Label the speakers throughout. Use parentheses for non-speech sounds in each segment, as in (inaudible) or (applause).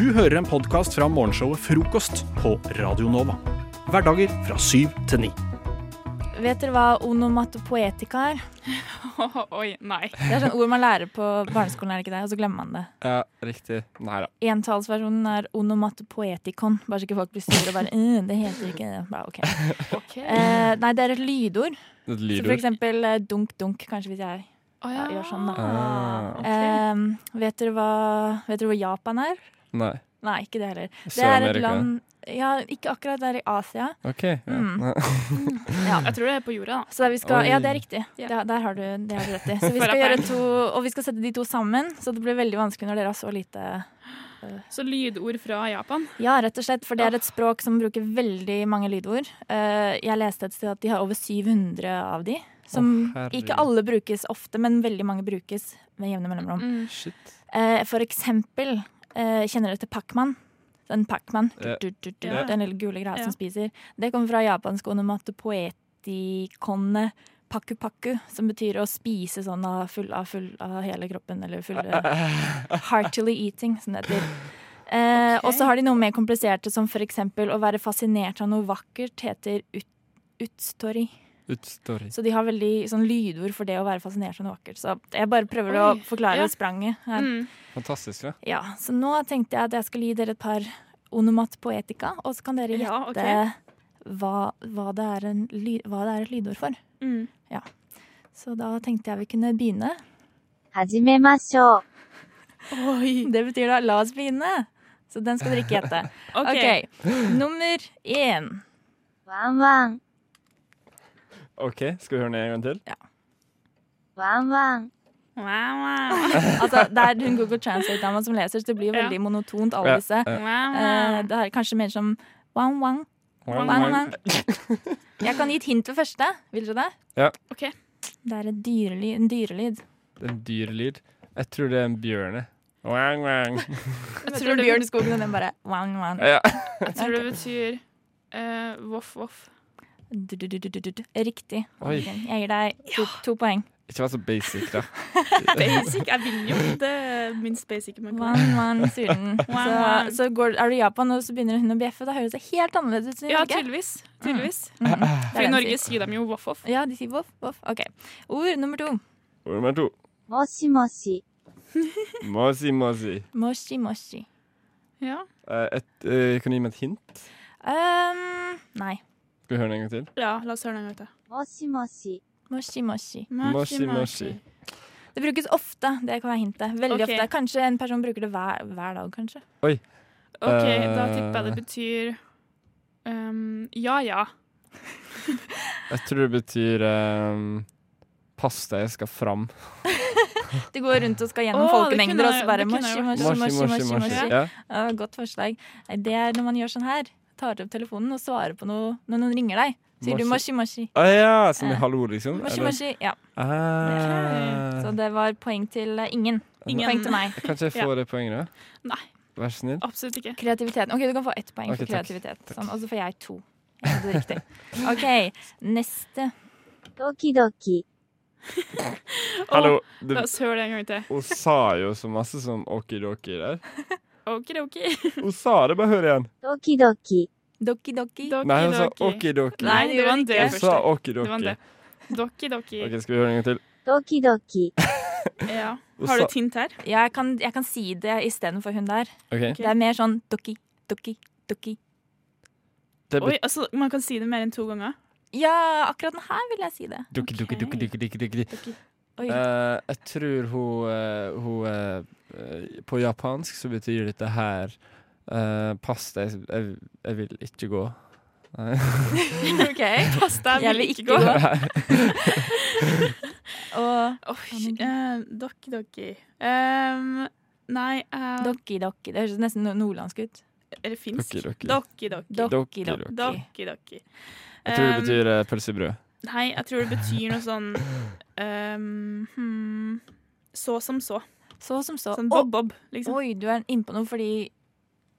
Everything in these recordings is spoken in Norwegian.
Speaker 1: Du hører en podkast fra morgenshowet Frokost på Radio Nova. Hverdager fra syv til ni.
Speaker 2: Vet dere hva onomatopoetika er?
Speaker 3: (laughs) Oi, nei.
Speaker 2: Det er sånn ord man lærer på barneskolen, er det ikke det? Og så glemmer man det.
Speaker 4: Ja, riktig. Nei da.
Speaker 2: Entallsversjonen er onomatopoetikon. Bare så ikke folk blir sure
Speaker 3: (laughs)
Speaker 2: og bare «Øh, Det heter ikke det. Bra, ok. Eh, nei, det er et lydord.
Speaker 4: Et
Speaker 2: Så for
Speaker 4: lydord.
Speaker 2: eksempel eh, dunk, dunk, kanskje hvis jeg
Speaker 3: Å
Speaker 2: ja, gjør sånn, da.
Speaker 4: Ah,
Speaker 2: Eh, vet, dere hva, vet dere hvor Japan er?
Speaker 4: Nei.
Speaker 2: Nei, ikke det heller. Det er et
Speaker 4: Sør-Amerika.
Speaker 2: land Ja, ikke akkurat. Det er i Asia.
Speaker 4: OK. Ja.
Speaker 2: Mm.
Speaker 3: Jeg tror det er på jorda, da.
Speaker 2: Så der vi skal,
Speaker 4: Oi.
Speaker 2: ja, det er riktig.
Speaker 3: Ja.
Speaker 2: Der, der har du, det har du rett i. Så vi
Speaker 3: For
Speaker 2: skal
Speaker 3: at
Speaker 2: gjøre
Speaker 3: det
Speaker 2: to, og vi skal sette de to sammen, så det blir veldig vanskelig når dere har så lite
Speaker 3: Så lydord fra Japan.
Speaker 2: Ja, rett og slett, for det er et språk som bruker veldig mange lydord. Eh, Jeg leste et sted at de har over 700 av de. Som
Speaker 4: Å, herregud.
Speaker 2: ikke alle brukes ofte, men veldig mange brukes med jevne mellomrom.
Speaker 4: Shit.
Speaker 2: Eh, For eksempel, eh, kjenner dere til Pacman? Den Pacman,
Speaker 4: Ja.
Speaker 2: du, du, du,
Speaker 3: Ja.
Speaker 2: den lille gule greia
Speaker 3: Ja.
Speaker 2: som spiser. Det kommer fra japansk onomatopoetikone paku paku, som betyr å spise sånn av full av, full av hele kroppen, eller fulle Heartily eating, som det heter. Eh,
Speaker 3: Ok.
Speaker 2: Og så har de noe mer kompliserte, som for eksempel å være fascinert av noe vakkert, heter ut, utstory.
Speaker 4: Utstory.
Speaker 2: Så de har veldig sånn lydord for det å være fascinert av noe vakkert. Så jeg bare prøver å
Speaker 3: Oi,
Speaker 2: forklare
Speaker 3: ja.
Speaker 2: spranget her.
Speaker 3: Mm.
Speaker 4: (laughs) Fantastisk, da.
Speaker 2: Ja, så nå tenkte jeg at jeg skulle gi dere et par onomat poetika, og så kan dere gjette
Speaker 3: Ja, ok.
Speaker 2: hva, hva, det er en ly, hva det er et lydord for.
Speaker 3: Mm.
Speaker 2: Så da tenkte jeg vi kunne begynne.
Speaker 5: 始めましょう。
Speaker 2: (laughs) Det betyr da 'la oss begynne'. Så den skal dere ikke gjette.
Speaker 3: (laughs) OK.
Speaker 2: ok, Nummer én.
Speaker 5: ワンワン、
Speaker 4: OK, skal vi høre den en gang til?
Speaker 5: ワンワン、
Speaker 3: Wow, wow.
Speaker 2: (laughs) Altså, det er hun Google Translate-dama som leser, så det blir jo
Speaker 3: Ja.
Speaker 2: veldig monotont,
Speaker 4: Ja,
Speaker 2: alle disse.
Speaker 4: ja.
Speaker 3: Wow,
Speaker 2: Eh,
Speaker 3: wow.
Speaker 2: det er kanskje mer som wang wang,
Speaker 4: Wang,
Speaker 2: wang
Speaker 4: wang.
Speaker 2: wang. Jeg kan gi et hint ved første. Vil dere det?
Speaker 3: OK.
Speaker 2: Det er et dyrely- en dyrelyd.
Speaker 4: Det er En dyr lyd. Jeg tror det er en bjørne. Wang, wang.
Speaker 3: Jeg
Speaker 2: (laughs) Jeg
Speaker 3: tror
Speaker 2: tror
Speaker 3: det,
Speaker 2: Bjørn Skogen og den bare wang, wang.
Speaker 4: Ja.
Speaker 3: jeg tror det betyr eh, voff, voff.
Speaker 2: Du, du, du, du, du, du. Riktig.
Speaker 4: Oi.
Speaker 2: Jeg gir deg to, to poeng.
Speaker 4: Ikke vær så basic,
Speaker 2: (laughs)
Speaker 4: da.
Speaker 3: (laughs) Basic. Jeg vil jo det minst basic man kan.
Speaker 2: One, one, sulten. Så,
Speaker 3: wan.
Speaker 2: så går, er du i Japan, og så begynner hun å bjeffe. Da høres det helt annerledes ut.
Speaker 3: Ja,
Speaker 2: ikke?
Speaker 3: tydeligvis. Tydeligvis.
Speaker 4: (laughs)
Speaker 2: Mm. Det er
Speaker 3: For i
Speaker 2: det de
Speaker 3: Norge
Speaker 2: sier.
Speaker 3: sier de jo voff, voff.
Speaker 2: Ja, de sier voff, voff. Ok. Ord nummer to.
Speaker 4: Ord nummer to.
Speaker 5: もしもし、
Speaker 4: Mosi, mosi.
Speaker 2: Moshi, moshi.
Speaker 3: Ja.
Speaker 4: Eh, et- eh, kan du gi meg et hint?
Speaker 2: Um, nei.
Speaker 4: Skal vi høre den en gang til?
Speaker 3: ja, la oss høre den en gang til.
Speaker 5: もしもし、
Speaker 2: Moshi, moshi.
Speaker 4: Moshi, moshi.
Speaker 2: Det brukes ofte. Det kan være hintet. Veldig
Speaker 3: Ok.
Speaker 2: ofte. Kanskje en person bruker det hver, hver dag, kanskje.
Speaker 3: OK, da
Speaker 4: Eh.
Speaker 3: tipper jeg det betyr ehm, ja, ja.
Speaker 4: Jeg tror det betyr eh, Pass deg, jeg skal fram.
Speaker 2: Du går rundt og skal
Speaker 3: Å,
Speaker 2: gjennom
Speaker 3: det kunne
Speaker 2: folkemengder, og så
Speaker 3: jeg-
Speaker 2: bare
Speaker 3: det kunne
Speaker 2: moshi,
Speaker 3: jeg
Speaker 2: moshi,
Speaker 4: Moshi,
Speaker 2: moshi,
Speaker 4: moshi,
Speaker 2: moshi,
Speaker 4: moshi.
Speaker 2: moshi.
Speaker 4: Ja.
Speaker 2: Ja, det var et godt forslag. Nei, Det er når man gjør sånn her. Tar opp telefonen og svarer på noe når noen ringer deg. Sier du moshi, moshi.
Speaker 4: Ah, ja, som i
Speaker 2: Eh,
Speaker 4: hallo, liksom?
Speaker 2: Moshi,
Speaker 4: Eller-
Speaker 2: moshi. Ja.
Speaker 4: Ah.
Speaker 2: Så det var poeng til eh, ingen.
Speaker 3: Ingen.
Speaker 2: Poeng til meg.
Speaker 4: Kan ikke jeg få det poenget, da?
Speaker 3: Nei.
Speaker 4: Vær så snill.
Speaker 3: Absolutt ikke.
Speaker 2: Kreativiteten. OK, du kan få ett poeng
Speaker 4: Ok,
Speaker 2: for
Speaker 4: takk.
Speaker 2: kreativitet.
Speaker 4: Takk.
Speaker 2: Sånn, og så får jeg to. Jeg hadde det riktig. OK, neste.
Speaker 5: ドキドキ、
Speaker 4: Hallo.
Speaker 3: Å,
Speaker 4: Du,
Speaker 3: La oss høre det en gang til.
Speaker 4: hun sa jo så masse som okidoki der.
Speaker 3: Okidoki.
Speaker 4: Hun sa det, bare hør igjen.
Speaker 5: ドキドキ、
Speaker 2: Doki doki.
Speaker 4: Nei, hun sa
Speaker 3: Okidoki.
Speaker 4: okidoki.
Speaker 3: Nei, det var en D
Speaker 4: Hun sa
Speaker 3: først. Det var
Speaker 4: okidoki.
Speaker 3: en D. Dokidoki.
Speaker 4: Ok, skal vi høre en gang til?
Speaker 5: ドキド
Speaker 2: (laughs)
Speaker 5: キ、
Speaker 3: Ja.
Speaker 4: Hun
Speaker 3: Har du
Speaker 4: sa-
Speaker 3: et hint her?
Speaker 2: Ja, jeg kan, jeg kan si det istedenfor hun der.
Speaker 4: Ok.
Speaker 2: Det er mer sånn doki, doki, doki.
Speaker 4: Det
Speaker 3: Oi, altså, man kan si det mer enn to ganger.
Speaker 2: Ja, akkurat den her vil jeg si det.
Speaker 4: Dukke, dukke, dukke, dukke, dukke, dukke.
Speaker 3: Doki.
Speaker 2: Oi.
Speaker 4: Eh, jeg tror hun, eh, hun eh, eh, På japansk så betyr dette her eh, Pass deg, jeg, jeg vil ikke gå.
Speaker 3: (laughs)
Speaker 4: Nei.
Speaker 2: OK.
Speaker 3: Pass deg,
Speaker 2: Jeg vil ikke gå. (laughs) Og
Speaker 3: Oi, eh, Doki Doki. Ehm, nei eh,
Speaker 2: doki doki. Det høres nesten no- nordlandsk ut.
Speaker 3: Er det finsk?
Speaker 4: Doki, doki.
Speaker 3: Doki Doki.
Speaker 2: Doki
Speaker 4: Doki,
Speaker 2: doki.
Speaker 4: doki.
Speaker 3: Doki Doki.
Speaker 4: Jeg tror det
Speaker 3: Ehm,
Speaker 4: betyr eh, pølsebrød.
Speaker 3: Nei, jeg tror det betyr noe sånn ehm, hmm, Så som så.
Speaker 2: Så som så.
Speaker 3: Sånn
Speaker 2: Å,
Speaker 3: bob-bob, liksom.
Speaker 2: Oi, du er innpå noe fordi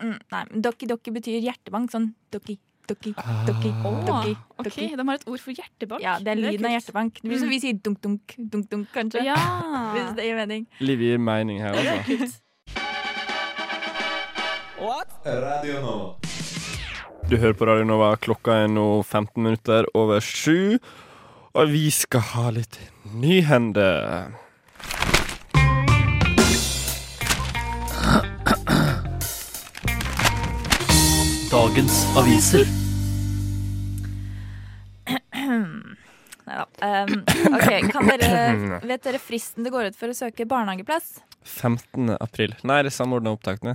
Speaker 2: mm, Nei, men dokki dokki betyr hjertebank. Sånn dokki, dokki, dokki,
Speaker 4: Ah.
Speaker 2: dokki.
Speaker 3: OK,
Speaker 2: dokki.
Speaker 3: de har et ord for hjertebank.
Speaker 2: Ja, det er lyden av
Speaker 3: kult.
Speaker 2: hjertebank. Det blir som
Speaker 3: Mm.
Speaker 2: vi sier dunk, dunk, dunk, dunk, kanskje. (laughs) Hvis
Speaker 3: Ja.
Speaker 2: det gir mening.
Speaker 4: Livet gir mening her, altså.
Speaker 3: Kult.
Speaker 6: Radio Nova.
Speaker 4: Du hører på Radio Nova, klokka er nå 15 minutter over sju. Og vi skal ha litt nyhender.
Speaker 1: Dagens aviser.
Speaker 2: (clears throat) Nei da. Um, ok, kan dere, vet dere fristen det går ut for å søke barnehageplass?
Speaker 4: 15. april. Nei, det er samordna opptak. nei.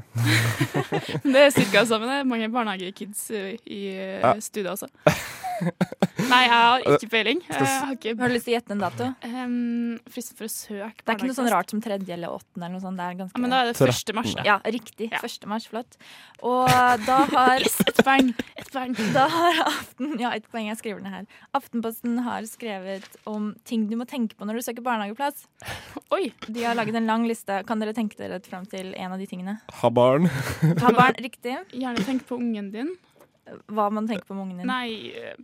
Speaker 3: Det er cirka det samme. Det er mange barnehagekids eh, i eh,
Speaker 4: Ja.
Speaker 3: studiet
Speaker 4: (laughs)
Speaker 3: også. Nei, jeg har ikke peiling. Jeg Eh, har
Speaker 2: Har
Speaker 3: ikke
Speaker 2: du lyst til å gjette en dato?
Speaker 3: um, fristen for å søke
Speaker 2: Det er ikke noe sånn
Speaker 3: barnehageplass.
Speaker 2: rart som tredje eller åttende eller noe sånt. Det er ganske
Speaker 3: Ja, men da er det 1. mars. da.
Speaker 2: Ja, riktig.
Speaker 3: Ja.
Speaker 2: 1. mars, flott. Og da
Speaker 3: (laughs)
Speaker 2: har
Speaker 3: Yes, et poeng! Et poeng.
Speaker 2: Da har Aften Ja, et poeng jeg skriver ned her. Aftenposten har skrevet om ting du må tenke på når du søker barnehageplass.
Speaker 3: Oi!
Speaker 2: De har laget en lang liste. Kan dere tenke dere fram til en av de tingene?
Speaker 4: Ha barn.
Speaker 2: Ta
Speaker 4: (laughs)
Speaker 2: barn, riktig.
Speaker 3: Gjerne tenk på ungen din.
Speaker 2: Hva man tenker på med ungen din.
Speaker 3: Nei, eh,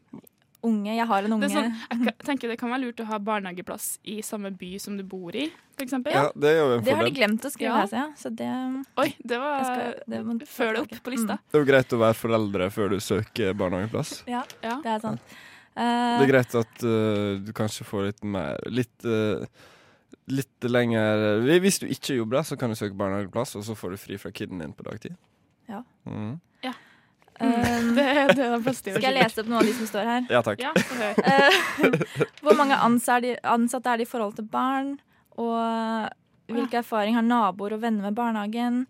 Speaker 2: Unge, jeg har en
Speaker 3: det
Speaker 2: unge.
Speaker 3: er sånn, jeg ka- tenker det kan være lurt å ha barnehageplass i samme by som du bor i, for eksempel.
Speaker 4: Ja, det er jo en
Speaker 2: Det har de
Speaker 4: fordel.
Speaker 2: glemt å skrive
Speaker 3: Ja.
Speaker 2: her, ser jeg. Så det,
Speaker 3: Oi, det var
Speaker 2: jeg skal, det må du få
Speaker 3: Følg det
Speaker 2: tilbake.
Speaker 3: opp på lista.
Speaker 4: Det er jo greit å være foreldre før du søker barnehageplass.
Speaker 2: Mm, ja,
Speaker 3: Ja.
Speaker 2: det er sant.
Speaker 4: Det
Speaker 2: Eh,
Speaker 4: er greit at eh, du kanskje får litt mer Litt, eh, litt lenger Hvi- Hvis du ikke jobber, da, så kan du søke barnehageplass, og så får du fri fra kiden din på dagtid.
Speaker 2: Ja.
Speaker 4: Mhm.
Speaker 2: eh,
Speaker 3: Mm. (laughs) Det, det er den beste
Speaker 2: skal jeg lese opp noen av de som står her?
Speaker 4: Ja takk.
Speaker 3: Ja, få høre.
Speaker 2: (laughs) Eh, Hvor mange ansa- er de- ansatte er det i forhold til barn? Og hvilke erfaring har naboer og venner med barnehagen?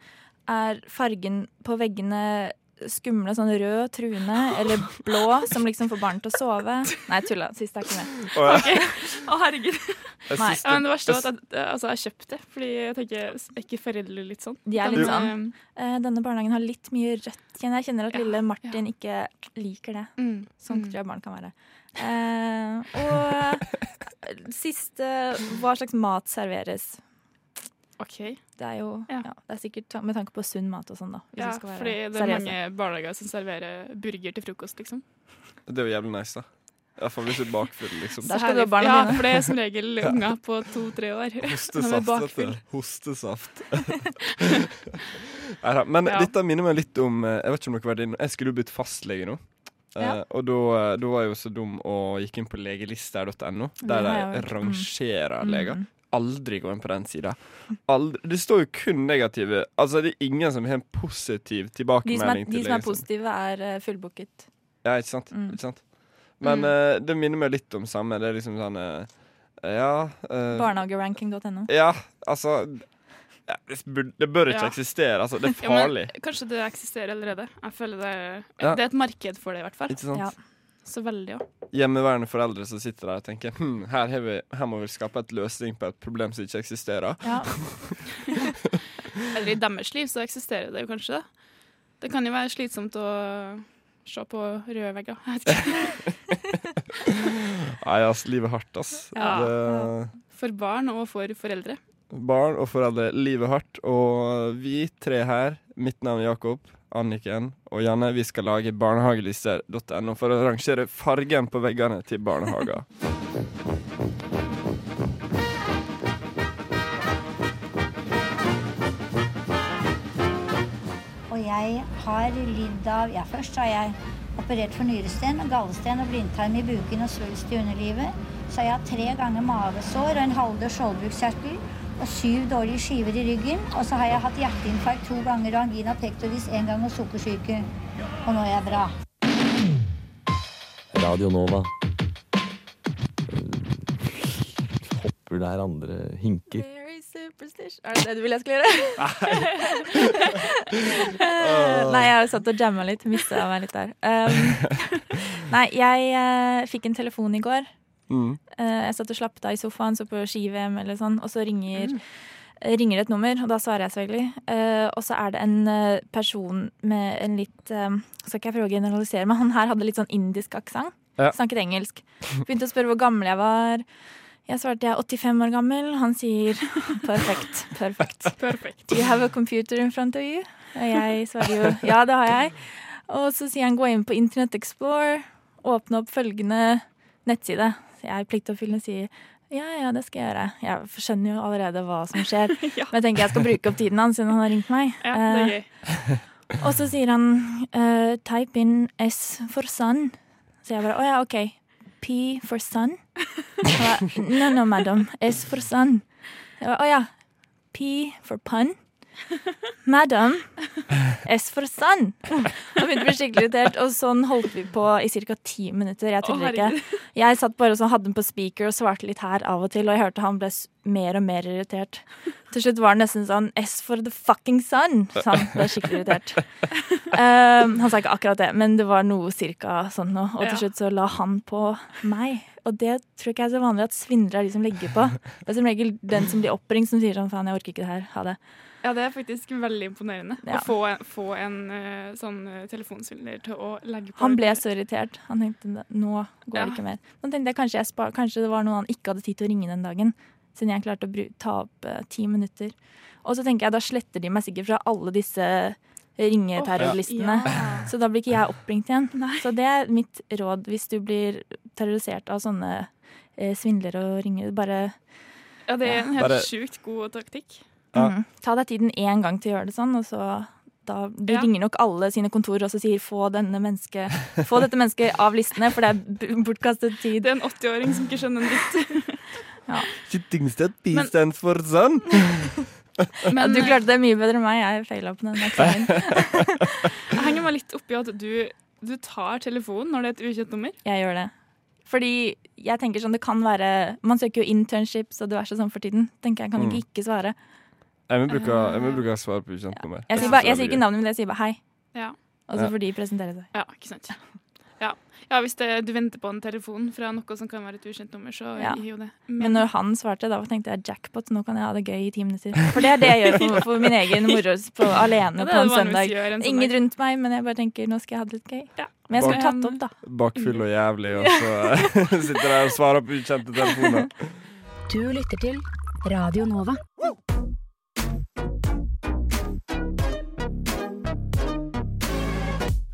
Speaker 2: Er fargen på veggene skumle, sånn rød, truende eller blå, som liksom får barn til å sove? Nei, tulla. Siste er ikke med.
Speaker 4: Og jeg,
Speaker 2: (laughs)
Speaker 3: Å, herregud.
Speaker 4: jeg
Speaker 2: Nei,
Speaker 4: syns
Speaker 3: Ja,
Speaker 4: det,
Speaker 3: men det verste var at jeg, altså, jeg kjøpte det, fordi jeg tenker, er ikke foreldre litt sånn?
Speaker 2: De er
Speaker 3: Kan,
Speaker 2: litt sånn.
Speaker 3: eh,
Speaker 2: eh, Denne barnehagen har litt mye rødt. kjenner Jeg Jeg kjenner at
Speaker 3: Ja,
Speaker 2: lille Martin ikke liker det.
Speaker 3: Mm.
Speaker 2: Sånn tror jeg barn kan være. Eh, og eh, siste Hva slags mat serveres?
Speaker 3: OK.
Speaker 2: Det er jo ja.
Speaker 3: Ja.
Speaker 2: det er sikkert ta- med tanke på sunn mat og sånn, da. Hvis
Speaker 3: Ja,
Speaker 2: vi skal være
Speaker 3: fordi det er
Speaker 2: seriøse.
Speaker 3: mange barnehager som serverer burger til frokost, liksom.
Speaker 4: det er jo jævlig nice, da. Iallfall hvis du er bakfull, liksom.
Speaker 2: Der skal du ha
Speaker 4: (laughs)
Speaker 2: barna
Speaker 3: ja,
Speaker 2: dine.
Speaker 3: for det er
Speaker 2: (laughs)
Speaker 3: som regel unger på to-tre år. Når man er
Speaker 4: Hostesaft.
Speaker 3: bakfull.
Speaker 4: dette.
Speaker 2: (laughs)
Speaker 4: Hostesaft. Neida, Men
Speaker 3: Ja.
Speaker 4: dette minner meg litt om eh, Jeg vet ikke om dere var din, jeg skulle jo blitt fastlege nå. Eh,
Speaker 2: Ja.
Speaker 4: og da, da var jeg jo så dum og gikk inn på legelista.no, der
Speaker 2: har
Speaker 4: de
Speaker 2: jeg hørt. Mm.
Speaker 4: rangerer leger.
Speaker 2: Mm.
Speaker 4: Aldri gå inn på den sida. Aldri- Det står jo kun negative. Altså, det er ingen som har en positiv
Speaker 2: De som er,
Speaker 4: tilbakemelding.
Speaker 2: de
Speaker 4: til liksom.
Speaker 2: som er
Speaker 4: legen sin.
Speaker 2: positive, er eh, fullbooket.
Speaker 4: Ja, ikke sant?
Speaker 2: Mm.
Speaker 4: Ikke sant? Men
Speaker 3: Mm.
Speaker 4: eh, det minner meg litt om samme. Det er liksom sånn eh, Ja. eh,
Speaker 2: Barnehageranking.no.
Speaker 4: Ja, altså ja, det, bur- det bør ikke
Speaker 3: Ja.
Speaker 4: eksistere. Altså,
Speaker 3: (laughs)
Speaker 4: det er
Speaker 3: Ja, men
Speaker 4: farlig.
Speaker 3: kanskje det eksisterer allerede. Jeg føler det,
Speaker 4: Ja.
Speaker 3: det er et marked for det, i hvert fall.
Speaker 4: Ikke sant?
Speaker 2: Ja.
Speaker 3: Så veldig òg.
Speaker 4: Hjemmeværende foreldre som sitter der og tenker hm, her, har vi, her må vi skape et løsning på et problem som ikke eksisterer.
Speaker 2: Ja.
Speaker 3: Eller i deres liv så eksisterer det jo kanskje, da. Det kan jo være slitsomt å se på røde vegger. Jeg vet ikke.
Speaker 4: (laughs)
Speaker 2: (laughs)
Speaker 4: Nei, ass, livet er hardt, ass.
Speaker 3: Ja.
Speaker 4: Det,
Speaker 3: For barn og for foreldre.
Speaker 4: barn og foreldre, livet er hardt. Og vi tre her, mitt navn er Jakob, Anniken og Janne, vi skal lage barnehagelister.no for å rangere fargen på veggene til
Speaker 2: (laughs)
Speaker 4: barnehager.
Speaker 7: Og jeg har lidd av Ja, først har jeg operert for nyresten, gallesten og blindtarm i buken og svulst i underlivet. Så har jeg hatt tre ganger mavesår og en halvdød skjoldbruskkjertel og syv dårlige skiver i ryggen. Og så har jeg hatt hjerteinfarkt to ganger og angina pectoris én gang og sukkersyke. Og nå er jeg bra.
Speaker 8: Radio Nova. Eh, Hopper der andre hinker.
Speaker 2: Very superstitious. Er det det du ville jeg skulle gjøre? Eh, (laughs) nei, jeg satt og jamma litt. Mista meg litt der. Um,
Speaker 4: (laughs)
Speaker 2: nei, jeg eh, fikk en telefon i går.
Speaker 4: Mm.
Speaker 2: Eh, jeg satt og slappet av i sofaen, så på ski-VM eller sånn, og så ringer,
Speaker 4: Mm.
Speaker 2: eh, ringer det et nummer, og da svarer jeg selvfølgelig. Eh, og så er det en eh, person med en litt eh, Skal ikke jeg prøve å generalisere, men han her hadde litt sånn indisk aksent.
Speaker 4: Ja.
Speaker 2: Snakket engelsk. Begynte å spørre hvor gammel jeg var. Jeg svarte jeg er 85 år gammel. Han sier perfekt, perfekt.
Speaker 3: Perfekt.
Speaker 2: Do you have a computer in front of you? Og jeg svarer jo ja, det har jeg. Og så sier han gå inn på Internett Explorer, åpne opp følgende nettside. Så jeg pliktoppfyllende sier ja, ja, det skal jeg gjøre. Jeg skjønner jo allerede hva som skjer.
Speaker 3: (laughs) Ja.
Speaker 2: Men jeg tenker jeg skal bruke opp tiden hans siden han har ringt meg.
Speaker 3: Ja, det er
Speaker 2: Eh,
Speaker 3: gøy.
Speaker 2: Og så sier han eh, type in S for sun. Så jeg bare å ja, OK. P for sun. Jeg bare, (laughs) No, no, madam. S for sun. Jeg bare, Å ja. P for pun. Madam. S for sun. Jeg begynte å bli skikkelig irritert, og sånn holdt vi på i ca. ti minutter. Jeg
Speaker 3: Å,
Speaker 2: tuller ikke.
Speaker 3: herregud.
Speaker 2: Jeg satt bare og så hadde den på speaker og svarte litt her av og til, og jeg hørte han ble s- mer og mer irritert. Til slutt var det nesten sånn S for the fucking sun. Så han ble skikkelig irritert. Ehm, han sa ikke akkurat det, men det var noe cirka sånn nå. Og til
Speaker 3: Ja.
Speaker 2: slutt så la han på meg. Og det tror ikke jeg er så vanlig at svindlere er de som legger på. Det er som regel den som blir oppringt som sier sånn faen, jeg orker ikke det her, ha det.
Speaker 3: Ja, det er faktisk veldig imponerende
Speaker 2: Ja.
Speaker 3: å få, få en eh, sånn eh, telefonsvindler til å legge på.
Speaker 2: Han ble så irritert. Han tenkte nå går
Speaker 3: Ja.
Speaker 2: det ikke mer. Nå tenkte jeg kanskje, jeg spar, kanskje det var noe han ikke hadde tid til å ringe den dagen. Siden jeg klarte å bru ta opp eh, ti minutter. Og så tenker jeg, da sletter de meg sikkert fra alle disse eh, ringeterrorlistene.
Speaker 3: Ja.
Speaker 2: Så da blir ikke jeg oppringt igjen. Så det er mitt råd hvis du blir terrorisert av sånne eh, svindlere og ringer. Bare
Speaker 3: ja, det er en helt
Speaker 4: Bare-
Speaker 3: sjukt god taktikk.
Speaker 4: Ja.
Speaker 2: mhm, ta deg tiden én gang til å gjøre det sånn, og så da, De
Speaker 3: Ja.
Speaker 2: ringer nok alle sine kontorer og så sier få, denne menneske, få dette mennesket av listene, for det er b- bortkastet tid.
Speaker 3: Det er en 80-åring som ikke skjønner en dritt.
Speaker 2: (laughs)
Speaker 4: Sittingsted B
Speaker 3: Men-
Speaker 4: stands for sun.
Speaker 2: Ja,
Speaker 3: Men
Speaker 2: du klarte det mye bedre enn meg. Jeg feila på den eksamen.
Speaker 3: eh, (laughs) jeg henger meg litt oppi at du, du tar telefonen når det er et ukjent nummer.
Speaker 2: Jeg gjør det. Fordi jeg tenker sånn, det kan være Man søker jo internships og diverse sånn for tiden. Tenker Jeg kan ikke ikke svare.
Speaker 4: Jeg må bruke, jeg må bruke svar på ukjent nummer.
Speaker 2: Jeg sier, bare, jeg sier ikke navnet mitt, jeg sier bare hei.
Speaker 3: Ja.
Speaker 2: Og så
Speaker 4: Ja.
Speaker 2: får de presentere seg.
Speaker 3: Ja, ikke sant. Ja, ja hvis det, du venter på en telefon fra noe som kan være et ukjent nummer, så
Speaker 2: Ja.
Speaker 3: gir jo det.
Speaker 2: Men når han svarte, da tenkte jeg jackpot, nå kan jeg ha det gøy i ti minutter. For det er det jeg gjør for, for min
Speaker 3: (laughs)
Speaker 2: egen moro på, alene
Speaker 3: Ja, det er
Speaker 2: på
Speaker 3: det
Speaker 2: en
Speaker 3: vanligvis
Speaker 2: søndag.
Speaker 3: gjør en
Speaker 2: Ingen
Speaker 3: søndag.
Speaker 2: rundt meg, men jeg bare tenker nå skal jeg ha det litt gøy.
Speaker 3: Ja.
Speaker 2: Men jeg skulle
Speaker 3: Bare-
Speaker 2: tatt opp, da.
Speaker 4: Bakfull og jævlig, og så
Speaker 2: (laughs)
Speaker 4: eh, (laughs) sitter der og svarer på ukjente telefoner.
Speaker 6: Du lytter til Radio Nova.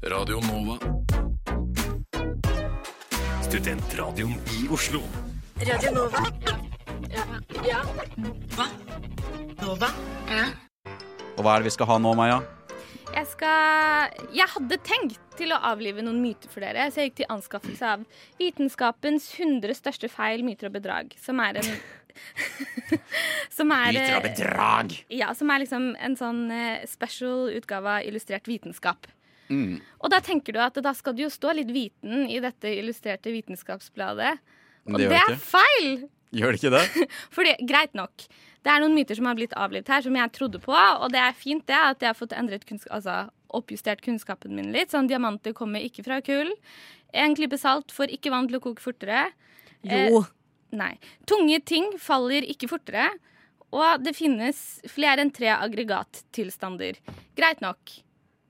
Speaker 9: Radio Nova. Studentradioen i Oslo.
Speaker 6: Radio Nova. Ja. Hva? Nova?
Speaker 10: Og hva er det vi skal ha nå, Maja?
Speaker 11: Jeg skal Jeg hadde tenkt til å avlive noen myter for dere, så jeg gikk til anskaffelse av Vitenskapens 100 største feil, myter og bedrag, som er en (laughs) Som er eh,
Speaker 10: Myter og bedrag!
Speaker 11: Ja, som er liksom en sånn eh, special utgave av Illustrert vitenskap.
Speaker 10: Mm.
Speaker 11: Og da tenker du at da skal det jo stå litt viten i dette illustrerte vitenskapsbladet. Og
Speaker 10: Det
Speaker 11: det,
Speaker 10: gjør det
Speaker 11: er
Speaker 10: ikke.
Speaker 11: feil!
Speaker 10: Gjør det ikke det?
Speaker 11: Fordi, greit nok. Det er noen myter som har blitt avlivet her, som jeg trodde på. Og det er fint det, at jeg har fått endret kunnskap, altså, oppjustert kunnskapen min litt. Sånn, Diamanter kommer ikke fra kull. En klype salt får ikke vann til å koke fortere.
Speaker 6: Eh,
Speaker 11: Eh,
Speaker 2: Jo.
Speaker 11: Nei. Tunge ting faller ikke fortere. Og det finnes flere enn tre aggregattilstander. Greit nok.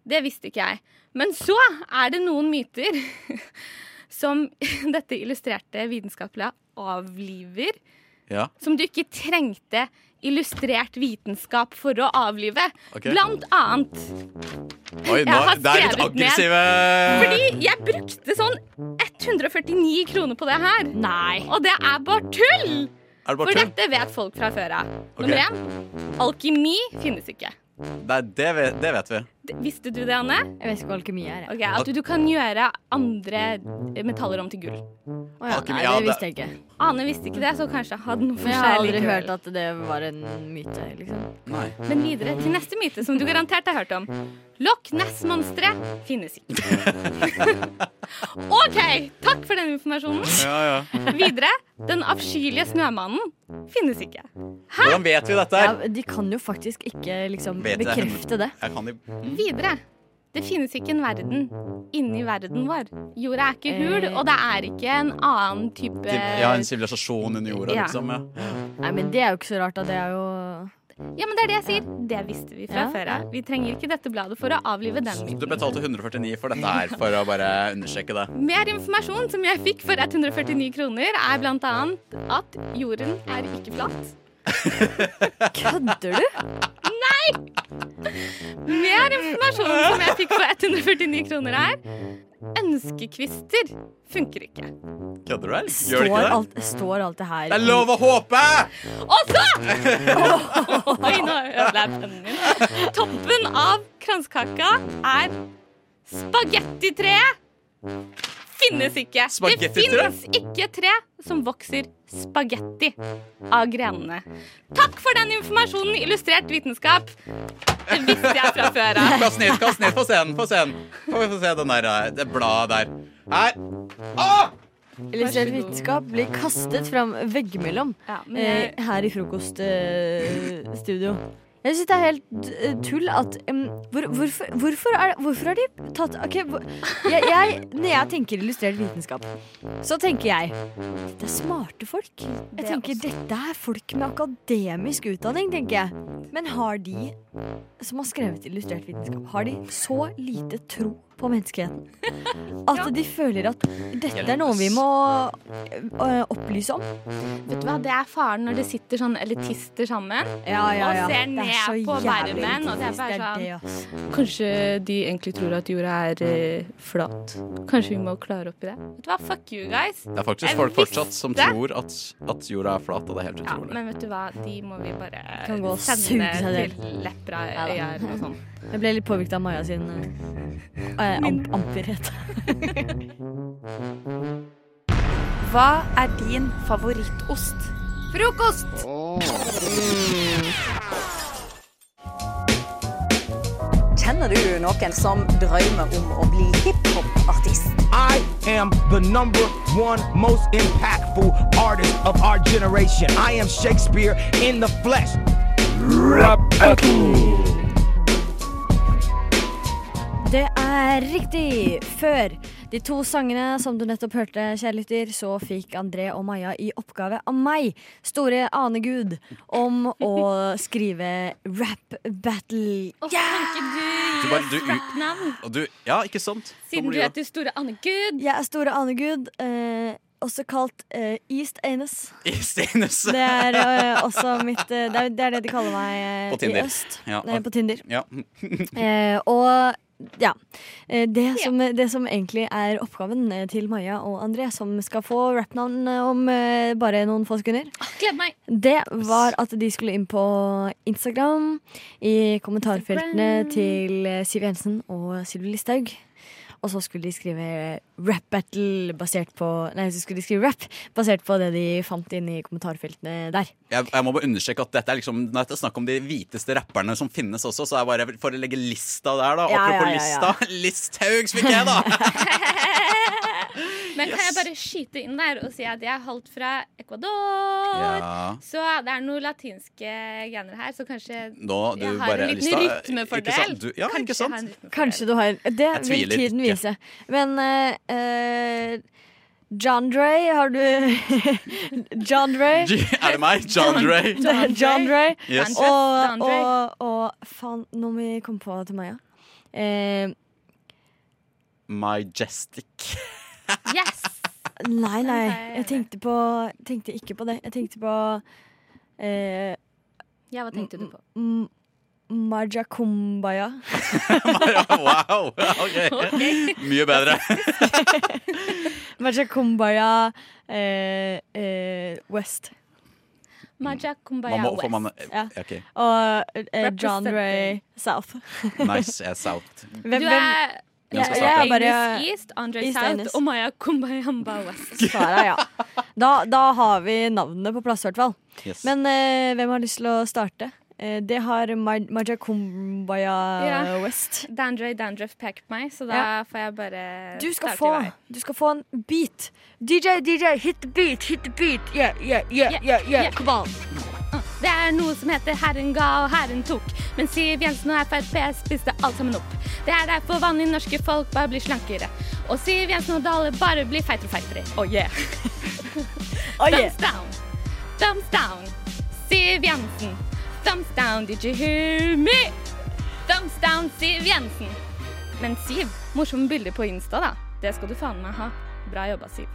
Speaker 11: Det visste ikke jeg. Men så er det noen myter (laughs) som (laughs) dette illustrerte vitenskapelig avliver
Speaker 10: Ja,
Speaker 11: som du ikke trengte illustrert vitenskap for å avlive.
Speaker 10: ok.
Speaker 11: Blant annet
Speaker 10: Oi, nå,
Speaker 11: Jeg har
Speaker 10: det er litt
Speaker 11: skrevet ned.
Speaker 10: aggressive
Speaker 11: fordi jeg brukte sånn 149 kroner på det her. Nei. Og det er bare tull!
Speaker 10: Er det
Speaker 11: For
Speaker 10: bare tull?
Speaker 11: dette vet folk fra før av.
Speaker 10: Ok.
Speaker 11: Nummer én alkemi finnes ikke.
Speaker 10: Nei, det, vet, det vet vi.
Speaker 11: D- Visste du det, Anne?
Speaker 6: Jeg vet ikke hva alkemi er. jeg.
Speaker 11: Ok, At du, du kan gjøre andre metaller om til gull.
Speaker 6: Å ja,
Speaker 10: Alkemi,
Speaker 6: nei,
Speaker 10: ja,
Speaker 6: det
Speaker 10: det-
Speaker 6: visste jeg ikke.
Speaker 11: Ane visste ikke det, så kanskje hadde noe for
Speaker 6: Men jeg har
Speaker 11: seg
Speaker 6: aldri
Speaker 11: likevel.
Speaker 6: hørt at det var en myte, liksom.
Speaker 10: Nei.
Speaker 11: Men videre til neste myte, som du garantert har hørt om. Loch Ness-monsteret finnes ikke. OK, takk for den informasjonen.
Speaker 10: Ja, ja.
Speaker 11: Videre. Den avskyelige snømannen finnes ikke.
Speaker 10: Hvordan vet vi
Speaker 6: Ja,
Speaker 10: dette? her?
Speaker 6: de kan jo faktisk ikke liksom
Speaker 10: Vet jeg.
Speaker 6: bekrefte det.
Speaker 10: Jeg kan Mm. ikke
Speaker 11: Videre. Det finnes ikke en verden inni verden vår. Jorda er ikke hul, og det er ikke en annen type
Speaker 10: Jeg har en sivilisasjon under jorda,
Speaker 6: Ja.
Speaker 10: liksom. Ja.
Speaker 6: Nei, men det er jo ikke så rart, da. Det er jo
Speaker 11: Ja, men det er det jeg sier. Det visste vi fra
Speaker 6: Ja.
Speaker 11: før av. Vi trenger ikke dette bladet for å avlive den myten.
Speaker 10: Du betalte 149 for dette her, for å bare understreke det.
Speaker 11: Mer informasjon som jeg fikk for 149 kroner, er bl.a. at jorden er ikke flat.
Speaker 6: Kødder
Speaker 10: (laughs)
Speaker 6: du?
Speaker 11: Mer informasjon som jeg fikk for 149 kroner, er ønskekvister funker ikke.
Speaker 10: Kødder du, eller? Gjør det
Speaker 6: Står
Speaker 10: ikke det?
Speaker 6: alt, står alt det her
Speaker 10: Det er lov å håpe!
Speaker 11: Og så Oi, nå ødela jeg pennen min. Toppen av kransekaka er spagettitreet. Finnes ikke. Det
Speaker 10: Spagettitre?
Speaker 11: finnes ikke tre som vokser spagetti av grenene. Takk for den informasjonen, illustrert vitenskap. Det visste jeg fra før av.
Speaker 10: Kast ned, kast ned. Få se den. Få se den. Få få se den der, eh, det bladet der. Her.
Speaker 6: Illustrert vitenskap blir kastet fram veggimellom
Speaker 11: men jeg-
Speaker 6: eh, her i frokoststudio. Eh, studio. jeg syns det er helt eh, tull at em, hvor, hvorfor, hvorfor, er, hvorfor har de tatt Ok, hvor, jeg, jeg, når jeg tenker illustrert vitenskap, så tenker jeg Dette er smarte folk. Jeg tenker dette er folk med akademisk utdanning, tenker jeg. Men har de som har skrevet illustrert vitenskap, har de så lite tro på menneskeheten at de føler at dette er noe vi må eh, opplyse om?
Speaker 11: Vet du hva, Det er faren når det sitter sånn elitister sammen
Speaker 6: Ja, ja, ja.
Speaker 11: og ser
Speaker 6: Det er så
Speaker 11: ned på
Speaker 6: jævlig
Speaker 11: verden. Og det er
Speaker 6: elitist, det altså. er
Speaker 11: bare
Speaker 6: det,
Speaker 11: sånn Kanskje de egentlig tror at jorda er eh, flat. Kanskje vi må klare opp i det. Vet du hva, fuck you guys.
Speaker 10: Det er faktisk
Speaker 11: Jeg
Speaker 10: folk fortsatt som
Speaker 11: visste-
Speaker 10: tror at, at jorda er flat, og det er helt
Speaker 11: ja,
Speaker 10: utrolig.
Speaker 11: Men vet du hva, de må vi bare
Speaker 6: Kan gå og suge
Speaker 11: sende
Speaker 6: seg
Speaker 11: til
Speaker 6: selv.
Speaker 11: lepra
Speaker 6: Ja da.
Speaker 11: øyer og sånn.
Speaker 6: Jeg ble litt påvirket av Maja sin eh, eh, amp amperhet. (laughs)
Speaker 2: Hva er din favorittost? Frokost!
Speaker 12: Kjenner du noen som drømmer om å bli hiphop-artist?
Speaker 13: I am the number one most impactful artist of our generation. I am Shakespeare in the flesh.
Speaker 6: Det er riktig! Før de to sangene som du nettopp hørte, kjære lytter, så fikk André og Maja i oppgave av meg, store anegud, om
Speaker 11: (laughs)
Speaker 6: å skrive rap battle.
Speaker 10: Du bare, du, og du, ja, ikke sant? Nå blir det-
Speaker 11: Store Anegud.
Speaker 6: Jeg er Store Anegud, eh, også kalt eh, East
Speaker 10: (laughs)
Speaker 6: Anus.
Speaker 10: (laughs) I Stenes.
Speaker 6: Det er eh, også mitt eh, det, er, det er det de kaller meg eh,
Speaker 10: På Tinder.
Speaker 6: i øst.
Speaker 10: Ja.
Speaker 6: Nei, på Tinder.
Speaker 10: Ja.
Speaker 6: (laughs)
Speaker 11: (laughs)
Speaker 6: Eh, og ja. Eh, det, som, det som egentlig er oppgaven eh, til Maja og André, som skal få rappnavn eh, om eh, bare noen få sekunder,
Speaker 11: Ah, Gleder meg.
Speaker 6: det var at de skulle inn på Instagram, i kommentarfeltene
Speaker 11: Instagram.
Speaker 6: til eh, Siv Jensen og Sylvi Listhaug. Og så skulle de skrive rap battle basert på Nei, så skulle de skrive rap basert på det de fant inne i kommentarfeltene der.
Speaker 10: Jeg, jeg må bare understreke at dette er liksom Når det er snakk om de hviteste rapperne som finnes også, så er det bare for å legge lista der, da.
Speaker 6: Ja, ja,
Speaker 10: Apropos
Speaker 6: ja, ja.
Speaker 10: lista. (laughs) Listhaugs fikk jeg, da!
Speaker 11: (laughs) Men kan jeg bare skyte inn der og si at jeg er halvt fra Ecuador?
Speaker 10: Ja.
Speaker 11: Så det er noen latinske gener her, så kanskje
Speaker 10: Nå, du
Speaker 11: jeg har
Speaker 10: bare
Speaker 11: en liten
Speaker 10: lista, eh, ikke
Speaker 11: rytmefordel.
Speaker 10: sant? Du- ja, ikke
Speaker 11: Kanskje jeg har en rytme-
Speaker 6: Kanskje du har Det
Speaker 10: Jeg
Speaker 6: vil
Speaker 10: tviler
Speaker 6: tiden
Speaker 10: ikke.
Speaker 6: vise. Men eh, eh, John Dre, har du (laughs) John Dre.
Speaker 10: Er det
Speaker 11: (laughs)
Speaker 10: meg? John Dre?
Speaker 6: Det er John Dre.
Speaker 10: Yes.
Speaker 6: Og,
Speaker 10: John Dre.
Speaker 6: og, og faen, nå må vi komme på til Maja. Eh,
Speaker 10: Majestic. (laughs)
Speaker 11: yes!
Speaker 6: Nei, nei. Jeg tenkte på Tenkte ikke på det. Jeg tenkte på eh,
Speaker 11: Ja, hva tenkte du på?
Speaker 6: M- Maja
Speaker 10: (laughs)
Speaker 6: Kumbaya. (laughs)
Speaker 10: Wow!
Speaker 11: (laughs)
Speaker 10: Ok. Mye bedre.
Speaker 6: (laughs) Maja Kumbaya eh, eh, West. Mm.
Speaker 11: Maja Kumbaya
Speaker 10: Man må, får
Speaker 11: West.
Speaker 10: man eh,
Speaker 6: Ja.
Speaker 10: OK.
Speaker 6: Og eh, John
Speaker 11: Representing.
Speaker 6: Ray South. (laughs)
Speaker 10: Nice. Jeg er south.
Speaker 6: Hvem-
Speaker 11: du
Speaker 6: hvem-
Speaker 11: er
Speaker 10: Hvem skal
Speaker 6: jeg,
Speaker 10: starte?
Speaker 6: jeg er bare
Speaker 11: Anus East, Andre
Speaker 6: East
Speaker 11: South
Speaker 6: Anus.
Speaker 11: og Maya Kumbayamba West.
Speaker 6: (laughs) Sara, ja. Da, da har vi navnene på plass, i hvert fall.
Speaker 11: Yes.
Speaker 6: Men eh, hvem har lyst til å starte? Eh, det har Maj Maja Kumbaya
Speaker 11: Ja.
Speaker 6: West.
Speaker 11: (laughs) Dandre Dandruff peker på meg, så da
Speaker 6: Ja.
Speaker 11: får jeg bare
Speaker 6: Du skal,
Speaker 11: starte i
Speaker 6: få,
Speaker 11: vei.
Speaker 6: du skal få en beat. DJ, DJ, hit the beat, hit the beat. Yeah, yeah, yeah, yeah, yeah.
Speaker 11: yeah.
Speaker 6: Come on.
Speaker 11: Det er noe som heter Herren ga og Herren tok. Men Siv Jensen og Frp spiste alt sammen opp. Det er derfor vanlige norske folk bare blir slankere. Og Siv Jensen og Dale bare blir feitere og feitere. Oh (laughs) yeah.
Speaker 6: Oh, yeah.
Speaker 11: Thumbs down. Thumbs down. Siv Jensen. Thumbs down, did you hear me? Thumbs down, Siv Jensen. Men Siv, morsomme bilder på Insta, da. Det skal du faen meg ha. Bra jobba, Siv.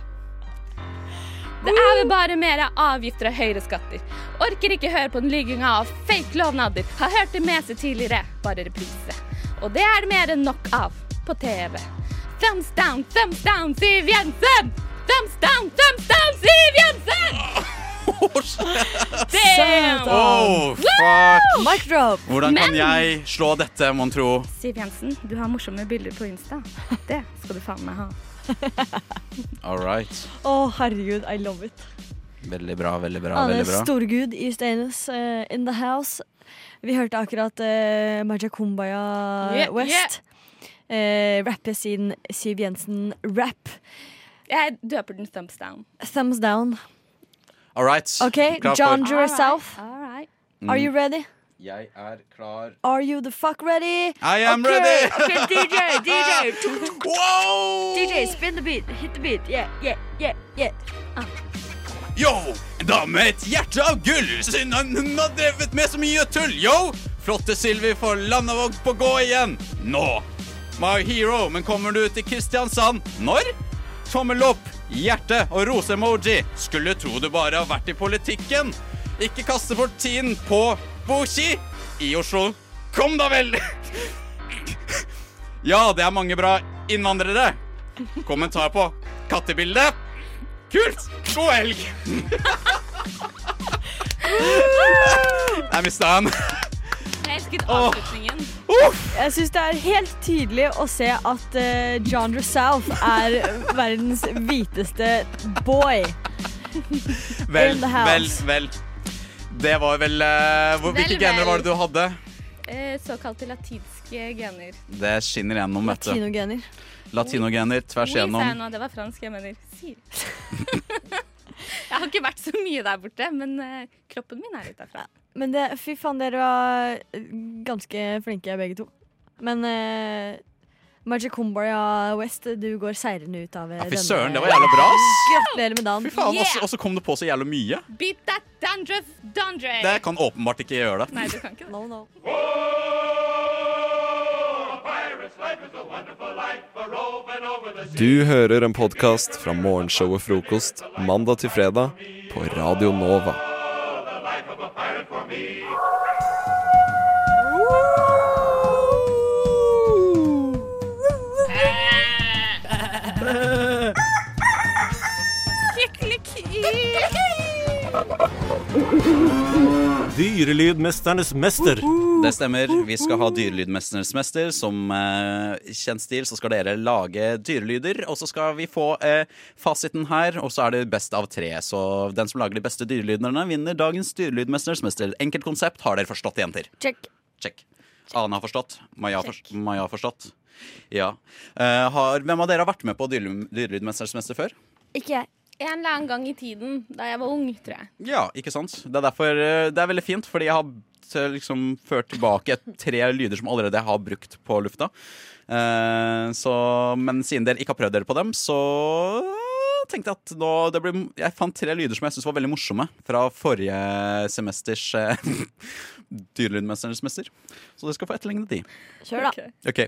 Speaker 11: Det er vel bare mer avgifter og høyere skatter. Orker ikke høre på den lyginga av fake lovnader. Har hørt det meste tidligere, bare reprise. Og det er det mer enn nok av på TV. Thumbs down, thumbs down, Siv Jensen! Thumbs down, thumbs down, Siv Jensen! Damn!
Speaker 10: Oh, fuck!
Speaker 6: Mic drop.
Speaker 10: Hvordan kan jeg slå dette, mon tro?
Speaker 11: Siv Jensen, du har morsomme bilder på Insta. Det skal du faen meg ha.
Speaker 10: All right.
Speaker 6: Å, herregud, I love it.
Speaker 10: Veldig bra, veldig bra.
Speaker 6: Ane
Speaker 10: veldig bra.
Speaker 6: Storgud i Steines eh, in the house. Vi hørte akkurat uh, Maja Kumbaya
Speaker 11: Yeah,
Speaker 6: West eh, rappe sin Siv Jensen-rap.
Speaker 11: Jeg døper den thumbs down.
Speaker 6: Thumbs down.
Speaker 10: All right.
Speaker 6: OK,
Speaker 10: Klar for-
Speaker 6: John Drew yourself.
Speaker 10: Mm.
Speaker 6: Are you ready?
Speaker 10: Jeg er klar.
Speaker 6: Are you the fuck ready?
Speaker 10: I am
Speaker 6: okay,
Speaker 10: ready!
Speaker 6: okay, (laughs) DJ,
Speaker 10: (laughs)
Speaker 6: DJ.
Speaker 10: Wow!
Speaker 6: DJ, spin the beat. Hit the beat. Yeah, yeah, yeah, yeah. Ah.
Speaker 10: Yo! En dame med et hjerte av gull! Synd hun hun har drevet med så mye tull! Yo! Flotte Sylvi for Landevåg på gå igjen! Nå! My hero, men kommer du til Kristiansand? Når? Tommel opp, hjerte og rose-emoji. Skulle tro du bare har vært i politikken. Ikke kaste bort tiden på Boki i Oslo. Kom da vel! Ja, det er mange bra innvandrere. Kommentar på kattebildet. Kult! God helg! Jeg mista den.
Speaker 11: Jeg elsket avslutningen.
Speaker 6: Jeg syns det er helt tydelig å se at eh, John South
Speaker 10: (laughs)
Speaker 6: er verdens hviteste boy.
Speaker 10: Vel,
Speaker 6: In the house.
Speaker 10: vel, vel. Det var vel eh, hvor- Hvilke
Speaker 11: Vel, vel.
Speaker 10: gener var det du hadde?
Speaker 11: Eh, Såkalte latinske gener.
Speaker 10: Det skinner gjennom, vet du.
Speaker 6: Kinogener.
Speaker 10: Latinogener tvers
Speaker 11: Oi, sa jeg
Speaker 10: igjennom.
Speaker 11: nå, det var fransk jeg mener. Sier. (laughs) jeg har ikke vært så mye der borte, men eh, kroppen min er litt derfra.
Speaker 6: Men det, fy faen, dere var eh, ganske flinke begge to. Men uh, Maja Kumbaya West, du går seirende ut av eh,
Speaker 10: Ja, fy
Speaker 6: denne-
Speaker 10: søren, det var jævla bra, ass!
Speaker 6: Gratulerer med dagen.
Speaker 10: Fy faen, altså. også, også kom det på så jævla mye.
Speaker 11: Beat that dandruff, dandruff!
Speaker 10: Det kan åpenbart ikke gjøre det.
Speaker 11: Nei, du kan ikke det.
Speaker 6: No, no.
Speaker 14: Du hører en podkast fra morgenshow og frokost mandag til fredag på Radio Nova.
Speaker 10: Dyrelydmesternes mester. Det stemmer. Vi skal ha Dyrelydmesternes mester. Som eh, kjent stil så skal dere lage dyrelyder, og så skal vi få eh, fasiten her. Og så er det best av tre. Så den som lager de beste dyrelydene, vinner dagens Dyrelydmesternes mester. Enkelt konsept. Har dere forstått, jenter?
Speaker 6: Check.
Speaker 10: Check. Ane har forstått. Maja har forstått. Maja har forstått. Ja. Eh, har, hvem av dere har vært med på Dyrelyd- Dyrelydmesternes mester før?
Speaker 11: Ikke jeg. En eller annen gang i tiden, da jeg var ung, tror jeg.
Speaker 10: Ja, ikke sant? Det er derfor eh, det er veldig fint, fordi jeg har t- liksom ført tilbake et- tre lyder som allerede jeg har brukt på lufta. Eh, så, men siden dere ikke har prøvd dere på dem, så tenkte jeg at nå det blir, Jeg fant tre lyder som jeg syntes var veldig morsomme fra forrige semesters eh, (laughs) Dyrelydmesternes mester. Så dere skal få etterligne de.
Speaker 6: Kjør, da.
Speaker 10: Ok,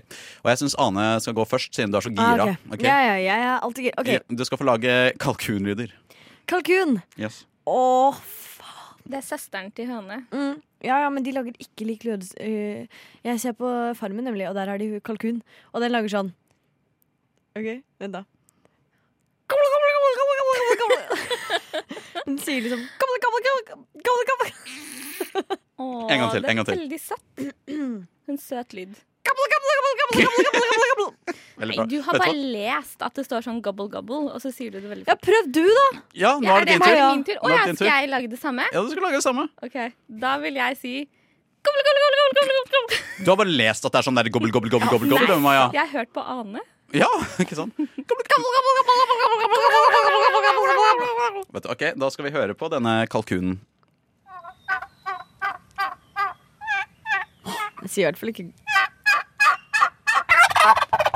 Speaker 10: Og jeg syns Ane skal gå først, siden du er så gira.
Speaker 6: Ah, ok.
Speaker 10: Ok?
Speaker 6: Ja, ja, jeg er alltid gira. Ok,
Speaker 10: Du skal få lage kalkunlyder.
Speaker 6: Kalkun.
Speaker 10: Yes.
Speaker 6: Åh,
Speaker 11: Det er søsteren til høne.
Speaker 6: Mm. Ja, ja, men de lager ikke lik lyd. øh, Jeg ser på Farmen, nemlig, og der har de kalkun. Og den lager sånn. OK, vent, da. Gamle, gamle, gamle, gamle, gamle,
Speaker 11: (laughs)
Speaker 6: gamle. Den sier liksom gamle, gamle, gamle, gamle, gamle.
Speaker 11: Åh,
Speaker 10: En gang til,
Speaker 11: det er
Speaker 10: en gang til.
Speaker 11: Veldig søtt. En søt lyd.
Speaker 10: Veldig
Speaker 11: Nei,
Speaker 10: bra.
Speaker 11: du har
Speaker 10: Vet
Speaker 11: bare
Speaker 10: hva?
Speaker 11: lest at det står sånn gobble gobble, og så sier du det veldig
Speaker 6: Ja, prøv du, da.
Speaker 10: Ja, nå er det din
Speaker 11: det
Speaker 10: tur.
Speaker 11: min tur.
Speaker 10: Nå
Speaker 11: Å
Speaker 10: er
Speaker 11: ja,
Speaker 10: det din
Speaker 11: skal
Speaker 10: tur.
Speaker 11: jeg lage det samme?
Speaker 10: Ja, du skal lage det samme.
Speaker 11: Ok, Da vil jeg si gobble, gobble, gobble, gobble, gobble, gobble, gobble.
Speaker 10: Du har bare lest at det er sånn der gobbel, gobbel, gobbel, gobbel, gobbel,
Speaker 11: Nei,
Speaker 10: Maja.
Speaker 11: Jeg har hørt på Ane.
Speaker 10: Ja, (laughs) ikke sant? Vet du, ok, Da skal vi høre på denne kalkunen.
Speaker 6: sånn- Den sier i hvert fall ikke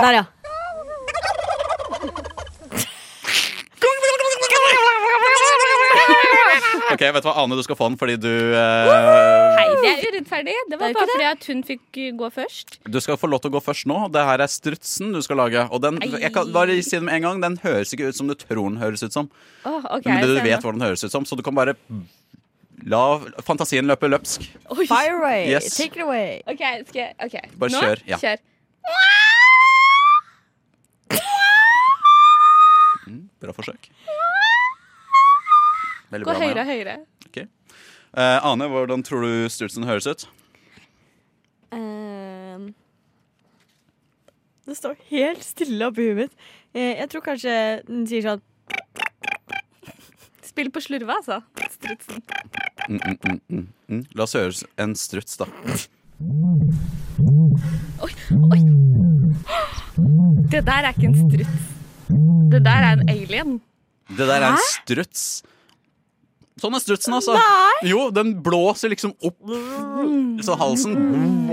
Speaker 6: Der, ja.
Speaker 11: (laughs)
Speaker 10: Ok, vet du hva, Ane, du skal få den fordi du eh,
Speaker 11: Nei, det er urettferdig. Det var bare fordi at hun fikk uh, gå først.
Speaker 10: Du skal få lov til å gå først nå. Det her er strutsen du skal lage. Og den,
Speaker 11: Ei.
Speaker 10: jeg kan bare si det med en gang, den høres ikke ut som du tror den høres ut som.
Speaker 11: Åh, ok,
Speaker 10: Men du
Speaker 11: så-
Speaker 10: vet hvordan den høres ut som, så du kan bare la fantasien løpe løpsk.
Speaker 11: Oi.
Speaker 6: Fire away.
Speaker 10: Yes.
Speaker 6: Take it away.
Speaker 11: Ok, skal jeg ok.
Speaker 10: Bare
Speaker 11: Nå?
Speaker 10: kjør, ja.
Speaker 11: kjør.
Speaker 10: Mm, Bra forsøk. Veldig
Speaker 11: Gå
Speaker 10: bra, Maja.
Speaker 11: høyere og høyere.
Speaker 10: Ok. Eh, Ane, hvordan tror du Sturtsen høres ut?
Speaker 6: Ehm, det står helt stille oppi huet mitt. Eh, jeg tror kanskje den sier sånn
Speaker 11: Spill på slurve, altså. Strutsen.
Speaker 10: Mm, mm, mm, mm, mm. La oss høre en struts, da.
Speaker 11: Oi, oi. Det der er ikke en struts. Det der er en alien.
Speaker 10: Det der er
Speaker 11: Hæ?
Speaker 10: en struts. Sånn er strutsen, altså.
Speaker 11: Nei!
Speaker 10: Jo, den blåser liksom opp så halsen,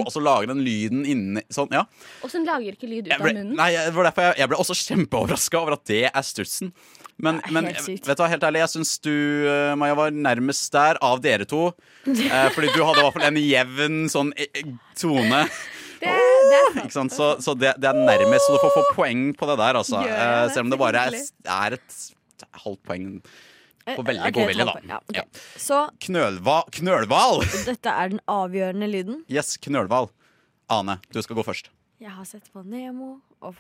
Speaker 10: og så lager den lyden inni sånn. Ja.
Speaker 11: Og så lager ikke lyd ut
Speaker 10: Jeg
Speaker 11: av
Speaker 10: ble,
Speaker 11: munnen.
Speaker 10: nei, jeg- det var derfor jeg, jeg ble også kjempeoverraska over at det er strutsen. Men, men
Speaker 11: helt
Speaker 10: vet
Speaker 11: sykt.
Speaker 10: du hva, helt ærlig, jeg syns du, eh, Maja, var nærmest der av dere to. Eh, fordi du hadde i hvert fall en jevn sånn eh, eh, tone.
Speaker 11: Det, det er
Speaker 10: Ikke sant? Så, så det, det er nærmest, så du får få poeng på det der, altså.
Speaker 6: Gjør jeg
Speaker 10: Eh,
Speaker 6: det?
Speaker 10: selv om det bare er,
Speaker 6: Hyggelig.
Speaker 10: er et halvt poeng
Speaker 11: Eh,
Speaker 10: på veldig
Speaker 6: Eh, Ok,
Speaker 10: godvilje, da.
Speaker 6: tolv poeng. Ja, ok. Så
Speaker 10: Knølva, knølval!
Speaker 6: dette er den avgjørende lyden.
Speaker 10: (laughs) Yes, knølval. Ane, du skal gå først.
Speaker 6: Jeg har sett på Nemo og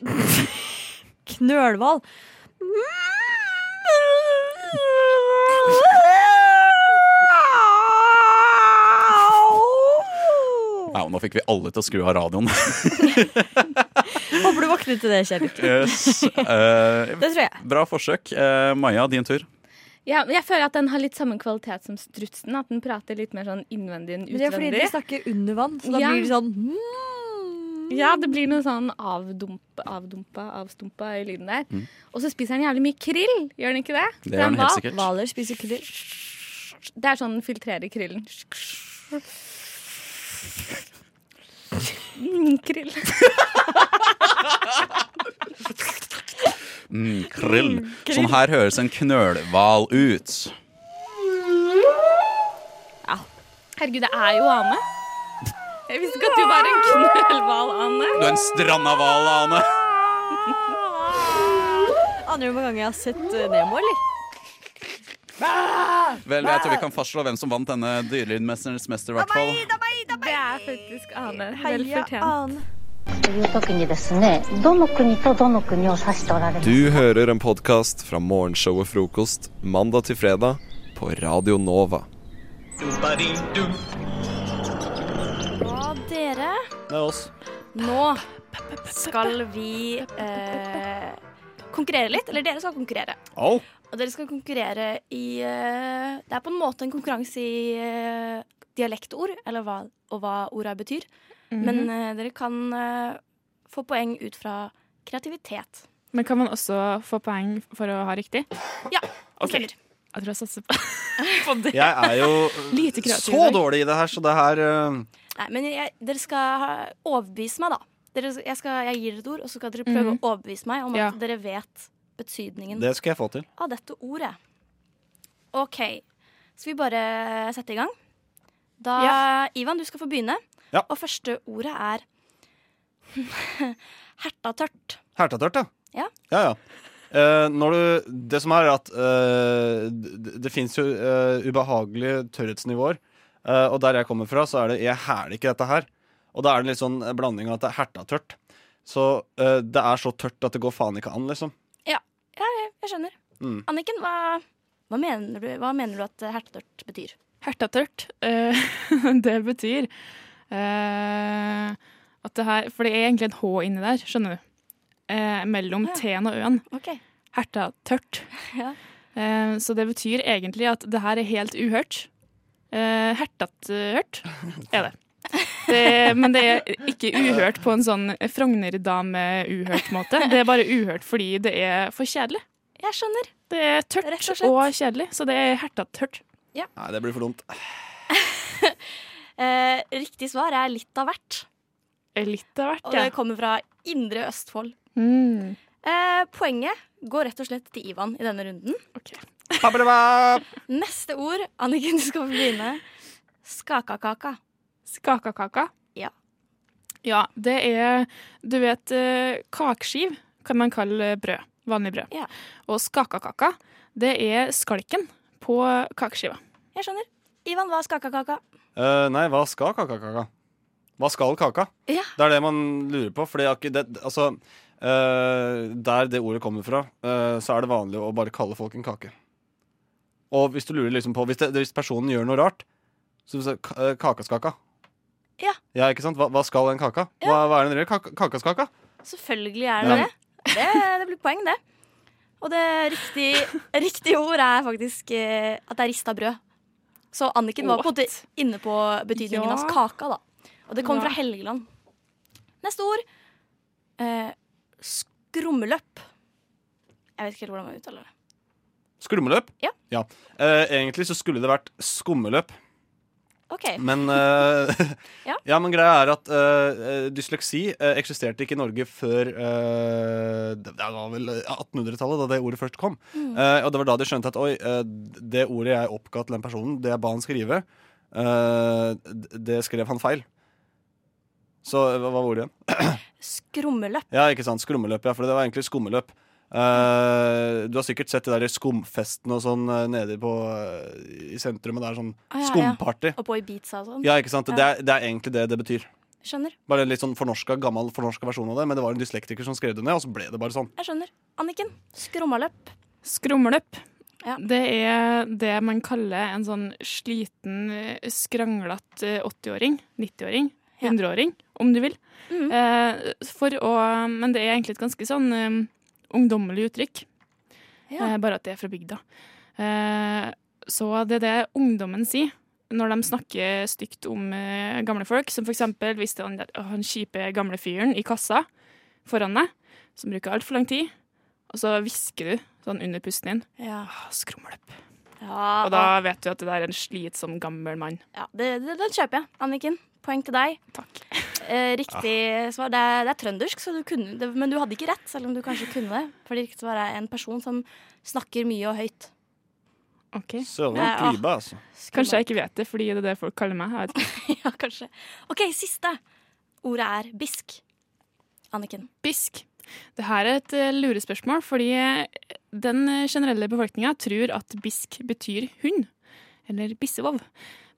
Speaker 6: (laughs) Knølhval.
Speaker 10: Au, nå fikk vi alle til å skru av radioen.
Speaker 6: Håper du våkner til det, Kjell.
Speaker 10: (laughs) yes. eh,
Speaker 11: Det tror jeg.
Speaker 10: Bra forsøk. Eh, Maja, din tur.
Speaker 11: Ja, men jeg føler at den har litt samme kvalitet som strutsen. At den prater litt mer sånn innvendig enn
Speaker 6: Men det er fordi
Speaker 11: utvendig.
Speaker 6: de snakker under vann, så da
Speaker 11: Ja.
Speaker 6: blir det sånn
Speaker 11: Ja, det blir noe sånn avdumpa, avdumpa, avstumpa i lyden der.
Speaker 6: Mm.
Speaker 11: Og så spiser den jævlig mye krill, gjør den ikke det?
Speaker 6: Det
Speaker 11: For en
Speaker 6: gjør den helt
Speaker 11: hval.
Speaker 6: sikkert. Hvaler spiser krill.
Speaker 11: Det er sånn den filtrerer
Speaker 6: (laughs)
Speaker 11: krillen. Mm, krill.
Speaker 6: (laughs)
Speaker 11: (laughs)
Speaker 10: Mm, krill.
Speaker 11: Mm, krill.
Speaker 10: Sånn her høres en knølhval ut.
Speaker 11: Herregud, det er jo Ane. Jeg visste ikke at du var en knølhval, Ane.
Speaker 10: Du er en strandahval, Ane.
Speaker 6: Aner du hvor mange ganger jeg har sett eh, Nemo, eller? Ah!
Speaker 10: Vel, jeg tror vi kan fastslå hvem som vant denne dyrelydmesternes mester, i hvert fall.
Speaker 11: Det er faktisk Ane. Vel
Speaker 6: Heia,
Speaker 11: fortjent.
Speaker 15: という時にですねどの国とどの国を指しておられます
Speaker 14: Du hører en podkast fra morgenshow og frokost mandag til fredag på Radio Nova.
Speaker 16: Og dere,
Speaker 14: Det er oss.
Speaker 16: nå skal vi eh, konkurrere litt. Eller dere skal konkurrere.
Speaker 10: Oh.
Speaker 16: Og dere skal konkurrere i eh, Det er på en måte en konkurranse i eh, dialektord, eller hva, og hva orda betyr.
Speaker 3: Mhm.
Speaker 16: Men eh, dere kan eh, få poeng ut fra kreativitet.
Speaker 3: Men kan man også få poeng for å ha riktig?
Speaker 16: Ja,
Speaker 3: det stemmer. Jeg tror jeg satser på, (laughs) på det.
Speaker 10: Jeg er jo
Speaker 3: Lite
Speaker 10: så
Speaker 3: kreativ i dag.
Speaker 10: dårlig i det her, så det her eh,
Speaker 16: Nei, men jeg, dere skal ha- overbevise meg, da. Dere, jeg, skal, jeg gir dere et ord, og så skal dere prøve
Speaker 10: Mhm.
Speaker 16: å overbevise meg om at
Speaker 10: Ja.
Speaker 16: dere vet betydningen
Speaker 10: Det skal jeg få til.
Speaker 16: av dette ordet. OK. Skal vi bare sette i gang? Da, Ivan, du skal få begynne.
Speaker 10: Ja.
Speaker 16: Og første ordet er (laughs) hertatørt.
Speaker 1: Hertatørt, ja.
Speaker 16: Ja.
Speaker 1: Ja, ja. Eh, når du, det som er at eh, det, det fins jo eh, ubehagelige tørrhetsnivåer. Eh, og der jeg kommer fra, så er det 'jeg hæler ikke dette her'. Og da er det litt sånn blanding av at det er hertatørt. Så eh, det er så tørt at det går faen ikke an, liksom.
Speaker 16: Ja, ja jeg, jeg skjønner.
Speaker 1: Mm.
Speaker 16: Anniken, hva, hva, mener du, hva mener du at eh, hertatørt betyr?
Speaker 3: Hertatørt. eh, (laughs) det betyr eh, at det her For det er egentlig en H inni der, skjønner du. Eh, mellom
Speaker 16: Ja.
Speaker 3: T-en og Ø-en.
Speaker 16: Ok.
Speaker 3: Hertatørt.
Speaker 16: (laughs) Ja.
Speaker 3: Eh, så det betyr egentlig at det her er helt uhørt. Eh, hertatørt er det. det. Men det er ikke uhørt på en sånn Frogner-dame-uhørt-måte. Det er bare uhørt fordi det er for kjedelig.
Speaker 16: Jeg skjønner.
Speaker 3: Det er tørt
Speaker 16: Rett og
Speaker 3: og,
Speaker 16: slett.
Speaker 3: kjedelig, så det er hertatørt.
Speaker 1: Nei, det blir for dumt.
Speaker 16: Eh, riktig svar er litt av hvert.
Speaker 3: Eh, Litt av hvert,
Speaker 16: Og
Speaker 3: ja.
Speaker 16: det kommer fra Indre Østfold.
Speaker 3: Mm.
Speaker 16: Eh, poenget går rett og slett til Ivan i denne runden. Neste ord, Anniken, du (laughs) skal få begynne. Skakakaka.
Speaker 3: Skakakaka?
Speaker 16: Ja.
Speaker 3: Ja, det er Du vet, eh, kakeskiv kan man kalle brød. Vanlig brød. Og skakakaka, det er skalken på kakeskiva.
Speaker 16: Jeg skjønner. Ivan, hva er skakakaka?
Speaker 1: Eh, nei, hva skal kaka-kaka? Hva skal kaka?
Speaker 16: Ja.
Speaker 1: Det er det man lurer på. Fordi jeg har ikke- det, altså, eh, der det ordet kommer fra, eh, så er det vanlig å bare kalle folk en kake. Og hvis du lurer liksom på Hvis, det, hvis personen gjør noe rart, så sier du ka- eh, kakaskaka.
Speaker 16: Ja.
Speaker 1: Ja, ikke sant? Hva, hva skal en kaka? Hva, hva er den røde kaka, kakaskaka?
Speaker 16: Selvfølgelig er det
Speaker 1: Ja.
Speaker 16: det. det. Det blir poeng, det. Og det riktige riktig ord er faktisk eh, at det er rista brød. Så Anniken var på en måte inne på betydningen
Speaker 11: Ja.
Speaker 16: av kaka, da. Og det kommer
Speaker 11: Ja.
Speaker 16: fra Helgeland. Neste ord eh, skrummeløp. Jeg vet ikke helt hvordan man uttaler det.
Speaker 1: Skummeløp?
Speaker 16: Ja.
Speaker 1: Eh, egentlig så skulle det vært skummeløp.
Speaker 16: OK.
Speaker 1: Men, eh,
Speaker 16: (laughs) Ja.
Speaker 1: ja. men greia er at eh, dysleksi eh, eksisterte ikke i Norge før eh, Det det var vel 1800-tallet, da det ordet først kom.
Speaker 17: Mm.
Speaker 1: Eh, og det var da de skjønte at oi, eh, det ordet jeg oppga til den personen, det jeg ba han skrive, eh, d- det skrev han feil. Så eh, hva hva var ordet igjen? (clears throat)
Speaker 16: Skrummeløp.
Speaker 1: ja, ikke sant. Skrummeløp, ja. For det var egentlig skummeløp. Eh, du har sikkert sett de der skumfestene og sånn eh, nede på, eh, i sentrumet. Det er sånn
Speaker 16: Ah, ja, ja.
Speaker 1: skumparty.
Speaker 16: Og på Ibiza og sånn.
Speaker 1: Ja, ikke sant? Det
Speaker 16: Ja.
Speaker 1: er, det er egentlig det det betyr.
Speaker 16: Skjønner.
Speaker 1: Bare en litt sånn fornorska, gammel fornorska versjon av det, men det var en dyslektiker som skrev det ned, og så ble det bare sånn.
Speaker 16: Jeg skjønner. Anniken, skrummaløp.
Speaker 3: Skrumløp.
Speaker 16: Ja.
Speaker 3: Det er det man kaller en sånn sliten, eh, skranglete eh, 80-åring, 90-åring, 100-åring, om du vil. Eh, for å, men det er egentlig et ganske sånn eh, ungdommelig uttrykk.
Speaker 11: Ja.
Speaker 3: Eh, bare at det er fra bygda. Eh, så det er det ungdommen sier når de snakker stygt om eh, gamle folk. Som for eksempel hvis det er han, der, «Å, han kjipe gamle fyren i kassa foran deg, som bruker altfor lang tid, og så hvisker du sånn under pusten din.
Speaker 16: Ja.
Speaker 3: Skrumløp.
Speaker 16: Ja,
Speaker 3: Og da vet du at det der er en slitsom gammel mann.
Speaker 16: Ja, det, det, den kjøper jeg. Anniken, poeng til deg.
Speaker 3: Takk.
Speaker 16: Eh, riktig svar. Det er, det er trøndersk, så du kunne, det, men du hadde ikke rett. Selv om du kanskje kunne det. For det riktige svaret er en person som snakker mye og høyt.
Speaker 3: Ok.
Speaker 1: Søren, klype, altså.
Speaker 3: Kanskje jeg ikke vet det, fordi det er det folk kaller meg. Jeg vet ikke.
Speaker 16: ja, kanskje. OK, siste. Ordet er bisk. Anniken.
Speaker 3: Bisk. Det her er et eh, lurespørsmål, fordi eh, den generelle befolkninga tror at bisk betyr hund, eller bissevov.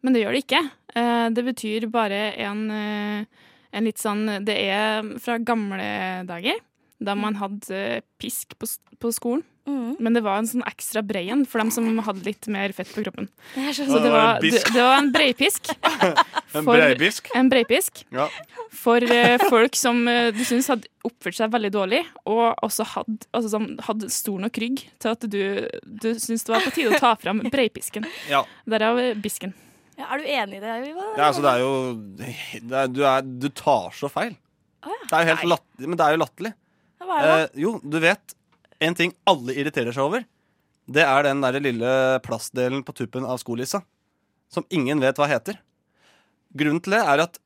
Speaker 3: Men det gjør det ikke. Eh, Det betyr bare en, eh, en litt sånn Det er fra gamle dager, da man hadde eh, pisk på, s- på skolen. Men det var en sånn ekstra brei en for dem som hadde litt mer fett på kroppen.
Speaker 16: Jeg
Speaker 1: skjønner.
Speaker 3: Så det var,
Speaker 1: Det var en
Speaker 3: det,
Speaker 1: bisk.
Speaker 3: det var en breipisk.
Speaker 1: En
Speaker 3: For-
Speaker 1: breibisk.
Speaker 3: (laughs) En breipisk.
Speaker 1: Ja.
Speaker 3: For eh, folk som eh, du syns hadde oppført seg veldig dårlig, og også hadde, altså, som hadde stor nok rygg til at du, du syns det var på tide å ta fram breipisken.
Speaker 1: (laughs) Ja.
Speaker 3: Derav eh, bisken.
Speaker 16: Ja, er du enig i det? Ivar?
Speaker 1: Det er, altså, det er jo det er, du, er, du tar så feil. Det er jo helt latt, men det er jo latterlig.
Speaker 16: Ja, hva er det
Speaker 1: Eh, jo, du vet en ting alle irriterer seg over. Det er den der lille plastdelen på tuppen av skolissa som ingen vet hva heter. Grunnen til det er at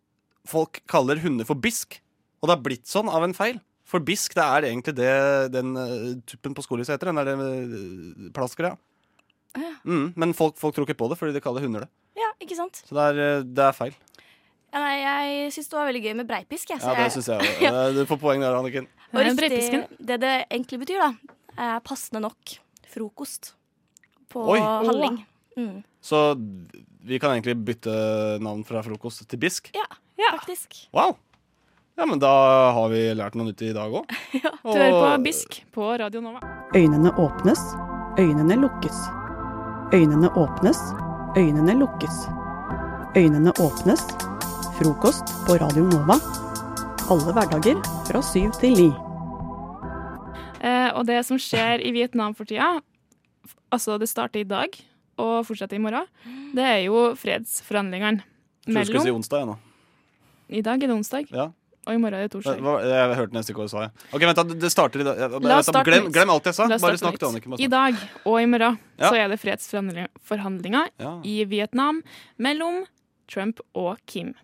Speaker 1: folk kaller hunder for bisk, og det har blitt sånn av en feil. For bisk, det er egentlig det den eh, tuppen på skolissa heter. Den der eh, plastgreia.
Speaker 16: Ja.
Speaker 1: Mm, men folk, folk tror ikke på det fordi de kaller hunder det.
Speaker 16: Ja, ikke sant?
Speaker 1: Så det er, eh, det er feil.
Speaker 16: Ja, nei, jeg syns det var veldig gøy med breipisk. Jeg, så
Speaker 1: Ja, det syns jeg
Speaker 16: (laughs) Ja.
Speaker 1: også. Du får poeng der, Anniken.
Speaker 16: Og riktig, det det egentlig betyr, da, er passende nok frokost på
Speaker 1: Oi.
Speaker 16: Halling. Mm.
Speaker 1: Så vi kan egentlig bytte navn fra frokost til bisk.
Speaker 16: Ja, faktisk.
Speaker 1: Wow! Ja, men da har vi lært noe nytt i dag òg.
Speaker 3: Du hører på Bisk på Radio Nova.
Speaker 18: Øynene åpnes, øynene lukkes. Øynene åpnes, øynene lukkes. Øynene åpnes. Frokost på Radio Nova. Alle hverdager fra syv til ni.
Speaker 3: Eh, og det som skjer i Vietnam for tida, f- altså det starter i dag og fortsetter i morgen, det er jo fredsforhandlingene
Speaker 1: Tror du skulle si
Speaker 3: mellom
Speaker 1: onsdag, jeg nå.
Speaker 3: I dag er det onsdag,
Speaker 1: Ja.
Speaker 3: og i morgen er det torsdag.
Speaker 1: Hva, jeg hørte nesten ikke hva du sa. jeg. Ok, vent, da, det starter i dag. Jeg-
Speaker 3: La oss
Speaker 1: vent da,
Speaker 3: starte
Speaker 1: Glem,
Speaker 3: på nytt.
Speaker 1: glem alt jeg sa.
Speaker 3: La
Speaker 1: Bare
Speaker 3: oss starte på
Speaker 1: snakk til
Speaker 3: nytt.
Speaker 1: Anniken. bare
Speaker 3: I
Speaker 1: snakk.
Speaker 3: dag og i morgen
Speaker 1: Ja.
Speaker 3: så er det fredsforhandlinger i Vietnam mellom Trump og Kim.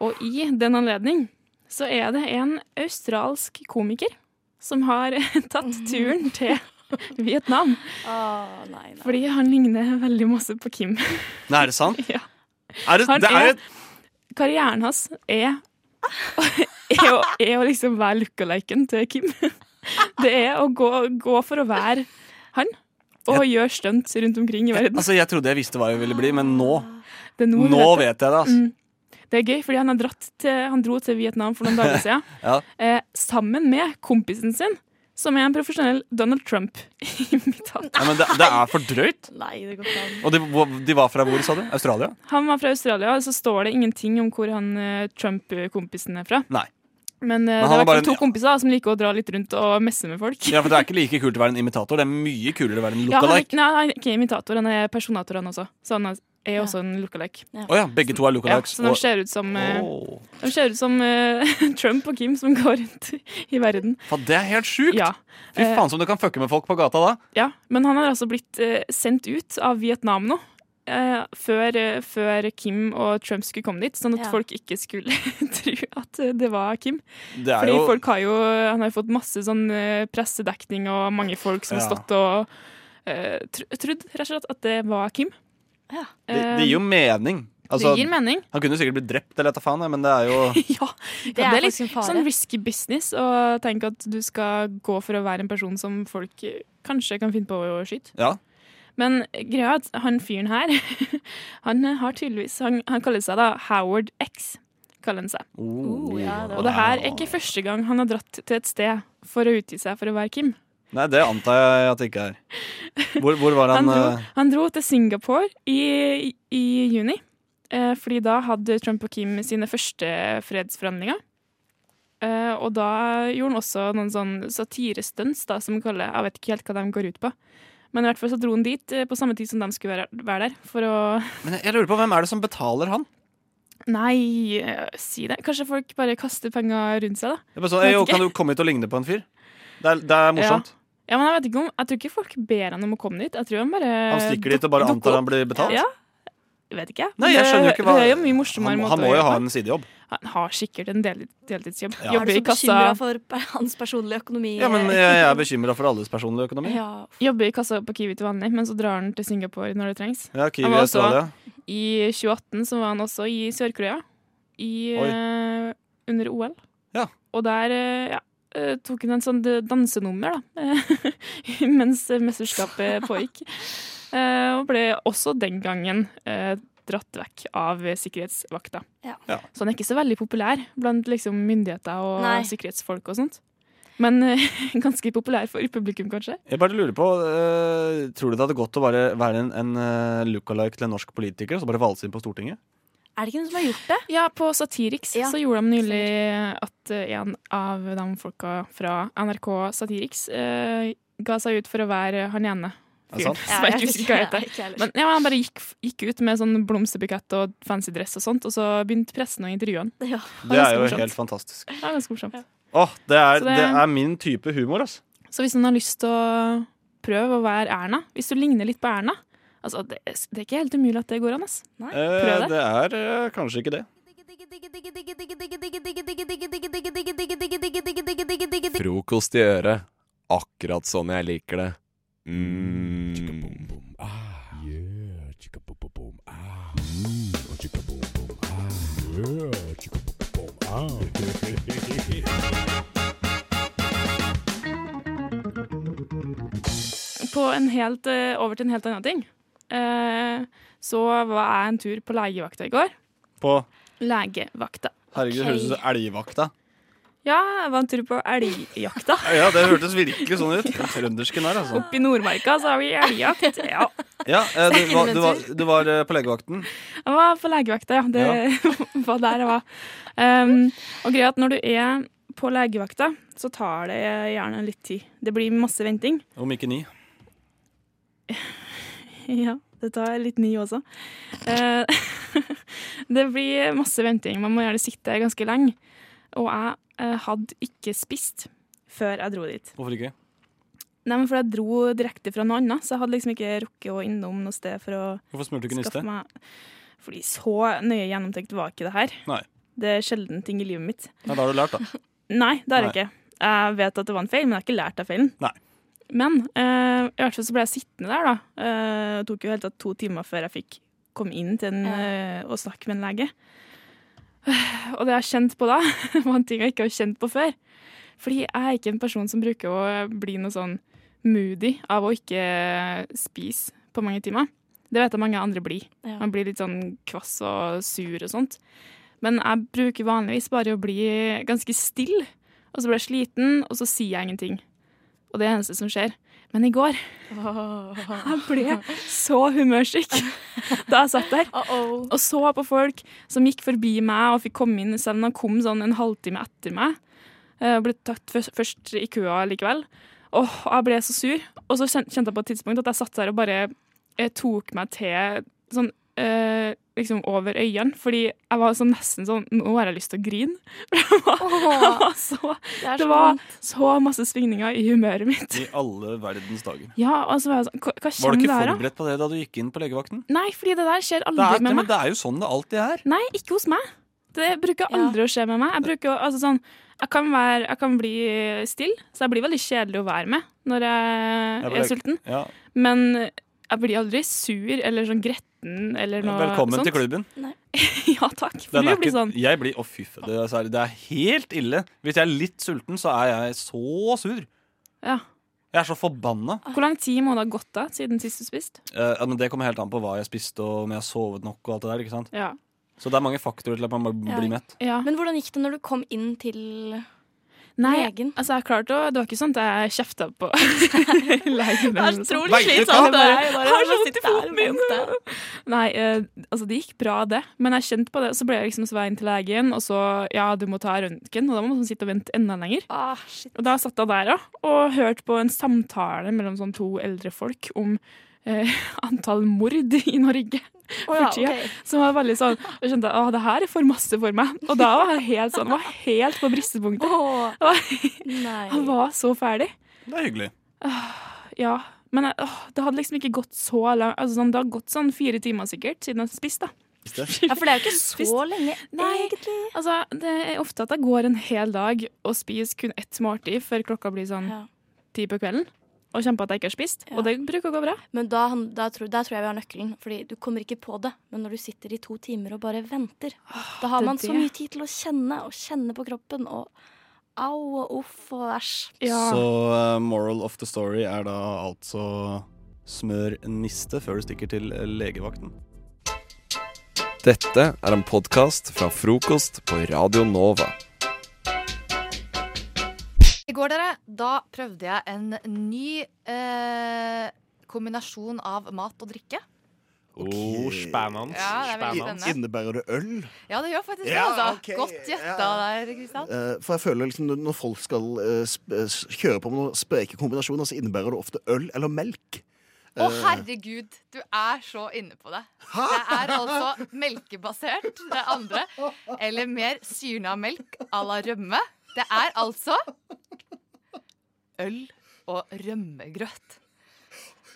Speaker 3: Og i den anledning så er det en australsk komiker som har (laughs) tatt turen
Speaker 1: (laughs)
Speaker 3: til Vietnam.
Speaker 16: Å,
Speaker 1: Ah,
Speaker 16: nei, nei.
Speaker 3: Fordi han ligner veldig masse på Kim.
Speaker 1: Nei, er det sant?
Speaker 3: (laughs)
Speaker 1: Er det,
Speaker 3: Han
Speaker 1: det er
Speaker 3: er-
Speaker 1: et
Speaker 3: Karrieren hans er, (laughs) er, å, er å liksom være lookaliken til Kim. (laughs) Det er å gå, gå for å være han, og gjøre stunt rundt omkring i verden.
Speaker 1: Altså, Jeg trodde jeg visste hva jeg ville bli, men nå
Speaker 3: Det er noe vi
Speaker 1: Nå
Speaker 3: vet.
Speaker 1: vet jeg det, altså.
Speaker 3: Mm. Det er gøy, fordi han,
Speaker 1: (laughs)
Speaker 3: har dratt til, han dro til Vietnam for noen dager siden
Speaker 1: Ja.
Speaker 3: eh, sammen med kompisen sin, som er en profesjonell Donald Trump i mitt hatt.
Speaker 1: Nei, men det, det er for drøyt.
Speaker 3: Nei, det går ikke an.
Speaker 1: Og de, hvor- de var fra hvor, sa du? Australia?
Speaker 3: Han var fra Australia, og så står det ingenting om hvor han eh, Trump-kompisen er fra.
Speaker 1: Nei.
Speaker 3: Men, eh,
Speaker 1: Men han var
Speaker 3: det er i hvert
Speaker 1: bare
Speaker 3: fall to
Speaker 1: en-
Speaker 3: kompiser da, som liker å dra litt rundt og messe med folk.
Speaker 1: Ja, for Det er ikke like kult å være en imitator. Det er mye kulere å være en
Speaker 3: (laughs) Ja, han, er,
Speaker 1: lookalike.
Speaker 3: ikke- nei, han er ikke imitator, han er personator, han også. Så han er er også en lookalike.
Speaker 1: Å ja, begge to er lookalikes.
Speaker 3: Ja, så de
Speaker 1: og-
Speaker 3: ser ut som, eh,
Speaker 1: Åh.
Speaker 3: de ser ut som eh, (laughs) Trump og Kim som går rundt i verden.
Speaker 1: Faen, det er helt sjukt!
Speaker 3: Ja.
Speaker 1: Fy
Speaker 3: Eh,
Speaker 1: faen som du kan fucke med folk på gata da.
Speaker 3: Ja, men han har altså blitt eh, sendt ut av Vietnam nå. eh, før, eh, før Kim og Trump skulle komme dit, sånn at
Speaker 1: Ja.
Speaker 3: folk ikke skulle (laughs) tro at eh, det var Kim.
Speaker 1: Det er
Speaker 3: Fordi
Speaker 1: jo-
Speaker 3: folk har jo Han har jo fått masse sånn eh, pressedekning og mange folk som
Speaker 1: Ja.
Speaker 3: har stått og eh, tr trodd rett og slett at det var Kim.
Speaker 1: Det, det gir jo mening.
Speaker 3: eh,
Speaker 1: Altså,
Speaker 3: gir mening.
Speaker 1: Han kunne sikkert blitt drept, eller et faen, jeg, men det er jo
Speaker 3: (laughs) det,
Speaker 16: er
Speaker 3: det er litt
Speaker 16: faktisk en fare.
Speaker 3: sånn risky business å tenke at du skal gå for å være en person som folk eh, kanskje kan finne på å skyte.
Speaker 1: Ja.
Speaker 3: Men greia er at han fyren her, (laughs) han har tydeligvis Han, han kaller seg da Howard X. kaller han seg.
Speaker 1: Oh,
Speaker 16: Oh,
Speaker 3: Og det her er ikke første gang han har dratt til et sted for å utgi seg for å være Kim.
Speaker 1: Nei, det antar jeg at det ikke er. Hvor, hvor var han,
Speaker 3: Han dro,
Speaker 1: eh,
Speaker 3: han dro til Singapore i, i juni, eh, fordi da hadde Trump og Kim sine første fredsforhandlinger. Eh, og da gjorde han også noen sånn satirestunts, da, som vi kaller Jeg vet ikke helt hva de går ut på. Men i hvert fall så dro han dit eh, på samme tid som de skulle være, være der, for å (laughs)
Speaker 1: Men jeg lurer på hvem er det som betaler han?
Speaker 3: Nei, eh, si det. Kanskje folk bare kaster penger rundt seg, da.
Speaker 1: Det er bare sånn,
Speaker 3: Jeg
Speaker 1: «Ei, jo,
Speaker 3: vet ikke.
Speaker 1: Kan du komme hit og ligne på en fyr? Det er, det er morsomt.
Speaker 3: Ja. ja, men Jeg vet ikke om, jeg tror ikke folk ber han om å komme dit. Jeg tror han bare
Speaker 1: Han stikker dit og bare
Speaker 3: dukker
Speaker 1: antar han
Speaker 3: opp.
Speaker 1: blir betalt.
Speaker 3: Ja, jeg vet ikke.
Speaker 1: Nei, jeg skjønner jo ikke hva
Speaker 3: Det er jo mye morsommere
Speaker 1: han,
Speaker 3: måte
Speaker 1: han må
Speaker 3: å gjøre
Speaker 1: jo ha
Speaker 3: det på.
Speaker 1: en sidejobb.
Speaker 3: Han har sikkert en del, deltidsjobb.
Speaker 1: Ja.
Speaker 3: Jobber
Speaker 16: Er du
Speaker 3: i
Speaker 16: så
Speaker 3: kassa.
Speaker 16: bekymra for per- hans personlige økonomi?
Speaker 1: Ja, men jeg, jeg er bekymra for alles personlige økonomi.
Speaker 3: Ja. Jobber i kassa på Kiwi til vanlig, men så drar han til Singapore når det trengs.
Speaker 1: Ja, Kiwi
Speaker 3: Han var
Speaker 1: i
Speaker 3: også-
Speaker 1: Australia.
Speaker 3: I 2018 så var han også i Sør-Korea, i, eh, under OL. Og der eh, ja, eh, tok han en sånn d- dansenummer, da, (laughs) mens mesterskapet pågikk.
Speaker 1: (laughs)
Speaker 3: Eh, og ble også den gangen eh, dratt vekk av sikkerhetsvakta.
Speaker 1: Ja.
Speaker 3: Så han er ikke så veldig populær blant liksom, myndigheter og
Speaker 1: Nei.
Speaker 3: sikkerhetsfolk og sånt. Men eh, (laughs) ganske populær for publikum, kanskje.
Speaker 1: Jeg bare lurer på, eh, Tror du det hadde gått å bare være en, en eh, lookalike til en norsk politiker og så bare valse inn på Stortinget?
Speaker 3: Er det ikke noen som har gjort det? Ja, på Satiriks så gjorde de nylig at eh, en av de folka fra NRK Satiriks eh, ga seg ut for å være han ene.
Speaker 1: Er det sant?
Speaker 3: fyren
Speaker 1: Ja,
Speaker 3: som jeg
Speaker 1: jeg
Speaker 3: ikke husker hva
Speaker 1: husker-
Speaker 3: heter.
Speaker 1: ja, ikke heller.
Speaker 3: Men ja, han bare gikk, gikk ut med sånn blomsterbukett og fancy dress og sånt, og så begynte pressen å intervjue han. Det,
Speaker 1: Det er jo helt fantastisk.
Speaker 3: Det er ganske morsomt.
Speaker 1: Åh, det,
Speaker 3: Så
Speaker 1: er,
Speaker 3: det-
Speaker 1: det er min type humor, altså.
Speaker 3: Så hvis noen har lyst til å prøve å være Erna, hvis du ligner litt på Erna Altså, det, er- det er ikke helt umulig at det går an, ass.
Speaker 1: Eh,
Speaker 3: Prøv det.
Speaker 1: det er eh, kanskje ikke det.
Speaker 14: Frokost i øret. Akkurat sånn jeg liker det. Mm.
Speaker 3: på en helt, eh, over til en helt annen ting. Eh, så var jeg en tur på legevakta i går.
Speaker 1: På
Speaker 3: Legevakta.
Speaker 1: Herregud, det høres ut som elgvakta.
Speaker 3: Ja, jeg var en tur på elgjakta.
Speaker 1: (laughs) Ja, det hørtes virkelig sånn ut. Den trøndersken her, altså.
Speaker 3: Oppe i Nordmarka så har vi (laughs) elgjakt. Ja.
Speaker 1: Ja, eh, du, var, du, var, du var eh, på legevakten.
Speaker 3: Jeg var på legevakta, ja. Det (laughs) var der jeg var. Um, og greia er at når du er på legevakta, så tar det gjerne litt tid. Det blir masse venting.
Speaker 1: Om ikke ni.
Speaker 3: (laughs) Ja, dette er litt ny også. Eh, (laughs) det blir masse venting. Man må gjerne sitte ganske lenge. Og jeg eh, hadde ikke spist før jeg dro dit.
Speaker 1: Hvorfor ikke?
Speaker 3: Nei, men for jeg dro direkte fra noe annet, så jeg hadde liksom ikke rukket å innom noe sted for å
Speaker 1: Hvorfor smurte du ikke niste?
Speaker 3: meg Fordi så nøye gjennomtenkt var ikke det her.
Speaker 1: Nei.
Speaker 3: Det er sjelden ting i livet mitt.
Speaker 1: Ja, da har du lært, da.
Speaker 3: Nei, det har jeg
Speaker 1: Nei.
Speaker 3: ikke. Jeg vet at det var en feil, men jeg har ikke lært av feilen.
Speaker 1: Nei.
Speaker 3: Men eh, i hvert fall så ble jeg sittende der, da. Eh, Det tok jo helt tatt to timer før jeg fikk komme inn til en, eh, og snakke med en lege. (sighs) Og det jeg har kjent på da, (laughs) var en ting jeg ikke har kjent på før. Fordi jeg er ikke en person som bruker å bli noe sånn moody av å ikke spise på mange timer. Det vet jeg mange andre blir.
Speaker 16: Ja.
Speaker 3: Man blir litt sånn kvass og sur og sånt. Men jeg bruker vanligvis bare å bli ganske stille. Og så blir jeg sliten, og så sier jeg ingenting. og det er det eneste som skjer. Men i går jeg ble så humørsyk da jeg satt der og så på folk som gikk forbi meg og fikk komme inn, selv om de kom sånn en halvtime etter meg. Eh, Og ble tatt først- først i køa likevel. Åh, jeg ble så sur. Og så kjen- kjente jeg på et tidspunkt at jeg satt der og bare eh, tok meg til sånn eh, liksom over øynene, fordi jeg var sånn nesten sånn Nå har jeg lyst til å grine. (laughs)
Speaker 16: Åh, det er
Speaker 3: Det
Speaker 16: så
Speaker 3: var
Speaker 16: vondt.
Speaker 3: så masse svingninger i humøret mitt.
Speaker 1: I alle verdens dager.
Speaker 3: Ja, altså, hva, hva kommer
Speaker 1: Var du ikke
Speaker 3: der, da?
Speaker 1: forberedt på det da du gikk inn på legevakten?
Speaker 3: Nei, fordi det der skjer
Speaker 1: Det
Speaker 3: aldri
Speaker 1: er,
Speaker 3: med
Speaker 1: men
Speaker 3: meg.
Speaker 1: det er jo sånn det alltid er.
Speaker 3: Nei, ikke hos meg. Det bruker aldri å skje med meg. Jeg bruker å- altså sånn jeg kan, være, jeg kan bli stille, så jeg blir veldig kjedelig å være med når jeg,
Speaker 1: Jeg bare-
Speaker 3: er sulten.
Speaker 1: ja.
Speaker 3: Men jeg blir aldri sur eller sånn gretten eller noe
Speaker 1: Velkommen
Speaker 3: sånt.
Speaker 1: til klubben.
Speaker 3: (laughs) ja takk. For
Speaker 1: Den
Speaker 3: du
Speaker 1: er
Speaker 3: blir
Speaker 1: ikke,
Speaker 3: sånn.
Speaker 1: jeg blir, å fy faen, det, er særlig- det er helt ille. Hvis jeg er litt sulten, så er jeg så sur.
Speaker 3: Ja.
Speaker 1: Jeg er så forbanna.
Speaker 16: Ah.
Speaker 3: Hvor lang tid må det ha gått da siden sist du spiste?
Speaker 1: Eh, ja, men det kommer helt an på hva jeg spiste, og om jeg har sovet nok. og alt det der, ikke sant?
Speaker 3: Ja.
Speaker 1: Så det er mange faktorer til at man bare blir mett.
Speaker 16: Men hvordan gikk det når du kom inn til
Speaker 3: Nei, altså jeg klarte å Det var ikke sånn at jeg kjefta
Speaker 16: (laughs)
Speaker 3: på (laughs) legen. eller noe sånt.
Speaker 16: Veit du hva?
Speaker 3: Jeg bare,
Speaker 16: Nei, bare
Speaker 3: Har så
Speaker 16: sitte der
Speaker 3: vondt i
Speaker 16: og
Speaker 3: foten min! Nei, eh, altså det gikk bra, det. Men jeg kjente på det. Så ble jeg liksom så var jeg inn til legen, og så ja, du må ta røntgen. Og da må man sånn sitte og vente enda lenger.
Speaker 16: Ah,
Speaker 3: Og da satt jeg der òg, og hørte på en samtale mellom sånn to eldre folk om eh, (laughs) antall mord i Norge.
Speaker 16: Å ja,
Speaker 3: for tida,
Speaker 16: ok.
Speaker 3: Som var veldig sånn Jeg skjønte at det her er for masse for meg. Og da var jeg helt sånn, var helt på bristepunktet. Jeg var, jeg var så ferdig.
Speaker 1: Det er hyggelig.
Speaker 3: Ja, men jeg, åh, det hadde liksom ikke gått så langt. Altså, sånn, det har gått sånn fire timer sikkert siden jeg spiste. da. (laughs)
Speaker 16: Ja, for det er jo ikke så lenge,
Speaker 3: Nei,
Speaker 16: egentlig.
Speaker 3: Altså, det er ofte at jeg går en hel dag og spiser kun ett måltid før klokka blir sånn ti på kvelden. Og kjenner på at jeg ikke har spist. Og det bruker å gå bra.
Speaker 16: (laughs) Men da, han- da tror, der tror jeg vi har nøkkelen. Fordi du kommer ikke på det. Men når du sitter i to timer og bare venter, da har
Speaker 3: det er
Speaker 16: man så
Speaker 3: det.
Speaker 16: mye tid til å kjenne og kjenne på kroppen. Og au og uff og æsj.
Speaker 1: Så eh, moral of the story er da altså smør en niste før du stikker til eh, legevakten.
Speaker 14: Dette er en podkast fra frokost på Radio Nova.
Speaker 17: I går dere, da prøvde jeg en ny eh, kombinasjon av mat og drikke.
Speaker 19: Oh, spennende.
Speaker 17: Ja, det er veldig spennende.
Speaker 20: Innebærer det øl?
Speaker 17: Ja, det gjør faktisk
Speaker 20: Ja,
Speaker 17: det. altså.
Speaker 20: ok,
Speaker 17: Godt gjetta der, Kristian.
Speaker 20: Eh, For jeg føler liksom når- Når folk skal eh, sp eh, kjøre på med noen spreke kombinasjoner, så innebærer det ofte øl eller melk.
Speaker 17: Å,
Speaker 20: Eh,
Speaker 17: herregud, du er så inne på det. Det er altså melkebasert, det andre. Eller mer syrna melk à la rømme. Det er altså øl og rømmegrøt.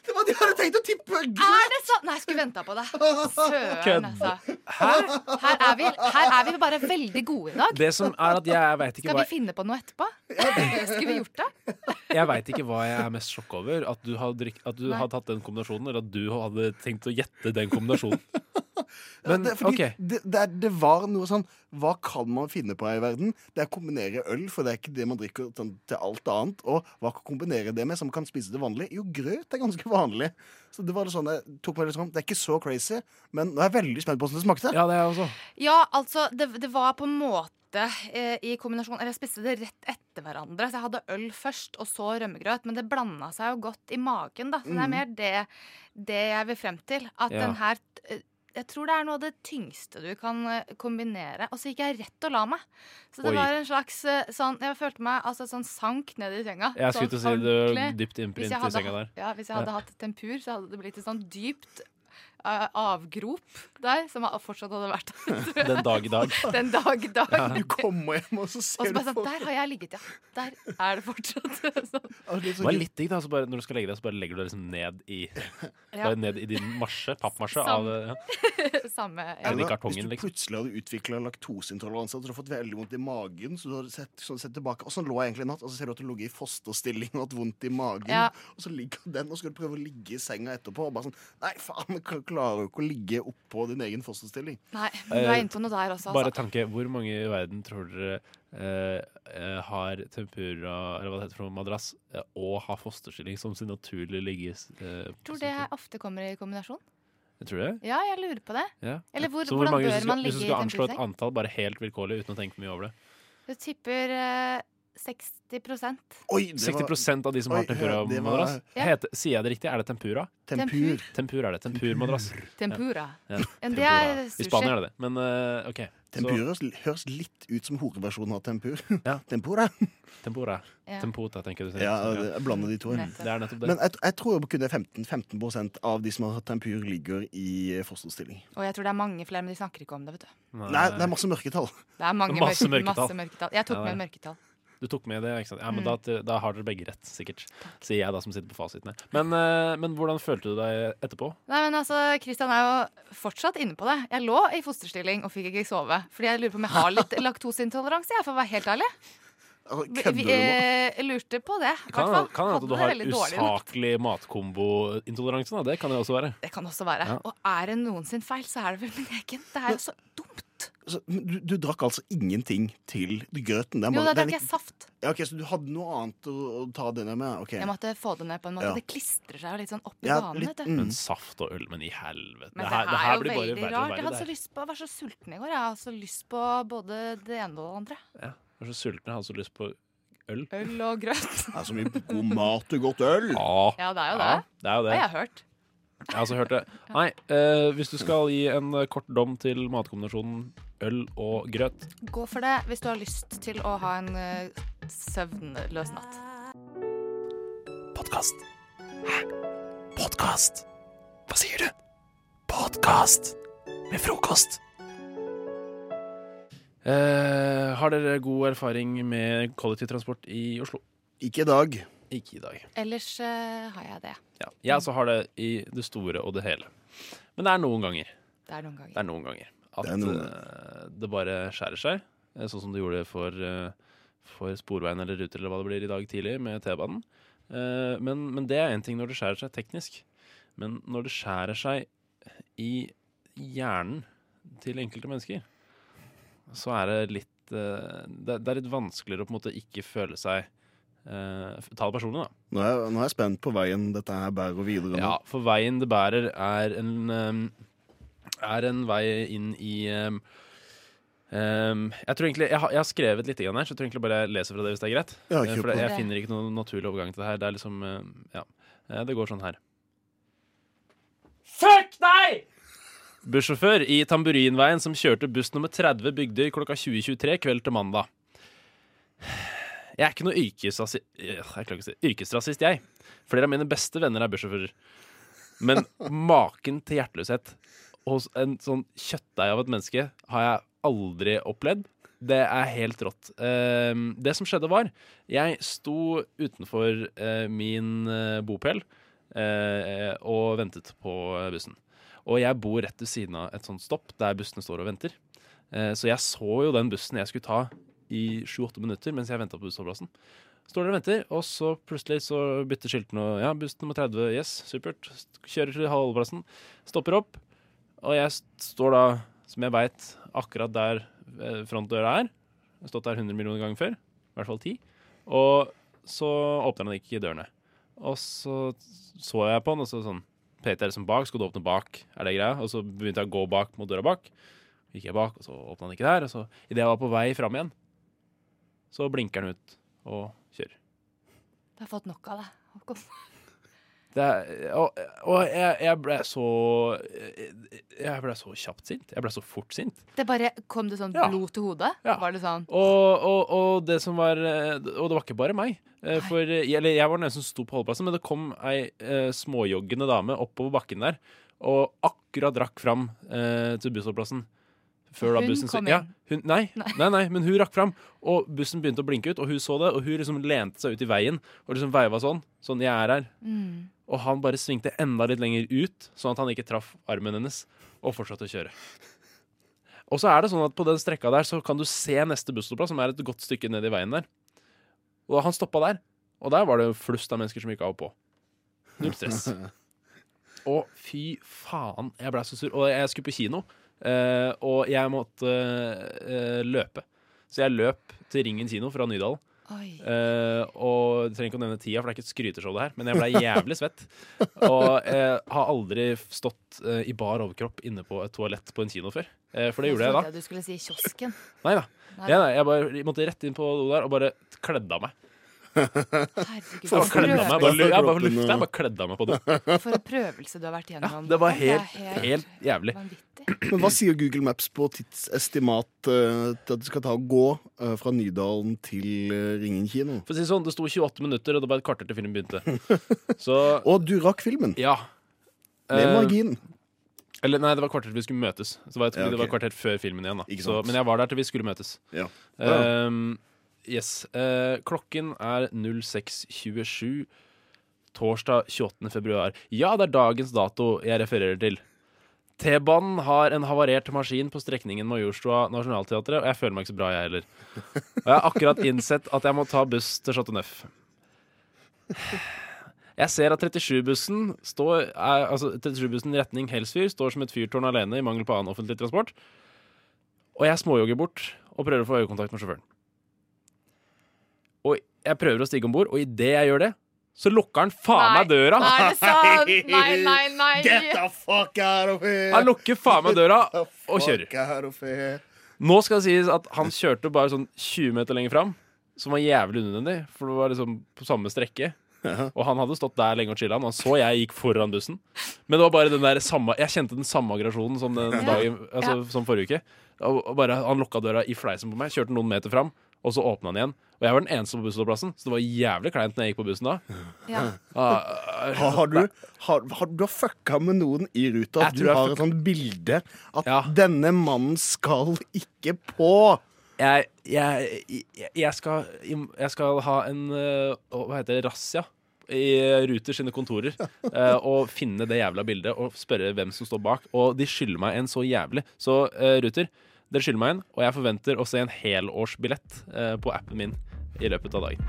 Speaker 20: Det var det jeg hadde tenkt å tippe!
Speaker 17: Er det sant? Nei, jeg skulle venta på det.
Speaker 20: (laughs)
Speaker 17: Søren, altså. Her er, vi, her er vi bare veldig gode i dag.
Speaker 19: Det som er at jeg vet ikke
Speaker 17: Skal
Speaker 19: hva
Speaker 17: vi finne på noe etterpå? (laughs) Skulle vi gjort det?
Speaker 19: Jeg vet ikke hva jeg er mest sjokka over. At du, har drikk, at du
Speaker 17: Nei.
Speaker 19: har tatt den kombinasjonen, eller at du hadde tenkt å gjette den
Speaker 17: (laughs)
Speaker 19: kombinasjonen. Men
Speaker 20: det, er fordi
Speaker 19: OK.
Speaker 20: det, det, er- det var noe sånn Hva kan man finne på her i verden? Det er å kombinere øl, for det er ikke det man drikker sånn, til alt annet. Og hva kan kombinere det med som kan spise det vanlig? Jo, grøt er ganske vanlig. Så det var litt sånn, jeg tok meg litt sånn, det er ikke så crazy, men nå er jeg veldig spent på hvordan det smakte.
Speaker 19: Ja, det er jeg også.
Speaker 17: Ja, altså, det, det var på en måte eh, i kombinasjon Eller jeg spiste det rett etter hverandre. Så jeg hadde øl først, og så rømmegrøt. Men det blanda seg jo godt i magen, da. Så det
Speaker 19: Mhm.
Speaker 17: er mer det, det jeg vil frem til. At
Speaker 19: Ja.
Speaker 17: den her eh, Jeg tror det er noe av det tyngste du kan eh, kombinere. Og så gikk jeg rett og la meg. Så det
Speaker 19: Oi.
Speaker 17: var en slags eh, sånn Jeg følte meg altså sånn sank ned i senga.
Speaker 19: Jeg skulle
Speaker 17: sånn
Speaker 19: til å si det var
Speaker 17: ordentlig.
Speaker 19: dypt innprint
Speaker 17: Hvis jeg
Speaker 19: i
Speaker 17: hadde
Speaker 19: senga
Speaker 17: hatt-
Speaker 19: der.
Speaker 17: Ja, hvis jeg
Speaker 19: Ja.
Speaker 17: hadde hatt tempur, så hadde det blitt et sånn dypt eh, avgrop der, som fortsatt hadde vært der. tror jeg.
Speaker 19: Den dag i dag.
Speaker 17: (laughs) Den dag i dag.
Speaker 19: Ja. Du
Speaker 20: kommer hjem, og så
Speaker 17: Og så bare sånn, Der har jeg ligget, ja. Der er det fortsatt. (laughs) Sånn.
Speaker 19: Det var litt digg, da. Så bare, når du skal legge deg, så bare legger du deg liksom ned i
Speaker 17: (laughs) Ja.
Speaker 19: bare ned i din marsje, pappmarsje.
Speaker 17: Sam-
Speaker 19: Av, ja.
Speaker 17: (laughs) Samme. Ja.
Speaker 19: Eller i
Speaker 20: Eller
Speaker 19: kartongen,
Speaker 20: Hvis du plutselig hadde utvikla laktoseintoleranse og du hadde fått veldig vondt i magen så du hadde sett, så hadde du sett tilbake, Og sånn lå jeg egentlig i natt, og så ser du at du lå i fosterstilling og hatt vondt i magen.
Speaker 17: Ja.
Speaker 20: Og så ligger den, og så skal du prøve å ligge i senga etterpå. Og bare sånn Nei, faen, jeg klarer jo ikke å ligge oppå din egen fosterstilling.
Speaker 17: Nei, men du er inne på noe der også.
Speaker 19: Eh, Bare
Speaker 17: Altså.
Speaker 19: tanke, hvor mange i verden tror dere eh, eh, har tempura, eller hva det heter for noe, madrass, eh, og har fosterstilling som sin naturlige ligges... Eh,
Speaker 17: Tror det ofte kommer i kombinasjon.
Speaker 19: tror jeg.
Speaker 17: Ja, jeg lurer på det.
Speaker 19: Ja.
Speaker 17: Eller hvor,
Speaker 19: Så hvor
Speaker 17: hvordan
Speaker 19: mange, hvis
Speaker 17: bør
Speaker 19: du skal,
Speaker 17: man
Speaker 19: Hvis
Speaker 17: ligge
Speaker 19: du
Speaker 17: i
Speaker 19: skal anslå et
Speaker 17: temperaturseng?
Speaker 19: antall, bare helt vilkårlig, uten å tenke mye over det.
Speaker 17: Jeg tipper eh, 60
Speaker 19: Oi, 60 av de som
Speaker 17: Oi,
Speaker 19: har tempura-madrass.
Speaker 17: Ja.
Speaker 19: Heter- Sier jeg det riktig? Er det tempura?
Speaker 17: Tempur.
Speaker 19: Tempur er det.
Speaker 17: (laughs)
Speaker 19: Tempur-madrass.
Speaker 17: Tempura.
Speaker 19: Ja. Ja.
Speaker 17: Ja, det er
Speaker 19: Tempura.
Speaker 17: sushi.
Speaker 19: I Spania er det det. Men eh, OK.
Speaker 17: Tempura
Speaker 19: Så,
Speaker 20: høres, høres litt ut som horeversjonen av tempur. (laughs) Tempura.
Speaker 19: tempura.
Speaker 17: Ja.
Speaker 19: Tempota, tenker du. sier.
Speaker 20: Ja, det- jeg blander de to.
Speaker 19: Mm, Det er nettopp det.
Speaker 20: Men jeg, jeg tror kun det er 15, 15 av de som har hatt tempur, ligger i fosterstilling.
Speaker 17: Og jeg tror det er mange flere, men de snakker ikke om det. vet du
Speaker 20: Nei, det er masse mørketall.
Speaker 17: Det er mange
Speaker 19: (laughs) Masse
Speaker 17: mørke-
Speaker 19: mørketall.
Speaker 17: masse mørketall. Jeg tok
Speaker 19: Ja, det
Speaker 17: med
Speaker 19: er
Speaker 17: en
Speaker 19: det.
Speaker 17: mørketall.
Speaker 19: Du tok med det, ikke sant? Ja, men
Speaker 17: Mm.
Speaker 19: da, da har dere begge rett, sikkert. Sier jeg da, som sitter på fasitene. Men, eh, men hvordan følte du deg etterpå?
Speaker 17: Nei, men altså, Kristian er jo fortsatt inne på det. Jeg lå i fosterstilling og fikk ikke sove. Fordi jeg lurer på om jeg
Speaker 19: (laughs)
Speaker 17: har litt laktoseintoleranse, jeg, for å være helt ærlig. Vi,
Speaker 19: kødder
Speaker 17: vi,
Speaker 19: du nå?
Speaker 17: eh, lurte på det. i hvert
Speaker 19: Kan
Speaker 17: fall.
Speaker 19: kan hende at
Speaker 17: Hadde
Speaker 19: du
Speaker 17: det
Speaker 19: har
Speaker 17: veldig dårlig natt.
Speaker 19: usaklig matkombointoleranse. da. Det kan det også være.
Speaker 17: Det kan også være.
Speaker 19: Ja.
Speaker 17: Og er det noen sin feil, så er det vel min egen. Det er jo så
Speaker 20: Så, men du, du drakk altså ingenting til grøten? Det er
Speaker 17: Jo,
Speaker 20: bare- det er
Speaker 17: da drakk jeg
Speaker 20: litt-
Speaker 17: saft.
Speaker 20: Ja, ok, Så du hadde noe annet å, å ta det ned med? Ok.
Speaker 17: Jeg måtte få det ned på en måte.
Speaker 20: Ja.
Speaker 17: Det klistrer seg jo litt sånn opp i
Speaker 19: Ja,
Speaker 17: banen.
Speaker 19: litt-
Speaker 17: vet du.
Speaker 19: mm. Men saft og øl, men i helvete.
Speaker 17: Men det,
Speaker 19: her-
Speaker 17: er
Speaker 19: her
Speaker 17: jo
Speaker 19: blir bare
Speaker 17: veldig
Speaker 19: verre og
Speaker 17: rart.
Speaker 19: verre,
Speaker 17: Jeg hadde
Speaker 19: det
Speaker 17: så
Speaker 19: her.
Speaker 17: lyst på, jeg var så sulten i går. Jeg hadde så lyst på både det ene og det andre.
Speaker 19: Ja, jeg var så sulten. Jeg hadde så lyst på øl.
Speaker 17: Øl og grøt.
Speaker 20: Det er så mye god mat og godt øl.
Speaker 17: Ja, det er jo det.
Speaker 19: Ja, det er jo det.
Speaker 17: Har jeg hørt.
Speaker 19: Jeg har også hørt det. Nei, eh, hvis du skal gi en eh, kort dom til matkombinasjonen øl og grøt
Speaker 17: Gå for det hvis du har lyst til å ha en eh, søvnløs natt.
Speaker 9: Podkast. Hæ? Podkast? Hva sier du? Podkast med frokost.
Speaker 19: eh, Har dere god erfaring med kollektivtransport i Oslo?
Speaker 20: Ikke i dag.
Speaker 19: Ikke i dag.
Speaker 17: Ellers eh, har jeg det.
Speaker 19: Ja, jeg også har det i det store og det hele. Men det er noen ganger.
Speaker 17: Det er noen ganger.
Speaker 19: Det er noen ganger at
Speaker 20: Det er noen
Speaker 19: eh, det bare skjærer seg, eh, sånn som det gjorde for, eh, for Sporveien eller Ruter eller hva det blir i dag tidlig med T-banen. Eh, men, men det er én ting når det skjærer seg teknisk. Men når det skjærer seg i hjernen til enkelte mennesker, så er det litt eh, det, det er litt vanskeligere å på en måte ikke føle seg eh, f- Ta det personlig, da.
Speaker 20: Nå er, jeg- nå er jeg spent på veien dette her bærer videre. nå.
Speaker 19: Ja, for veien det bærer er en ehm, Er en vei inn i ehm, ehm, Jeg tror egentlig Jeg har, jeg har skrevet litt grann her, så jeg tror egentlig bare jeg leser fra det hvis det er greit.
Speaker 20: Ja,
Speaker 19: Eh,
Speaker 20: kjør
Speaker 19: for det,
Speaker 20: på.
Speaker 19: jeg finner ikke noen naturlig overgang til det her. Det er liksom eh, Ja. Eh, Det går sånn her.
Speaker 9: Fuck deg!
Speaker 19: Bussjåfør i Tamburinveien som kjørte buss nummer 30 Bygdøy klokka 20.23 kveld til mandag. Jeg er ikke noe yrkesrasi- Øh, Jeg klarer ikke å si yrkesrasist, jeg. Flere av mine beste venner er bussjåfører. Men maken til hjerteløshet hos en sånn kjøttdeig av et menneske har jeg aldri opplevd. Det er helt rått. Eh, Det som skjedde, var Jeg sto utenfor eh, min eh, bopel eh, og ventet på eh, bussen. Og jeg bor rett ved siden av et sånt stopp der bussene står og venter. Eh, Så jeg så jo den bussen jeg skulle ta i 7-8 minutter mens jeg venta på bussholdeplassen. Står der og venter, og så plutselig så bytter skiltene og ja, buss nummer 30, yes, supert. Kjører til holdeplassen, stopper opp. Og jeg st- står da, som jeg veit, akkurat der eh, frontdøra er. Jeg har stått der 100 millioner ganger før. I hvert fall 10. Og så åpner han ikke dørene. Og så så jeg på han, og så sånn Peter er liksom bak, skal du åpne bak? Er det greia? Og så begynte jeg å gå bak mot døra bak. Gikk jeg bak, og så åpna han ikke der. Og så idet jeg var på vei fram igjen, så blinker han ut og kjører.
Speaker 17: Du har fått nok av det. Håkon.
Speaker 19: Det er, og og jeg, jeg ble så Jeg ble så kjapt sint. Jeg ble så fort sint.
Speaker 17: Det bare Kom det sånn blod til hodet? Var det sånn
Speaker 19: Og, og, og det som var eh, Og det var ikke bare meg. eh, For, eh, eller jeg var den eneste som sto på holdeplassen, men det kom ei eh, småjoggende dame oppover bakken der og akkurat rakk fram eh, til bussholdeplassen. Før da
Speaker 9: Hun
Speaker 19: bussen
Speaker 9: kom
Speaker 19: Ja,
Speaker 9: inn.
Speaker 19: hun, nei, nei, nei, men hun rakk fram, og bussen begynte å blinke ut, og hun så det, og hun liksom lente seg ut i veien og liksom veiva sånn. Sånn, jeg er her.
Speaker 9: Mm.
Speaker 19: Og han bare svingte enda litt lenger ut, sånn at han ikke traff armen hennes, og fortsatte å kjøre. Og så er det sånn at på den strekka der så kan du se neste bussholdeplass, som er et godt stykke ned i veien der. Og han stoppa der. Og der var det jo flust av mennesker som gikk av og på.
Speaker 4: (laughs)
Speaker 19: Null stress. Og fy faen, jeg ble så sur. Og jeg skulle på kino, eh, og jeg måtte eh, eh, løpe. Så jeg løp til Ringen kino fra Nydalen.
Speaker 17: Oi.
Speaker 19: Eh, og jeg trenger ikke å nevne tida, for det er ikke et skryteshow, det her. Men jeg ble jævlig svett. Og jeg har aldri stått eh, i bar overkropp inne på et toalett på en kino før. Eh, for det gjorde jeg da.
Speaker 17: trodde Du skulle si kiosken.
Speaker 19: Nei da.
Speaker 17: Nei.
Speaker 19: Ja, nei, jeg bare måtte rett inn på do der og bare kledde av meg.
Speaker 17: Herregud.
Speaker 19: Bare kledde av meg. Bare, lu- ja, bare lufta. Jeg bare kledde av meg på do.
Speaker 17: For en prøvelse du har vært gjennom.
Speaker 19: Det var
Speaker 17: er
Speaker 19: helt, helt jævlig.
Speaker 20: Men hva sier Google Maps på tidsestimat eh, til at det skal ta å gå eh, fra Nydalen til eh, Ringen kino?
Speaker 19: For å si det sånn, Det sto 28 minutter, og det var et kvarter til filmen begynte.
Speaker 20: Og du rakk filmen.
Speaker 19: Ja.
Speaker 20: Med
Speaker 19: Eh,
Speaker 20: margin.
Speaker 19: Eller nei, det var et kvarter til vi skulle møtes. Så var jeg,
Speaker 20: Ja, ok.
Speaker 19: Det var et kvarter før filmen igjen da
Speaker 20: Ikke
Speaker 19: så,
Speaker 20: sant.
Speaker 19: Men jeg var der til vi skulle møtes.
Speaker 20: Ja.
Speaker 19: Ehm, yes. Eh, klokken er 06.27 torsdag 28. februar. Ja, det er dagens dato jeg refererer til. T-banen har en havarert maskin på strekningen Majorstua Nationaltheatret, og jeg føler meg ikke så bra, jeg heller. Og jeg har akkurat innsett at jeg må ta buss til Chateau Neuf. Jeg ser at 37-bussen står, er, altså 37-bussen i retning Helsfyr står som et fyrtårn alene i mangel på annen offentlig transport. Og jeg småjogger bort og prøver å få øyekontakt med sjåføren. Og jeg prøver å stige om bord, og idet jeg gjør det, så lukker han faen meg døra!
Speaker 17: Er det sant? Nei, nei, nei.
Speaker 20: Get the fuck out of here!
Speaker 19: Han lukker faen meg døra og
Speaker 20: Fuck
Speaker 19: kjører.
Speaker 20: out of here.
Speaker 19: Nå skal det sies at han kjørte bare sånn 20 meter lenger fram, som var jævlig unødvendig, for det var liksom på samme strekke. Og han hadde stått der lenge og chilla. Han så jeg gikk foran bussen. Men det var bare den der samme jeg kjente den samme aggresjonen som, den
Speaker 9: Ja.
Speaker 19: dagen, altså,
Speaker 9: Ja.
Speaker 19: som forrige uke. Og og bare, han lukka døra i fleisen på meg, kjørte noen meter fram, og så åpna han igjen. Og jeg var den eneste på bussholdeplassen, så det var jævlig kleint når jeg gikk på bussen da.
Speaker 20: Ja.
Speaker 19: Ah,
Speaker 20: Har, har du, har, har, du har fucka med noen i ruta.
Speaker 19: Jeg
Speaker 20: At du
Speaker 19: tror jeg
Speaker 20: har
Speaker 19: fuck-
Speaker 20: et sånt bilde at denne mannen skal ikke på.
Speaker 19: Jeg, jeg, jeg, jeg, skal, jeg skal ha en eh, Hva heter det? Razzia i Ruter sine
Speaker 17: (laughs)
Speaker 19: kontorer. eh, og finne det jævla bildet og spørre hvem som står bak. Og de skylder meg en så jævlig. Så eh, Ruter, dere skylder meg en, og jeg forventer å se en helårsbillett eh, på appen min i løpet av dagen.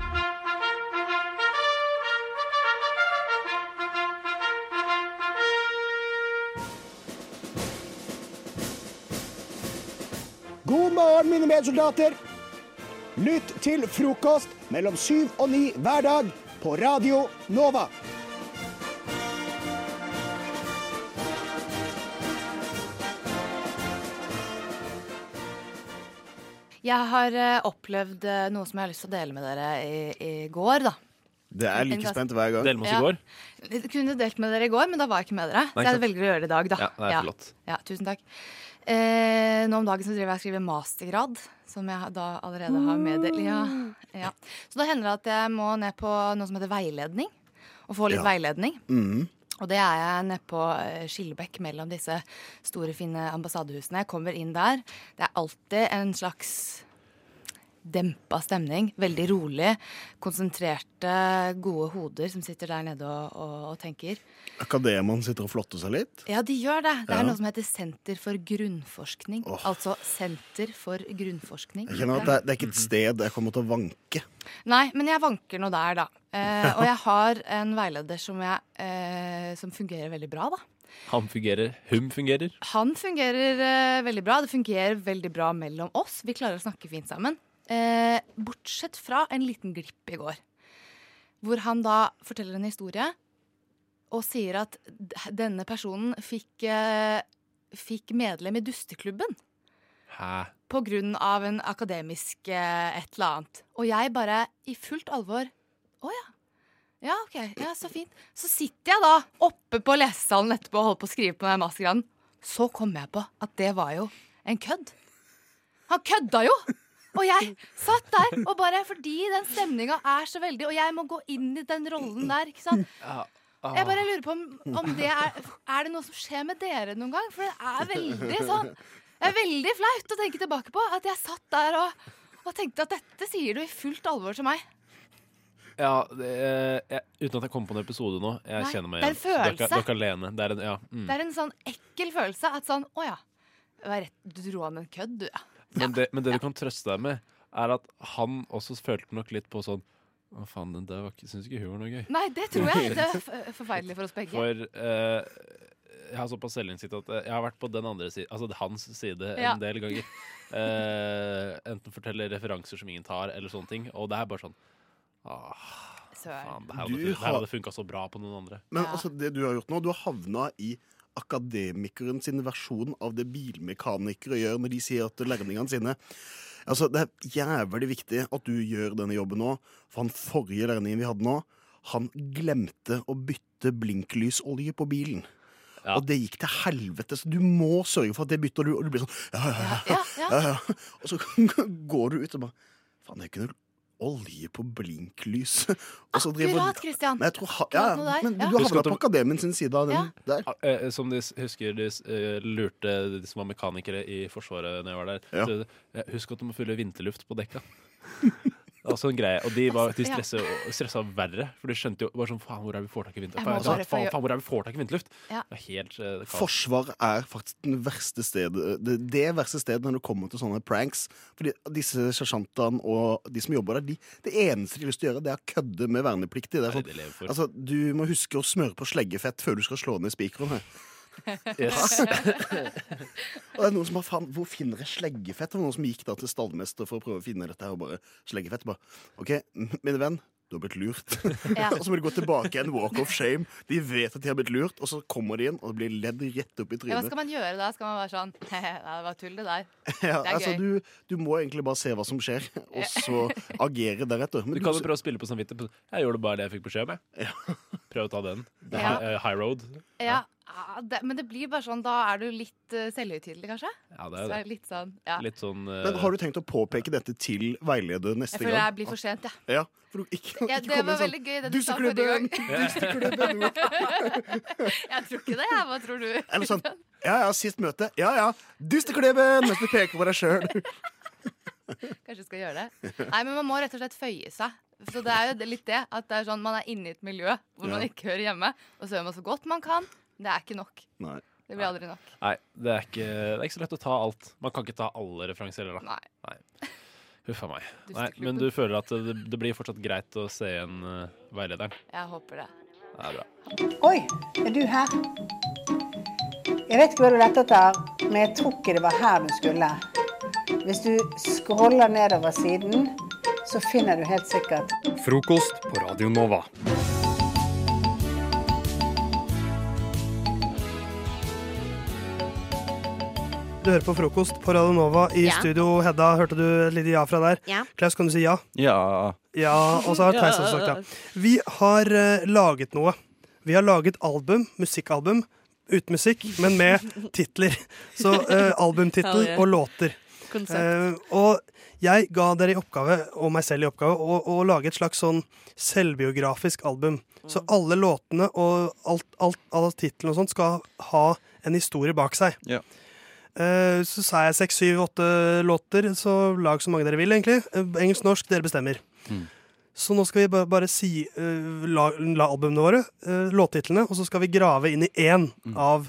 Speaker 5: God morgen, mine medsoldater. Lytt til frokost mellom syv og ni hver dag på Radio Nova.
Speaker 17: Jeg har eh, opplevd eh, noe som jeg har lyst til å dele med dere i, i går, da.
Speaker 20: Det er
Speaker 17: En
Speaker 20: like
Speaker 17: ganske-
Speaker 20: spent hver gang.
Speaker 19: Del med oss i
Speaker 17: Ja.
Speaker 19: går.
Speaker 17: Jeg kunne delt med dere i går, men da var jeg ikke med dere.
Speaker 19: Nei,
Speaker 17: så jeg
Speaker 19: ikke sant.
Speaker 17: velger å gjøre det i dag, da.
Speaker 19: Ja, det er flott.
Speaker 17: Ja, tusen takk. Eh, nå om dagen så driver jeg og skriver mastergrad, som jeg da allerede har meddelt. Ja, ja. Så da hender det at jeg må ned på noe som heter veiledning, og få
Speaker 20: Ja.
Speaker 17: litt veiledning.
Speaker 20: Mhm.
Speaker 17: Og det er jeg nede på eh, Skillebekk mellom disse store, fine ambassadehusene. Jeg kommer inn der. Det er alltid en slags dempa stemning. Veldig rolig. Konsentrerte, gode hoder som sitter der nede og, og, og tenker.
Speaker 20: Akademene sitter og flotter seg litt.
Speaker 17: Ja, de gjør det. Det
Speaker 20: Ja.
Speaker 17: er noe som heter Senter for grunnforskning. Altså Senter for grunnforskning.
Speaker 20: Jeg kjenner at det, er- det er ikke et sted jeg kommer til å vanke.
Speaker 17: Nei, men jeg vanker nå der, da. Eh, og jeg har en veileder som, jeg, eh, som fungerer veldig bra, da.
Speaker 19: Han fungerer. Hun fungerer.
Speaker 17: Han fungerer eh, veldig bra. Det fungerer veldig bra mellom oss. Vi klarer å snakke fint sammen. Eh, bortsett fra en liten glipp i går, hvor han da forteller en historie og sier at d- denne personen fikk, eh, fikk medlem i dusteklubben
Speaker 19: Hæ?
Speaker 17: på grunn av en akademisk eh, et eller annet. Og jeg bare i fullt alvor Å ja. Ja, OK. Ja, så fint. Så sitter jeg da oppe på lesesalen etterpå og holder på å skrive på den mastergraden. Så kom jeg på at det var jo en kødd. Han kødda jo! Og jeg satt der, og bare fordi den stemninga er så veldig Og jeg må gå inn i den rollen der, ikke sant. Jeg bare lurer på om, om det er Er det noe som skjer med dere noen gang? For det er veldig sånn Det er veldig flaut å tenke tilbake på at jeg satt der og, og tenkte at dette sier du i fullt alvor til meg.
Speaker 19: Ja, det, eh, jeg, uten at jeg kommer på en episode nå. Jeg
Speaker 17: Nei,
Speaker 19: kjenner meg
Speaker 17: det er en
Speaker 19: igjen. Dere-
Speaker 17: følelse.
Speaker 19: Dere alene. Det er en, ja. mm.
Speaker 17: Det er en sånn ekkel følelse at sånn Å ja. det var rett- Du dro an en kødd, du, ja.
Speaker 19: Men det, men det du kan trøste deg med, er at han også følte nok litt på sånn Å, faen, den der var ikke, syns ikke hun var noe gøy. (laughs)
Speaker 17: Nei, det tror jeg. Det er f- forferdelig for oss begge.
Speaker 19: For eh, jeg har såpass selvinnsikt at eh, jeg har vært på den andre siden, altså hans side
Speaker 21: Ja.
Speaker 19: en del ganger. Eh, enten fortelle referanser som ingen tar, eller sånne ting. Og det er bare sånn ah, faen, det her hadde,
Speaker 20: Du
Speaker 19: det her
Speaker 20: har-
Speaker 19: hadde funka så bra på noen andre.
Speaker 20: Men altså, det du har gjort nå, du har havna i akademikeren sin versjon av det bilmekanikere gjør når de sier til lærlingene sine Altså, det er jævlig viktig at du gjør denne jobben nå, for han forrige lærlingen vi hadde nå, han glemte å bytte blinklysolje på bilen. Og det gikk til helvete, så du må sørge for at det bytter, og du, og du blir sånn ja, ja, ja, ja, ja, ja. Og så (laughs) går du ut og bare Faen, det er ikke noe olje på blinklyset. (laughs) Og så driver-
Speaker 17: Akkurat, Christian.
Speaker 20: Men jeg tror ha, ja,
Speaker 17: Akkurat med deg,
Speaker 20: men du
Speaker 17: ja.
Speaker 19: Husk
Speaker 20: har
Speaker 19: at
Speaker 20: havna
Speaker 19: det-
Speaker 20: på akademien sin side av den
Speaker 17: Ja.
Speaker 20: der.
Speaker 19: Eh, eh, Som de s- husker de s- eh, lurte de som var mekanikere i Forsvaret når jeg var der. Så, eh, Husk at du må fylle vinterluft på dekka. (laughs) Altså en greie, og De var de
Speaker 17: Ja.
Speaker 19: stressa, stressa verre, for de skjønte jo bare sånn Faen, hvor er vi får tak i
Speaker 17: Jeg
Speaker 19: vinterluft?
Speaker 17: må
Speaker 19: Faen, faen,
Speaker 17: bare få
Speaker 19: faen,
Speaker 17: gjø-
Speaker 19: faen, hvor er vi får tak i vinterluft?
Speaker 17: Ja.
Speaker 19: Det er helt eh, kaos.
Speaker 20: Forsvar er faktisk den verste stedet, det, det verste stedet når det kommer til sånne pranks. Fordi disse sersjantene og de som jobber der, de, det eneste de har lyst til å gjøre, det er å kødde med vernepliktige. Det er
Speaker 19: Det er det de lever
Speaker 20: sånn,
Speaker 19: for.
Speaker 20: altså, du må huske å smøre på sleggefett før du skal slå ned spikeren her.
Speaker 19: Yes.
Speaker 20: Og det er noen som bare, faen, Hvor finner jeg sleggefett? Det var noen som gikk da til stallmester for å prøve å finne dette her, og bare sleggefett. Bare, OK, min venn, du har blitt
Speaker 17: (laughs)
Speaker 20: lurt. (laughs) og så må de gå tilbake igjen, walk of shame. De vet at de har blitt lurt, og så kommer de inn og blir ledd rett opp i
Speaker 17: Ja, hva skal
Speaker 20: trynet.
Speaker 17: man gjøre da? Skal man være sånn (laughs) Nei, det var tull, det der.
Speaker 20: (laughs) Ja,
Speaker 17: det er
Speaker 20: altså,
Speaker 17: gøy.
Speaker 20: du, du må egentlig bare se hva som
Speaker 17: (laughs)
Speaker 20: skjer, og så agere deretter. Men
Speaker 19: Du kan jo prøve å spille på samvittighet. Jeg gjorde bare det jeg fikk beskjed om. jeg. Prøv å ta den. Det er
Speaker 17: Ja.
Speaker 19: hi- eh, High road.
Speaker 17: Ja, ah, det, men det blir bare sånn, da er du litt uh, selvhøytidelig, kanskje?
Speaker 19: Ja, det er
Speaker 17: Så
Speaker 19: det.
Speaker 17: er det litt sånn, ja.
Speaker 19: Litt sånn eh,
Speaker 20: men har du tenkt å påpeke dette til veileder
Speaker 17: Jeg
Speaker 20: neste gang?
Speaker 17: føler jeg blir for sent, jeg.
Speaker 20: Ja, for du ikke,
Speaker 17: Ja,
Speaker 20: ikke
Speaker 17: det
Speaker 20: kom
Speaker 17: var
Speaker 20: med sånn,
Speaker 17: veldig gøy, det du sa forrige gang.
Speaker 20: «Duseklubben! Duseklubben!»
Speaker 17: (laughs) jeg tror ikke det, jeg. Hva tror du?
Speaker 20: Eller
Speaker 17: (laughs)
Speaker 20: sånn Ja ja, sist møte. Ja ja, dusteklubben! Mens du peker på deg sjøl.
Speaker 17: Kanskje jeg skal gjøre det.
Speaker 20: (laughs)
Speaker 17: Nei, men man må rett og slett føye seg. Så det er jo litt det. At det er sånn, man er inne i et miljø hvor man
Speaker 19: Ja.
Speaker 17: ikke hører hjemme. Og så gjør man så godt man kan. men Det er ikke nok.
Speaker 20: Nei.
Speaker 17: Det blir aldri nok.
Speaker 19: Nei, det er, ikke, det er ikke så lett å ta alt. Man kan ikke ta alle referanser heller, da. Nei. Huff a meg. Nei,
Speaker 17: Dusteklubben.
Speaker 19: men du føler at det, det blir fortsatt greit å se igjen eh, veilederen?
Speaker 17: Jeg håper det.
Speaker 19: Det er bra.
Speaker 22: Oi, er du her? Jeg vet ikke hva du lette etter, men jeg tror ikke det var her du skulle. Hvis du scroller nedover siden, så finner du helt sikkert
Speaker 23: Frokost på Radio Nova.
Speaker 24: Du hører på frokost på Radio Nova i
Speaker 25: Ja.
Speaker 24: studio. Hedda, hørte du et lite ja fra der?
Speaker 25: Ja.
Speaker 24: Klaus, kan du si ja?
Speaker 25: Ja.
Speaker 24: Ja, og så har Theis også sagt ja. Vi har eh, laget noe. Vi har laget album, musikkalbum, uten musikk, men med titler. Så eh,
Speaker 25: Hell
Speaker 24: albumtittel
Speaker 25: yeah.
Speaker 24: og låter.
Speaker 25: Konsept.
Speaker 24: Eh, og jeg ga dere i oppgave, og meg selv i oppgave, å, å lage et slags sånn selvbiografisk album. Så alle låtene og alt, alt, alle titlene og sånt skal ha en historie bak seg.
Speaker 9: Ja.
Speaker 24: Eh, Så sa jeg seks, syv, åtte låter, så lag så mange dere vil, egentlig. Eh, Engelsk, norsk, dere bestemmer.
Speaker 19: Hmm.
Speaker 9: Mm.
Speaker 24: Så nå skal vi ba- bare si eh, la, la albumene våre, eh, låttitlene, og så skal vi grave inn i én
Speaker 9: Mm.
Speaker 24: av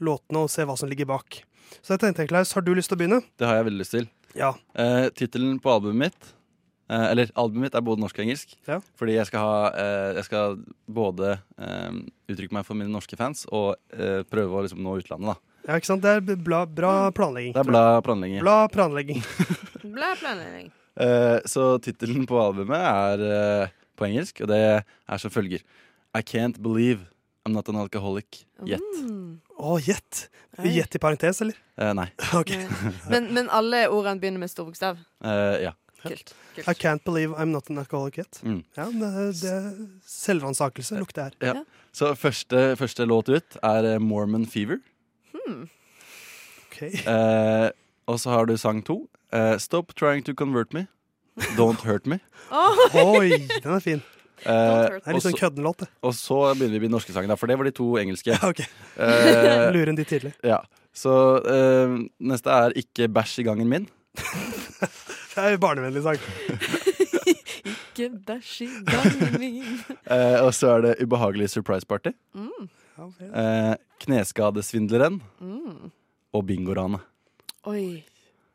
Speaker 24: låtene og se hva som ligger bak. Så jeg tenkte, Klaus, har du lyst til å begynne?
Speaker 9: Det har jeg veldig lyst til.
Speaker 24: Ja.
Speaker 9: Eh, Tittelen på albumet mitt eh, Eller albumet mitt er både norsk og engelsk.
Speaker 24: Ja.
Speaker 9: Fordi jeg skal, ha, eh, jeg skal både eh, uttrykke meg for mine norske fans og eh, prøve å liksom nå utlandet. da
Speaker 24: Ja, ikke sant? Det er b- bla, bra planlegging.
Speaker 9: Det er bla planlegging.
Speaker 24: Bla planlegging.
Speaker 25: Bla planlegging.
Speaker 9: (laughs) Eh, så tittelen på albumet er eh, på engelsk, og det er som følger I can't believe I'm not an alcoholic yet.
Speaker 25: Mm.
Speaker 24: Å, gjett. Gjett i parentes, eller?
Speaker 9: Eh,
Speaker 24: (laughs)
Speaker 9: nei.
Speaker 25: Men, men alle ordene begynner med stor bokstav.
Speaker 9: (laughs) Eh, ja.
Speaker 25: Kult.
Speaker 24: I can't believe I'm not an alcoholic yet.
Speaker 9: Mm.
Speaker 24: Ja, det, det er selvransakelse lukter her.
Speaker 9: Ja. Så første, første låt ut er eh, Mormon Fever.
Speaker 24: Hmm.
Speaker 9: Eh, og så har du sang to. eh, Stop trying to convert me. Don't hurt me.
Speaker 24: Oi, den er fin.
Speaker 9: Eh,
Speaker 24: Det er litt
Speaker 9: og
Speaker 24: sånn
Speaker 9: så-
Speaker 24: køddenlåt, det.
Speaker 9: Og så begynner vi med de norske sangene, for det var de to engelske.
Speaker 24: Ok.
Speaker 9: Eh,
Speaker 24: (laughs) Lurer inn de tidlig.
Speaker 9: Ja. Så eh, neste er Ikke bæsj i gangen min.
Speaker 24: (laughs) Det er en barnevennlig sang.
Speaker 25: Ikke bæsj i gangen min.
Speaker 9: Eh, og så er det Ubehagelig surprise party.
Speaker 25: Mm.
Speaker 9: Eh, kneskadesvindleren
Speaker 25: Mm.
Speaker 9: og bingoranet.
Speaker 25: Oi.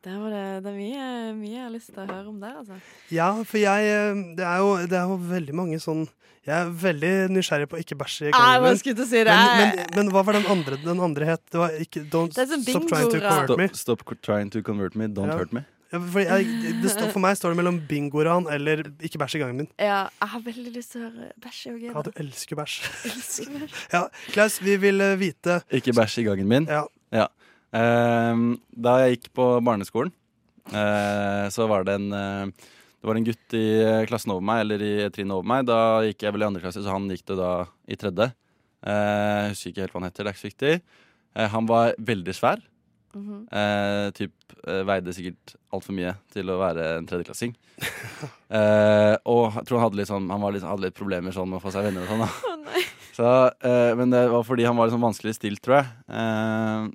Speaker 25: Det, var det, det er mye, mye jeg har lyst til å høre om der, altså.
Speaker 24: Ja, for jeg eh, Det er jo, det er jo veldig mange sånn Jeg er veldig nysgjerrig på ikke bæsje i
Speaker 25: Ah, jeg
Speaker 24: gangen
Speaker 25: bare skulle til å si det.
Speaker 24: Men, men, men hva var den andre den andre het? Det var ikke Don't
Speaker 25: Det er sånn
Speaker 24: Stop Trying to
Speaker 25: bingo-rad.
Speaker 24: Convert Me.
Speaker 9: Stop, stop co- trying to convert me, don't
Speaker 24: Ja.
Speaker 9: hurt me.
Speaker 24: Ja, for, jeg, det står, for meg står det mellom bingoran eller ikke bæsj i gangen din.
Speaker 25: Ja, jeg har veldig lyst til å høre bæsj og
Speaker 24: Ja, du
Speaker 25: gøy.
Speaker 24: elsker bæsj.
Speaker 25: (laughs) Elsker bæsj.
Speaker 24: Ja, Klaus, vi vil eh, vite
Speaker 9: Ikke bæsj i gangen min.
Speaker 24: Ja.
Speaker 9: Ehm, da jeg gikk på barneskolen, eh, så var det en eh, det var en gutt i eh, klassen over meg, eller i trinnet over meg. Da gikk jeg vel i andre klasse, så han gikk det da i tredje. Eh, jeg husker ikke helt hva han heter, det er ikke så viktig. Eh, han var veldig svær.
Speaker 25: Mhm.
Speaker 9: Eh, typ, eh, veide sikkert altfor mye til å være en tredjeklassing. eh, og jeg tror han hadde litt, sånn, han var litt, hadde litt problemer sånn med å få seg venner og sånn. Da. (laughs) så, eh, men det var fordi han var litt sånn vanskelig stilt, tror jeg. Eh,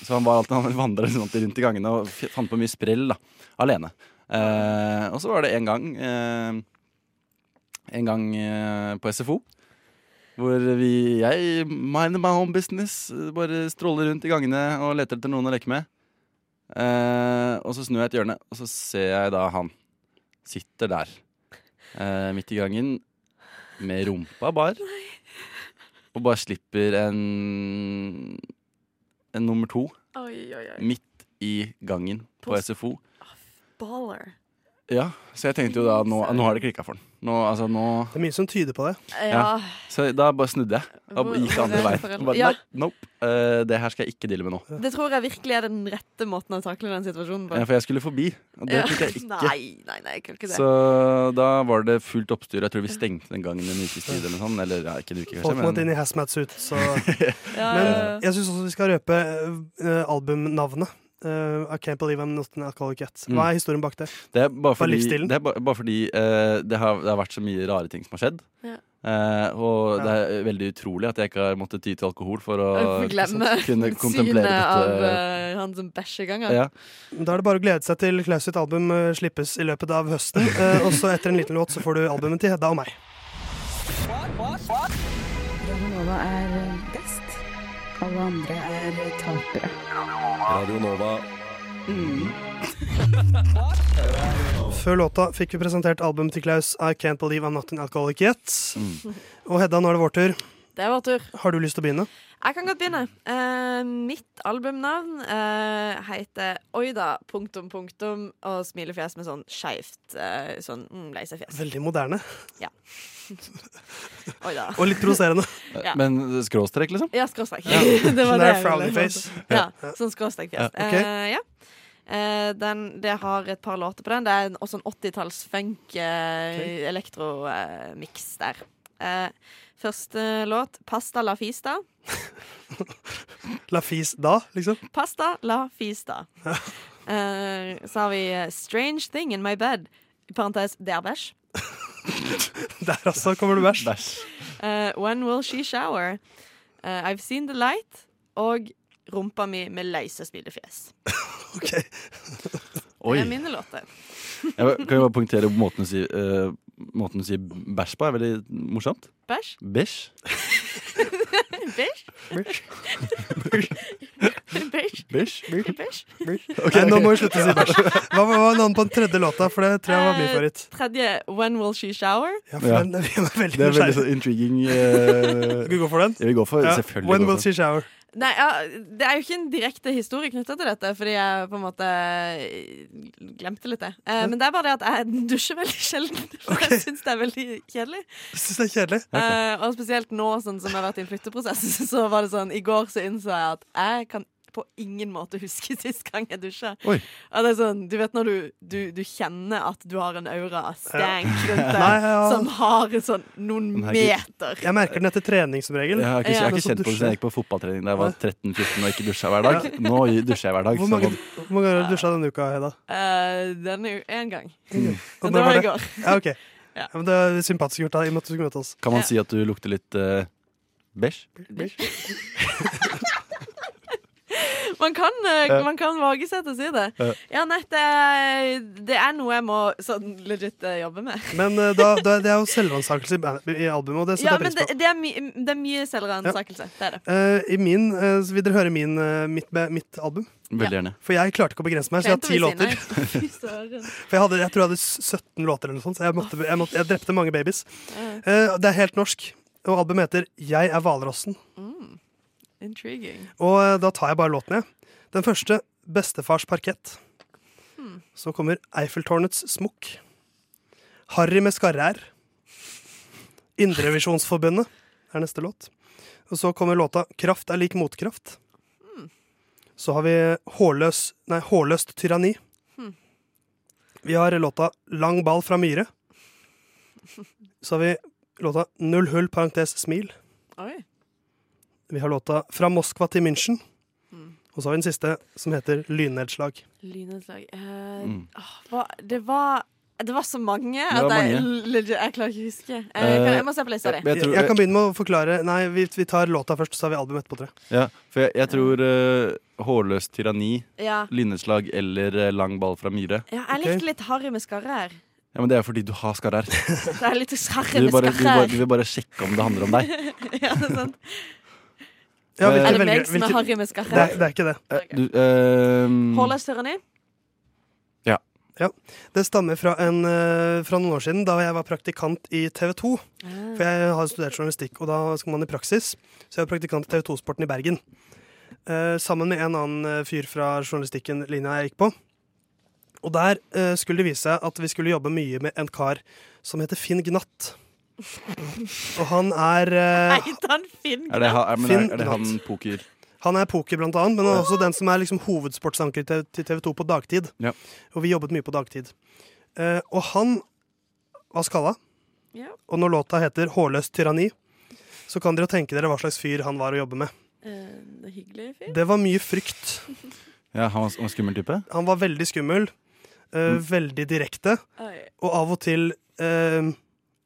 Speaker 9: så han var alltid han vandra liksom alltid rundt i gangene og f- fant på mye sprell da, alene. Eh, og så var det en gang eh, En gang eh, på SFO. Hvor vi, jeg, mind my own business, eh, bare stråler rundt i gangene og leter etter noen å leke med. Eh, og så snur jeg et hjørne, og så ser jeg da han sitter der. eh, midt i gangen, med rumpa bar. Og bare slipper en, en nummer to
Speaker 25: Oi, oi, oi.
Speaker 9: midt i gangen på
Speaker 25: På s-
Speaker 9: SFO.
Speaker 25: Baller.
Speaker 9: Ja, Så jeg tenkte jo da nå, nå har det klikka for han. Nå, altså, nå
Speaker 24: Det er mye som tyder på det.
Speaker 25: Ja.
Speaker 9: Så da bare snudde jeg og
Speaker 25: Hvor-
Speaker 9: gikk andre
Speaker 25: hvor er
Speaker 9: veien.
Speaker 25: foreldre?
Speaker 9: Og Bare,
Speaker 25: Ja.
Speaker 9: nei, nope, eh, det her skal jeg ikke deale med nå.
Speaker 25: Det tror jeg virkelig er den rette måten å takle den situasjonen på.
Speaker 9: Ja, for jeg skulle forbi, og det
Speaker 25: Ja.
Speaker 9: fikk jeg ikke.
Speaker 25: Nei, nei, nei, jeg kan ikke det.
Speaker 9: Så da var det fullt oppstyr. Jeg tror vi stengte den gangen en ukes tid eller noe sånt. Eller ja, ikke en uke, kanskje.
Speaker 24: Folk måtte inn i hazmat
Speaker 9: (laughs)
Speaker 24: suit, så Men jeg syns også vi skal røpe eh, albumnavnet. Eh, I Can't Believe I'm Not An Alcoholic Yet. Hva er historien bak det?
Speaker 9: Mm. Det er bare
Speaker 24: Bare
Speaker 9: fordi,
Speaker 24: livsstilen.
Speaker 9: det, er ba, bare fordi eh, det, har, det har vært så mye rare ting som har skjedd.
Speaker 24: Ja.
Speaker 9: Eh, og det er veldig utrolig at jeg ikke har måttet ty til alkohol for å
Speaker 25: Glemme
Speaker 9: (laughs) kunne kontemplere
Speaker 25: synet av
Speaker 9: dette.
Speaker 25: eh, han som bæsjer i gangen.
Speaker 24: Da er det bare å glede seg til Klaus sitt album eh, slippes i løpet av høsten. (laughs) eh, og så etter en liten låt så får du albumet til Hedda og meg.
Speaker 6: Radionova er eh, best. Alle andre er eh, tapere.
Speaker 14: Radio Nova.
Speaker 24: Før låta fikk vi presentert albumet til Klaus I Can't Believe I'm Not An Alcoholic Yet. Og Hedda, nå er det vår tur.
Speaker 25: Det er vår Mm. tur.
Speaker 24: Har du lyst til å begynne?
Speaker 25: Jeg kan godt begynne. Eh, mitt albumnavn eh, heter Oida, punktum, punktum, og smilefjes med sånn skeivt eh, sånn mm, lei seg-fjes.
Speaker 24: Veldig moderne.
Speaker 25: Ja. (laughs) Oida.
Speaker 24: Og litt
Speaker 9: (laughs)
Speaker 24: provoserende.
Speaker 25: Ja.
Speaker 9: Men skråstrek, liksom?
Speaker 25: Ja, skråstrek.
Speaker 9: Ja.
Speaker 25: (laughs) det var det
Speaker 9: Sånn der
Speaker 25: jeg ville
Speaker 9: frowny
Speaker 25: fram
Speaker 9: face.
Speaker 25: til. Ja, sånn
Speaker 9: Ja,
Speaker 25: skråstrekfjes.
Speaker 9: ok.
Speaker 25: Eh, ja. Eh, den, det har et par låter på den. Det er en- også en 80-talls funk eh, elektromiks der. Eh, første låt, 'Pasta la fista'.
Speaker 9: (laughs)
Speaker 24: La fis da, liksom. (laughs)
Speaker 25: Pasta la
Speaker 9: (laughs)
Speaker 25: fista. Eh, så har vi eh, 'Strange thing in my bed'. I parentes, det er bæsj.
Speaker 24: Der altså kommer du bæsj.
Speaker 25: Eh, 'When will she shower'? Eh, 'I've seen the light'. Og 'Rumpa mi med leise smilefjes'.
Speaker 9: Oi.
Speaker 25: Det er mine låter.
Speaker 9: (laughs) Jeg bare-
Speaker 25: (laughs)
Speaker 9: kan jo bare punktere på måten å si, eh, måten å si bæsj på. er veldig morsomt.
Speaker 25: Bæsj? (laughs)
Speaker 9: Bæsj.
Speaker 25: Bæsj? (laughs) Bæsj?
Speaker 9: Bæsj?
Speaker 25: Bæsj?
Speaker 24: (laughs) Nei, nå må vi slutte å si bæsj. Hva var hva var navnet på den tredje låta? For det tror jeg var min
Speaker 25: Eh,
Speaker 24: favoritt.
Speaker 25: Tredje 'When will she shower'?
Speaker 24: Ja, for den, vi var veldig
Speaker 9: Det er veldig
Speaker 24: nysgjerrig.
Speaker 9: sånn intriguing. eh,
Speaker 24: Skal vi gå for den?
Speaker 9: Ja, vi går for,
Speaker 24: Ja.
Speaker 9: selvfølgelig.
Speaker 24: When
Speaker 9: går
Speaker 24: will
Speaker 9: for.
Speaker 24: she shower?
Speaker 25: Nei, ja, Det er jo ikke en direkte historie knytta til dette, fordi jeg på en måte eh, glemte litt det. Eh, men det er bare det at jeg dusjer veldig sjelden, (laughs) for jeg syns det er veldig kjedelig.
Speaker 24: Syns det er kjedelig.
Speaker 25: Eh, og spesielt nå sånn som jeg har vært i en flytteprosess, (laughs) så var det sånn I går så innså jeg at jeg kan på ingen måte huske (laughs) sist gang jeg dusja.
Speaker 24: Oi.
Speaker 25: Og det er sånn, du vet når du, du, du kjenner at du har en aura av stank
Speaker 24: (laughs)
Speaker 25: rundt deg,
Speaker 24: Nei, ja.
Speaker 25: som har sånn noen
Speaker 9: Den her-
Speaker 25: meter.
Speaker 24: Jeg merker den etter trening som regel.
Speaker 9: Jeg har ikke, jeg har
Speaker 24: Men
Speaker 9: ikke
Speaker 24: så
Speaker 9: kjent på det siden jeg
Speaker 24: dusjer.
Speaker 9: gikk på fotballtrening da jeg var 13-14 og ikke dusja hver dag. Nå dusjer jeg hver dag.
Speaker 24: Hvor
Speaker 9: så
Speaker 24: mange,
Speaker 9: man-
Speaker 24: hvor mange ganger har du dusja denne uka, Hedda?
Speaker 25: Eh, den er jo én gang. (laughs)
Speaker 24: Og
Speaker 25: Men
Speaker 24: når
Speaker 25: det var i
Speaker 24: det?
Speaker 25: går.
Speaker 24: (laughs) Ja, ok. Ja, men det er sympatisk gjort da, i og med at du skulle møte oss.
Speaker 9: Kan man si at du lukter litt eh, bæsj?
Speaker 25: (laughs) Man kan, eh,
Speaker 6: Ja.
Speaker 25: man kan vage seg til å si det.
Speaker 24: Ja.
Speaker 25: Ja, nei, det, det er noe jeg må sånn legit eh, jobbe med.
Speaker 24: Men eh, da, da, det er jo selvransakelse i, ban- i albumet, og det setter
Speaker 25: Ja,
Speaker 24: jeg
Speaker 25: men
Speaker 24: pris på.
Speaker 25: det, det, er, my, det er mye selvransakelse. Det er det.
Speaker 24: Eh, I min, eh, så Vil dere høre min, eh, mitt, be- mitt album?
Speaker 2: Veldig gjerne.
Speaker 24: For jeg klarte ikke å begrense meg, så jeg har ti låter.
Speaker 25: låter.
Speaker 24: (laughs) For jeg, hadde, jeg tror jeg hadde s- 17 låter, eller noe sånt, så jeg, måtte, jeg, måtte, jeg drepte mange babies.
Speaker 25: Ja.
Speaker 24: Eh, det er helt norsk, og albumet heter Jeg er hvalrossen.
Speaker 25: Mm. Intriguing.
Speaker 24: Og eh, da tar jeg bare låtene, jeg. Den første, Bestefars parkett. (laughs)
Speaker 25: Hmm.
Speaker 24: Så kommer Eiffeltårnets smokk. Harry med skarrær. Indrevisjonsforbundet er neste låt. Og så kommer låta Kraft er lik motkraft. Så har vi Hårløs, nei, Hårløst tyranni.
Speaker 6: Hmm.
Speaker 24: Vi har låta Lang ball fra Myhre. Så har vi låta Null hull parentes smil.
Speaker 25: Oi.
Speaker 24: Vi har låta Fra Moskva til München.
Speaker 25: Mm.
Speaker 24: Og så har vi den siste, som heter Lynnedslag.
Speaker 25: Lynnedslag. Eh,
Speaker 24: Mm.
Speaker 25: åh, hva, det var det var så mange
Speaker 24: var
Speaker 25: at jeg,
Speaker 24: mange.
Speaker 25: (laughs) legit, jeg klarer ikke å huske. Eh, kan, jeg må se på lista di.
Speaker 24: Jeg, jeg, kan begynne med å forklare Nei, vi, vi tar låta først, så har vi albumet etterpå, tror jeg.
Speaker 2: Ja, for jeg, jeg tror eh, hårløst tyranni,
Speaker 25: Ja.
Speaker 2: lynnedslag eller eh, lang ball fra Myhre.
Speaker 25: Ja, jeg likte litt Harry med skarrer.
Speaker 2: Ja, Men det er fordi du har skarrer.
Speaker 25: (laughs) Det er litt Harry
Speaker 2: Du,
Speaker 25: med
Speaker 2: bare, du, bare, du
Speaker 25: skarrer.
Speaker 2: vil bare sjekke om det handler om deg.
Speaker 25: (laughs) ja, det er sant.
Speaker 24: Ja, hvilke
Speaker 25: er det
Speaker 24: velger-
Speaker 25: meg som
Speaker 24: hvilke-
Speaker 25: er Harry med skarrer?
Speaker 24: Det, er- det er ikke det.
Speaker 2: Eh, Du, ehm,
Speaker 25: Hårløs tyranni?
Speaker 2: ja.
Speaker 24: Ja. Det stammer fra, en, eh, fra noen år siden, da jeg var praktikant i TV 2. For jeg har studert journalistikk, og da skal man i praksis. Så jeg var praktikant i TV 2-sporten i Bergen. Eh, sammen med en annen eh, fyr fra journalistikken linja jeg gikk på. Og der eh, skulle det vise seg at vi skulle jobbe mye med en kar som heter Finn Gnatt. Og han er eh,
Speaker 25: Heter han Finn?
Speaker 2: Er det, ha- er, men
Speaker 24: Finn
Speaker 2: er, er det han
Speaker 24: Gnatt.
Speaker 2: poker
Speaker 24: Han er poker, blant annet, men han er også den som er liksom hovedsportsanker til til TV 2 på dagtid.
Speaker 2: Ja.
Speaker 24: Og vi jobbet mye på dagtid. Eh, og han var skalla.
Speaker 25: Ja.
Speaker 24: Og når låta heter 'Hårløst tyranni', så kan dere jo tenke dere hva slags fyr han var å jobbe med.
Speaker 25: Eh, hyggelig fyr.
Speaker 24: Det var mye frykt.
Speaker 2: Ja, han var en skummel type?
Speaker 24: Han var veldig skummel, eh, veldig direkte,
Speaker 25: Oi.
Speaker 24: og av og til eh,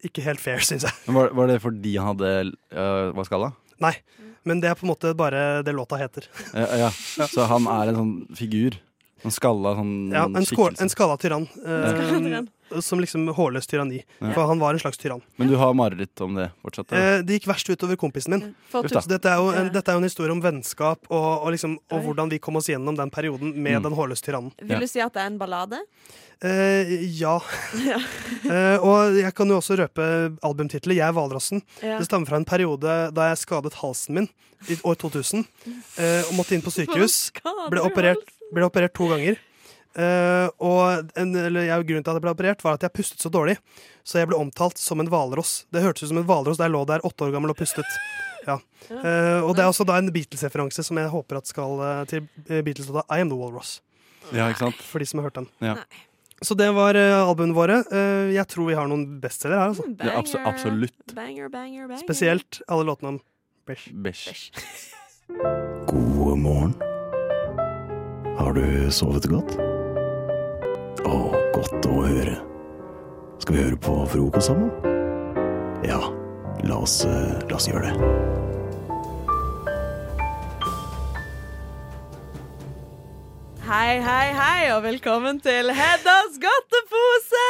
Speaker 24: ikke helt fair, (laughs) syns jeg.
Speaker 2: Men Var, var det fordi han hadde eh, var skalla?
Speaker 24: Nei,
Speaker 25: Mm.
Speaker 24: men det er på en måte bare det låta heter.
Speaker 2: Ja, ja. Så han er en sånn figur? En skalla sånn
Speaker 24: Ja, en, skål, en skalla tyrann.
Speaker 2: Ja.
Speaker 24: eh, Som liksom hårløst tyranni.
Speaker 2: Ja.
Speaker 24: For han var en slags tyrann.
Speaker 2: Men du har mareritt om det fortsatt?
Speaker 24: Eh, det gikk verst utover kompisen min.
Speaker 2: For at du-
Speaker 24: Så dette er, jo en,
Speaker 2: Ja.
Speaker 24: dette er jo en historie om vennskap og, og, liksom, og hvordan vi kom oss gjennom den perioden med
Speaker 2: Mm.
Speaker 24: den hårløse tyrannen.
Speaker 25: Vil du si at det er en ballade? (laughs)
Speaker 24: Eh, ja.
Speaker 25: Ja.
Speaker 24: Eh, og jeg kan jo også røpe albumtittelen 'Jeg er hvalrossen'.
Speaker 25: Ja.
Speaker 24: Det stammer fra en periode da jeg skadet halsen min i år 2000. eh, og måtte inn på sykehus.
Speaker 6: Hva skader
Speaker 24: Ble
Speaker 6: du
Speaker 24: operert, ble operert to ganger. Eh, og en, eller, jeg, grunnen til at jeg ble operert, var at jeg pustet så dårlig. Så jeg ble omtalt som en hvalross. Det hørtes ut som en hvalross da jeg lå der åtte år gammel og pustet. Ja. Eh, og det er også da en Beatles-referanse som jeg håper at skal eh, til eh, Beatles-låta 'I Am The Walrus'.
Speaker 2: Ja, ikke sant?
Speaker 24: For de som har hørt den.
Speaker 2: Ja.
Speaker 24: Så det var eh, albumene våre. Eh, jeg tror vi har noen bestselgere her.
Speaker 6: Mm,
Speaker 24: Altså.
Speaker 2: Ja, abso- absolutt.
Speaker 25: Banger, banger, banger.
Speaker 24: Spesielt alle låtene om Bæsj.
Speaker 2: Bæsj.
Speaker 12: God morgen. Har du sovet godt? Å, godt å høre. Skal vi høre på frokost sammen? Ja, la oss, eh, la oss gjøre det.
Speaker 25: Hei, hei, hei, og velkommen til Heddas godtepose!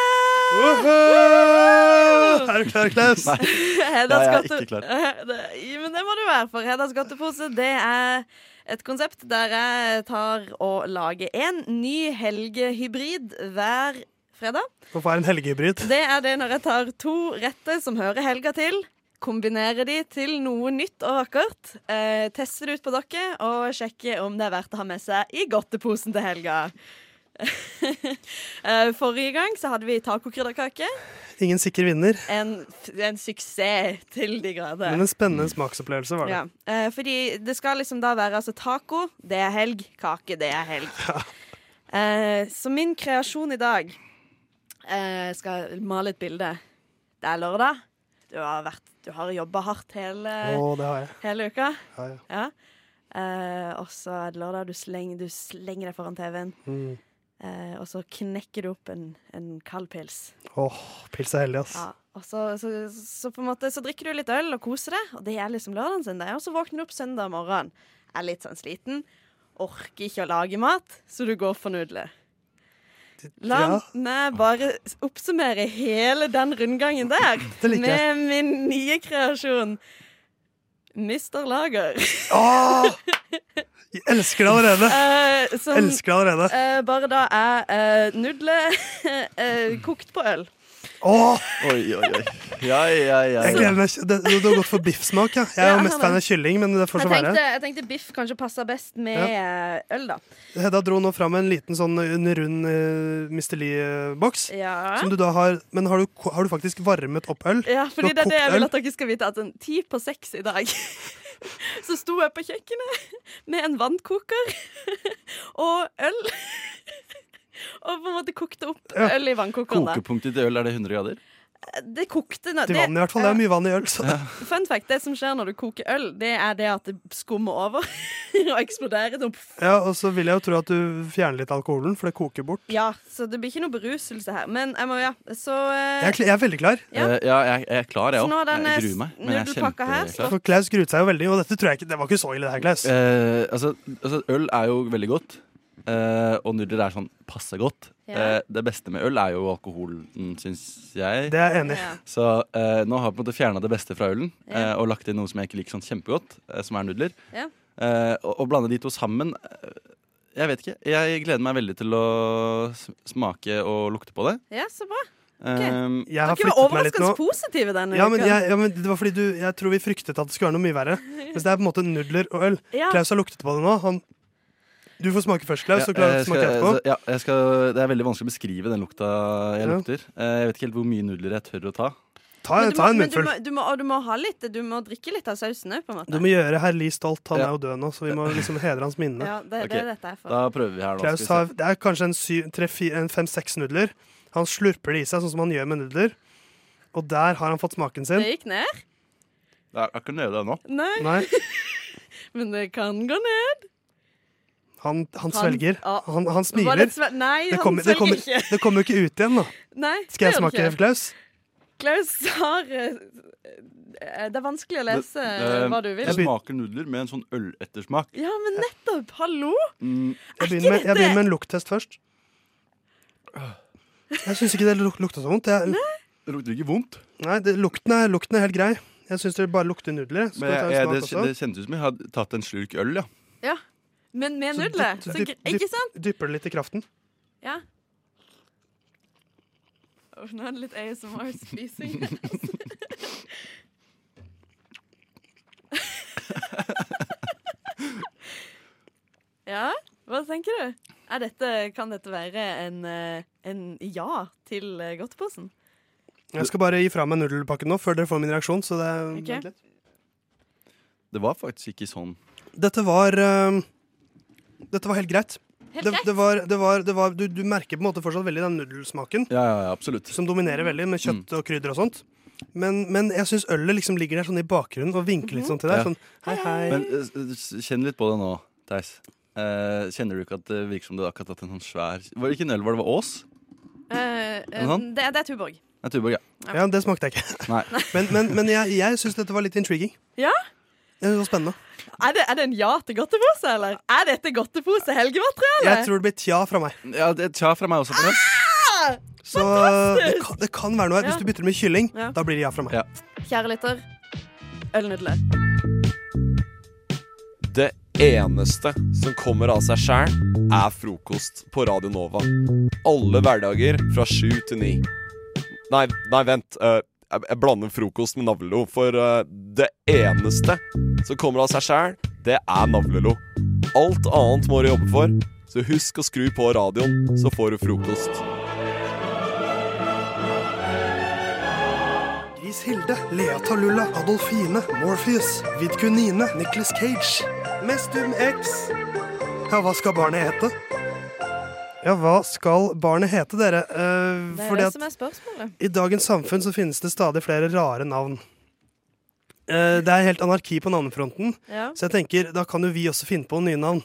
Speaker 24: Er du klar, Klaus?
Speaker 25: (laughs) Heddas
Speaker 24: Nei, jeg er
Speaker 25: godte-
Speaker 24: ikke klar.
Speaker 25: Eh, (laughs) det- Men det må du være, for Heddas godtepose det er et konsept der jeg tar og lager en ny helgehybrid hver fredag.
Speaker 24: Hvorfor er en helgehybrid?
Speaker 25: Det er det når jeg tar to retter som hører helga til, kombinerer de til noe nytt og vakkert, eh, tester det ut på dere og sjekker om det er verdt å ha med seg i godteposen til helga. (laughs) Eh, Forrige gang så hadde vi tacokrydderkake.
Speaker 24: Ingen sikker vinner,
Speaker 25: En, en suksess til de grader.
Speaker 24: men en spennende smaksopplevelse var det.
Speaker 25: Ja. eh, fordi det skal liksom da være altså, taco, det er helg. Kake, det er helg. Eh, så min kreasjon i dag eh, Jeg skal male et bilde. Det er lørdag. Du har, vært- du har jobba hardt hele,
Speaker 24: Å, det har jeg.
Speaker 25: hele uka.
Speaker 24: Ja, ja.
Speaker 25: Ja. Eh, og så er det lørdag. Du slenger, du slenger deg foran TV-en.
Speaker 24: Mm.
Speaker 25: Eh, og så knekker du opp en, en kald pils.
Speaker 24: Åh, pils er heldig, ass.
Speaker 25: Ja, og så, så, så på en måte Så drikker du litt øl og koser deg, og det er liksom lørdagen sin. det. Og så våkner du opp søndag morgen, er litt sånn sliten, orker ikke å lage mat, så du går for nudler. La
Speaker 24: ja.
Speaker 25: meg bare oppsummere hele den rundgangen der
Speaker 24: Det liker jeg.
Speaker 25: med min nye kreasjon. Mister Lager. (laughs)
Speaker 24: Jeg elsker det allerede!
Speaker 25: Eh, som,
Speaker 24: Elsker det allerede.
Speaker 25: eh, bare da er eh, nudler (laughs) eh, kokt på øl.
Speaker 24: Åh!
Speaker 9: Oi, oi, oi. Ja, ja, ja.
Speaker 24: Jeg gleder meg. Det, du du har gått for biffsmak, ja. Jeg er
Speaker 25: Ja,
Speaker 24: jo mest
Speaker 25: han er-
Speaker 24: fan av kylling, men det får
Speaker 25: Jeg
Speaker 24: så være.
Speaker 25: tenkte, jeg tenkte biff kanskje passer best med eh, øl, da.
Speaker 24: Hedda dro nå fram en liten sånn en rund uh, Mr. Lee-boks.
Speaker 25: Ja.
Speaker 24: Som du da har Men har du, ko- har du faktisk varmet opp øl?
Speaker 25: Ja,
Speaker 24: Du
Speaker 25: fordi det er det
Speaker 24: har kokt
Speaker 25: jeg vil
Speaker 24: øl?
Speaker 25: at dere skal vite, at sånn ti på seks i dag (laughs) så sto jeg på kjøkkenet med en vannkoker (laughs) og øl. (laughs) Og på en måte kokte opp
Speaker 9: Ja.
Speaker 25: øl i vannkokeren. da.
Speaker 9: Kokepunktet til øl, er det 100 grader?
Speaker 25: Det kokte nå-
Speaker 24: Til vann, i hvert fall. Det er mye vann i øl. Så.
Speaker 25: Fun fact, det som skjer når du koker øl, det er det at det skummer over (laughs) og eksploderer. Sånn.
Speaker 24: Ja, Og så vil jeg jo tro at du fjerner litt alkoholen, for det koker bort.
Speaker 25: Ja, så det blir ikke noe beruselse her. Men jeg må, ja, så eh,
Speaker 24: Jeg er, kl- jeg er veldig klar.
Speaker 9: Ja, Eh, ja jeg, jeg er klar, jeg
Speaker 25: Så nå er
Speaker 9: òg.
Speaker 25: den, eh,
Speaker 9: Jeg gruer meg. Men jeg er
Speaker 25: nudelpakka her,
Speaker 9: kjempeklar.
Speaker 24: For Klaus gruet seg jo veldig, og dette tror jeg ikke Det var ikke så ille, det her, Klaus.
Speaker 9: Eh, altså, altså, øl er jo veldig godt. eh, og nudler er sånn passe godt.
Speaker 24: Ja.
Speaker 9: Eh, det beste med øl er jo alkoholen, syns jeg.
Speaker 24: Det er jeg enig i. Ja.
Speaker 9: Så eh, nå har jeg på en måte fjerna det beste fra ølen
Speaker 25: Ja.
Speaker 9: eh, og lagt inn noe som jeg ikke liker sånn kjempegodt, eh, som er nudler.
Speaker 25: Ja.
Speaker 9: Eh, og, og blande de to sammen eh, Jeg vet ikke. Jeg gleder meg veldig til å sm- smake og lukte på det.
Speaker 25: ja, så bra.
Speaker 9: Um,
Speaker 24: Jeg
Speaker 25: Dere
Speaker 24: har
Speaker 25: var
Speaker 24: flyttet meg litt
Speaker 25: overraskende
Speaker 24: nå.
Speaker 25: positive denne
Speaker 24: Ja, men
Speaker 25: uka.
Speaker 24: jeg, ja, men det var fordi du, jeg tror vi fryktet at det skulle være noe mye verre. Mens det er på en måte nudler og øl.
Speaker 25: Ja.
Speaker 24: Klaus har luktet på det nå. Han, du får smake først, Klaus, og Klaus
Speaker 9: jeg eh, skal, altså,
Speaker 24: smaker etterpå.
Speaker 9: ja, jeg skal, det er veldig vanskelig å beskrive den lukta jeg
Speaker 24: Ja.
Speaker 9: lukter. Eh, Jeg vet ikke helt hvor mye nudler jeg tør å ta.
Speaker 24: Ta,
Speaker 25: Men du må-
Speaker 24: ta en
Speaker 25: men du
Speaker 24: munnfull.
Speaker 25: må- Du må, og du må ha litt Du må drikke litt av sausen òg, på en måte.
Speaker 24: Du må gjøre herr Lie stolt. Han
Speaker 9: Ja.
Speaker 24: er jo død nå, så vi må liksom hedre hans minne.
Speaker 25: Ja, det- det er Ok, dette er for.
Speaker 9: da prøver vi her nå,
Speaker 24: Klaus
Speaker 9: skal
Speaker 24: har, det er kanskje en syv- tre, fi- en fem-seks nudler. Han slurper det i seg, sånn som han gjør med nudler. Og der har han fått smaken sin.
Speaker 25: Det gikk ned.
Speaker 9: Jeg har ikke nøye det ennå.
Speaker 25: Nei.
Speaker 24: Nei.
Speaker 25: (laughs) Men det kan gå ned.
Speaker 24: Han, han
Speaker 25: Han-
Speaker 24: svelger.
Speaker 25: ja.
Speaker 24: Han, han
Speaker 25: Det var
Speaker 24: smiler.
Speaker 25: litt svel- Nei,
Speaker 24: Det
Speaker 25: han
Speaker 24: kommer, det,
Speaker 25: svelger
Speaker 24: kommer,
Speaker 25: ikke.
Speaker 24: det kommer jo ikke
Speaker 25: (laughs)
Speaker 24: ut igjen, da.
Speaker 25: Nei, det
Speaker 24: Skal jeg
Speaker 25: gjør det
Speaker 24: smake,
Speaker 25: ikke.
Speaker 24: Klaus?
Speaker 25: Klaus har eh, Det er vanskelig å lese
Speaker 9: Det-
Speaker 25: eh, hva du vil.
Speaker 9: Det smaker nudler med en sånn ølettersmak.
Speaker 25: Ja, men nettopp! Hallo!
Speaker 9: Mm.
Speaker 24: Jeg begynner med,
Speaker 25: dette-
Speaker 24: jeg begynner med en lukttest først. Jeg syns ikke det luk lukta så vondt. Jeg,
Speaker 9: Det lukter ikke vondt.
Speaker 24: nei, det, lukten, er, lukten er helt grei. Jeg syns det bare lukter nudler. Skal
Speaker 9: Men
Speaker 24: vi ta
Speaker 9: jeg,
Speaker 24: en
Speaker 9: jeg,
Speaker 24: smak
Speaker 9: det,
Speaker 24: også?
Speaker 9: det kjentes ut som jeg hadde tatt en slurk øl, ja.
Speaker 25: Ja. Men med
Speaker 24: Så
Speaker 25: nudler.
Speaker 24: dypp-
Speaker 25: Så,
Speaker 24: dypp-
Speaker 25: gre- ikke
Speaker 24: dypp-
Speaker 25: sant?
Speaker 24: Dypper det litt i kraften.
Speaker 25: Ja. Uff, nå er det litt (laughs) ASMR-spising. ja, hva tenker du? Er dette, kan dette være en, eh, en ja til eh, godteposen?
Speaker 24: Jeg skal bare gi fra meg nudelpakken nå før dere får min reaksjon. Så det, er-
Speaker 25: Ok.
Speaker 9: Det var faktisk ikke sånn.
Speaker 24: Dette var eh, Dette var helt greit.
Speaker 25: Helt
Speaker 24: Det,
Speaker 25: greit.
Speaker 24: det var, det var, det var, du, du merker på en måte fortsatt veldig den nudelsmaken.
Speaker 9: Ja, ja, ja, absolutt. Mm.
Speaker 24: Som dominerer veldig med kjøtt og krydder og sånt. Men, men jeg syns ølet liksom ligger der sånn i bakgrunnen og vinker
Speaker 25: Mhm.
Speaker 24: litt sånn til deg.
Speaker 9: Ja.
Speaker 24: Sånn, hei, hei.
Speaker 9: Men eh, s- kjenn litt på det nå, Theis. Eh, kjenner du ikke at det virker som du akkurat har tatt en sånn svær Var det ikke en øl, var det var Ås?
Speaker 25: Eh, eh,
Speaker 9: Sånn?
Speaker 25: det, det er Tuborg.
Speaker 9: Nei, Tuborg, ja.
Speaker 24: ja, det smakte jeg ikke.
Speaker 9: Nei.
Speaker 24: (laughs) Men, men, men jeg, jeg syns dette var litt intriguing.
Speaker 25: Ja?
Speaker 24: Jeg synes det var spennende.
Speaker 25: Er det, er det en ja til godtepose, eller? Er dette godtepose helgemateriale?
Speaker 24: Jeg tror det blir tja fra meg.
Speaker 9: Ja, det er tja fra meg også.
Speaker 25: Ah!
Speaker 24: Så det kan, det kan være noe her.
Speaker 25: Ja.
Speaker 24: Hvis du bytter med kylling,
Speaker 25: Ja.
Speaker 24: da blir det ja fra meg.
Speaker 25: Kjære lytter, ølnudler.
Speaker 14: Det eneste som kommer av seg sjæl, er frokost på Radio Nova. Alle hverdager fra sju til ni. Nei, nei, vent. eh, jeg, jeg blander frokost med navlelo, for eh, det eneste som kommer av seg sjæl, det er navlelo. Alt annet må du jobbe for, så husk å skru på radioen, så får du frokost.
Speaker 24: Gris Hilde, Lea Talulla, Adolfine, Morpheus, Vidkunine, Nicholas Cage, Mestum X. Ja, hva skal barnet hete? Ja, hva skal barnet hete, dere? Eh,
Speaker 25: Det er
Speaker 24: fordi
Speaker 25: det
Speaker 24: at
Speaker 25: som er spørsmålet.
Speaker 24: I dagens samfunn så finnes det stadig flere rare navn. Eh, Det er helt anarki på navnefronten,
Speaker 25: Ja.
Speaker 24: så jeg tenker da kan jo vi også finne på nye navn.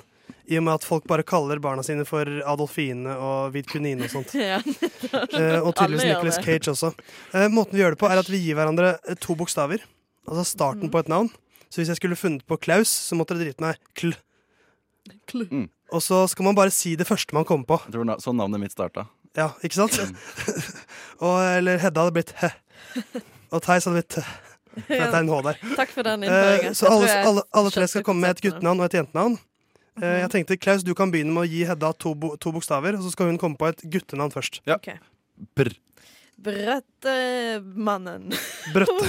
Speaker 24: I og med at folk bare kaller barna sine for Adolfine og Vidkunine og
Speaker 25: (laughs)
Speaker 24: sånt.
Speaker 25: Ja. (laughs)
Speaker 24: Eh, og tydeligvis
Speaker 25: Alle gjør
Speaker 24: Nicolas
Speaker 25: det.
Speaker 24: Cage også. Eh, måten vi gjør det på, er at vi gir hverandre eh, to bokstaver.
Speaker 25: Mm.
Speaker 24: Altså starten på et navn. Så hvis jeg skulle funnet på Klaus, så måtte dere drite meg kl. Og så skal man bare si det første man kommer på.
Speaker 2: Mm. Jeg tror na sånn navnet mitt Mm. starta.
Speaker 24: Ja, ikke sant? (laughs) og, eller Hedda hadde blitt Hæ. Og Theis hadde blitt Hæ.
Speaker 25: (laughs)
Speaker 24: For
Speaker 25: Ja.
Speaker 24: dette er
Speaker 25: (laughs)
Speaker 24: en H der.
Speaker 25: Takk for den
Speaker 24: Eh,
Speaker 25: innføringen.
Speaker 24: Så
Speaker 25: Jeg tror
Speaker 24: alle,
Speaker 25: jeg
Speaker 24: alle, alle tre skal komme med et guttenavn og et jentenavn. Eh,
Speaker 25: Mhm.
Speaker 24: Jeg tenkte, Klaus, du kan begynne med å gi Hedda to, bo to bokstaver, og så skal hun komme på et guttenavn først.
Speaker 25: Ok.
Speaker 2: Brr.
Speaker 25: Brøttemannen.
Speaker 24: Brøtte.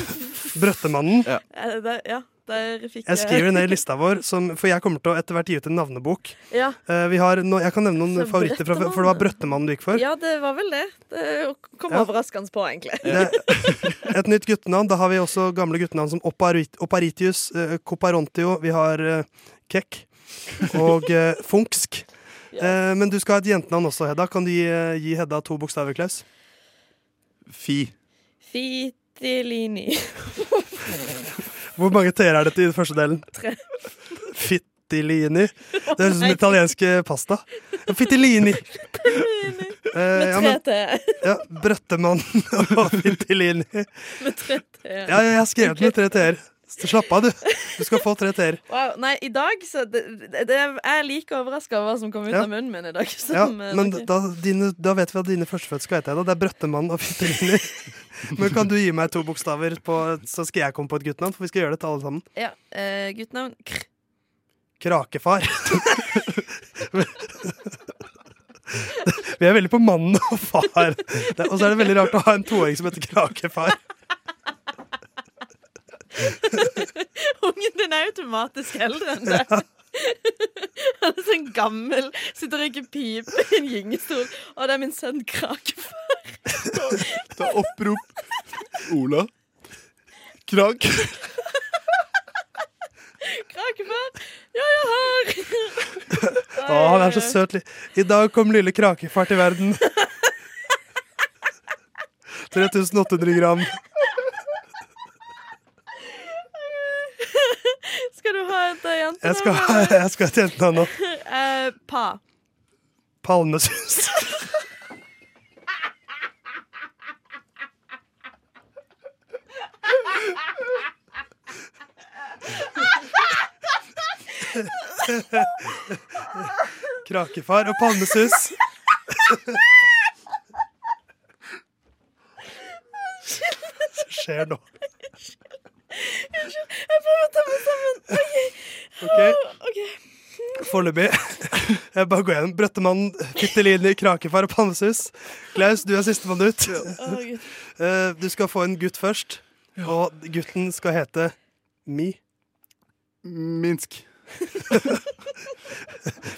Speaker 24: Brøttemannen.
Speaker 25: (laughs) Eh, der- Ja, der fikk
Speaker 24: Jeg skriver ned
Speaker 25: (laughs)
Speaker 24: i lista vår, som, for jeg kommer til å etter hvert gi ut en navnebok.
Speaker 25: Ja.
Speaker 24: Eh, Vi har, no, jeg kan nevne
Speaker 25: Så
Speaker 24: noen favoritter, fra, for det var Brøttemannen du gikk for.
Speaker 25: Ja, det var vel det. Det kom
Speaker 24: Ja.
Speaker 25: overraskende på, egentlig.
Speaker 24: Et nytt guttenavn. Da har vi også gamle guttenavn som Oparit- Oparitius, eh, Coparontio, vi har eh, Kekk og eh,
Speaker 25: (laughs)
Speaker 24: Funksk. Eh, Men du skal ha et jentenavn også, Hedda. Kan du gi, eh, gi Hedda to bokstaver, Klaus?
Speaker 2: Fi.
Speaker 25: Fitilini. (laughs)
Speaker 24: Hvor mange t-er er dette i den første delen?
Speaker 25: Tre.
Speaker 24: Fittilini. Det høres ut som italiensk eh, pasta. Fittilini. Eh, ja, men-
Speaker 25: Med tre t
Speaker 24: (laughs) Ja, Brøttemann og (laughs) Fittilini.
Speaker 25: Med tre t
Speaker 24: Ja, jeg har skrevet med tre t-er. Så Slapp av, du. Du skal få tre
Speaker 25: (laughs)
Speaker 24: t-er.
Speaker 25: Wow, nei, i dag så det, det, det, Jeg er like overraska over hva som kom ut
Speaker 24: Ja.
Speaker 25: av munnen min i dag. (laughs) Som,
Speaker 24: Ja,
Speaker 25: eh,
Speaker 24: men
Speaker 25: dere.
Speaker 24: da, dine, da vet vi at dine førstefødte skal hete Hedda. Det er Brøttemann og Fittilini. Men kan du gi meg to bokstaver, på, så skal jeg komme på et guttenavn? For vi skal gjøre det til alle sammen.
Speaker 25: ja, eh, Guttenavn Kr.
Speaker 24: Krakefar. (laughs) Vi er veldig på mannen og far. Det- Og så er det veldig rart å ha en toåring som heter Krakefar.
Speaker 25: (laughs) Ungen din er automatisk eldre enn det. (laughs) Han er sånn gammel, sitter og røyker pipe i en gyngestol. Og det er min sønn
Speaker 24: (laughs)
Speaker 25: Krakefar.
Speaker 20: Ta opprop. Ola. Krak.
Speaker 25: Krakefar, ja, jeg har
Speaker 24: Å, han er så søt. li- I dag kom lille Krakefar til verden. 3800 gram.
Speaker 25: (laughs) Skal du ha et eh, jentenavn?
Speaker 24: Jeg skal, jeg skal til jentene nå.
Speaker 25: (laughs) Eh, pa.
Speaker 24: Palmesus.
Speaker 17: (laughs)
Speaker 24: Krakefar og palmesus. (laughs) Hva skjer nå?
Speaker 25: Unnskyld, jeg prøver å ta meg sammen.
Speaker 24: Ok.
Speaker 25: OK.
Speaker 24: Foreløpig. Jeg bare går gjennom. Brøttemann, Fittelini, Krakefar og Palmesus. Klaus, du er sistemann ut.
Speaker 25: Å, Gud.
Speaker 24: Eh, Du skal få en gutt først, og gutten skal hete Mi.
Speaker 2: Minsk.
Speaker 24: (laughs)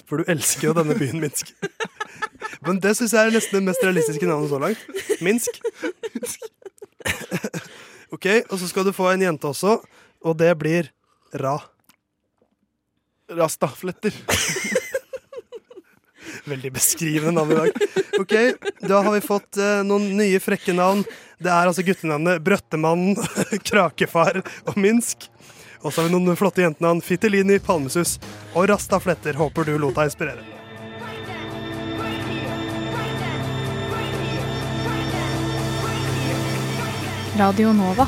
Speaker 24: For du elsker jo denne byen Minsk. Men det syns jeg er nesten det mest realistiske navnet så langt. Minsk. (laughs) OK, og så skal du få en jente også, og det blir Ra.
Speaker 2: Rastafletter. (laughs)
Speaker 24: Veldig beskrivende navn i dag. Ok, Da har vi fått eh, noen nye frekke navn. Det er altså guttenavnet Brøttemannen, (laughs) Krakefar og Minsk. Og så har vi noen flotte jentenavn. Fittelini, Palmesus og Rasta Fletter. Håper du lot deg inspirere.
Speaker 8: Radio Nova.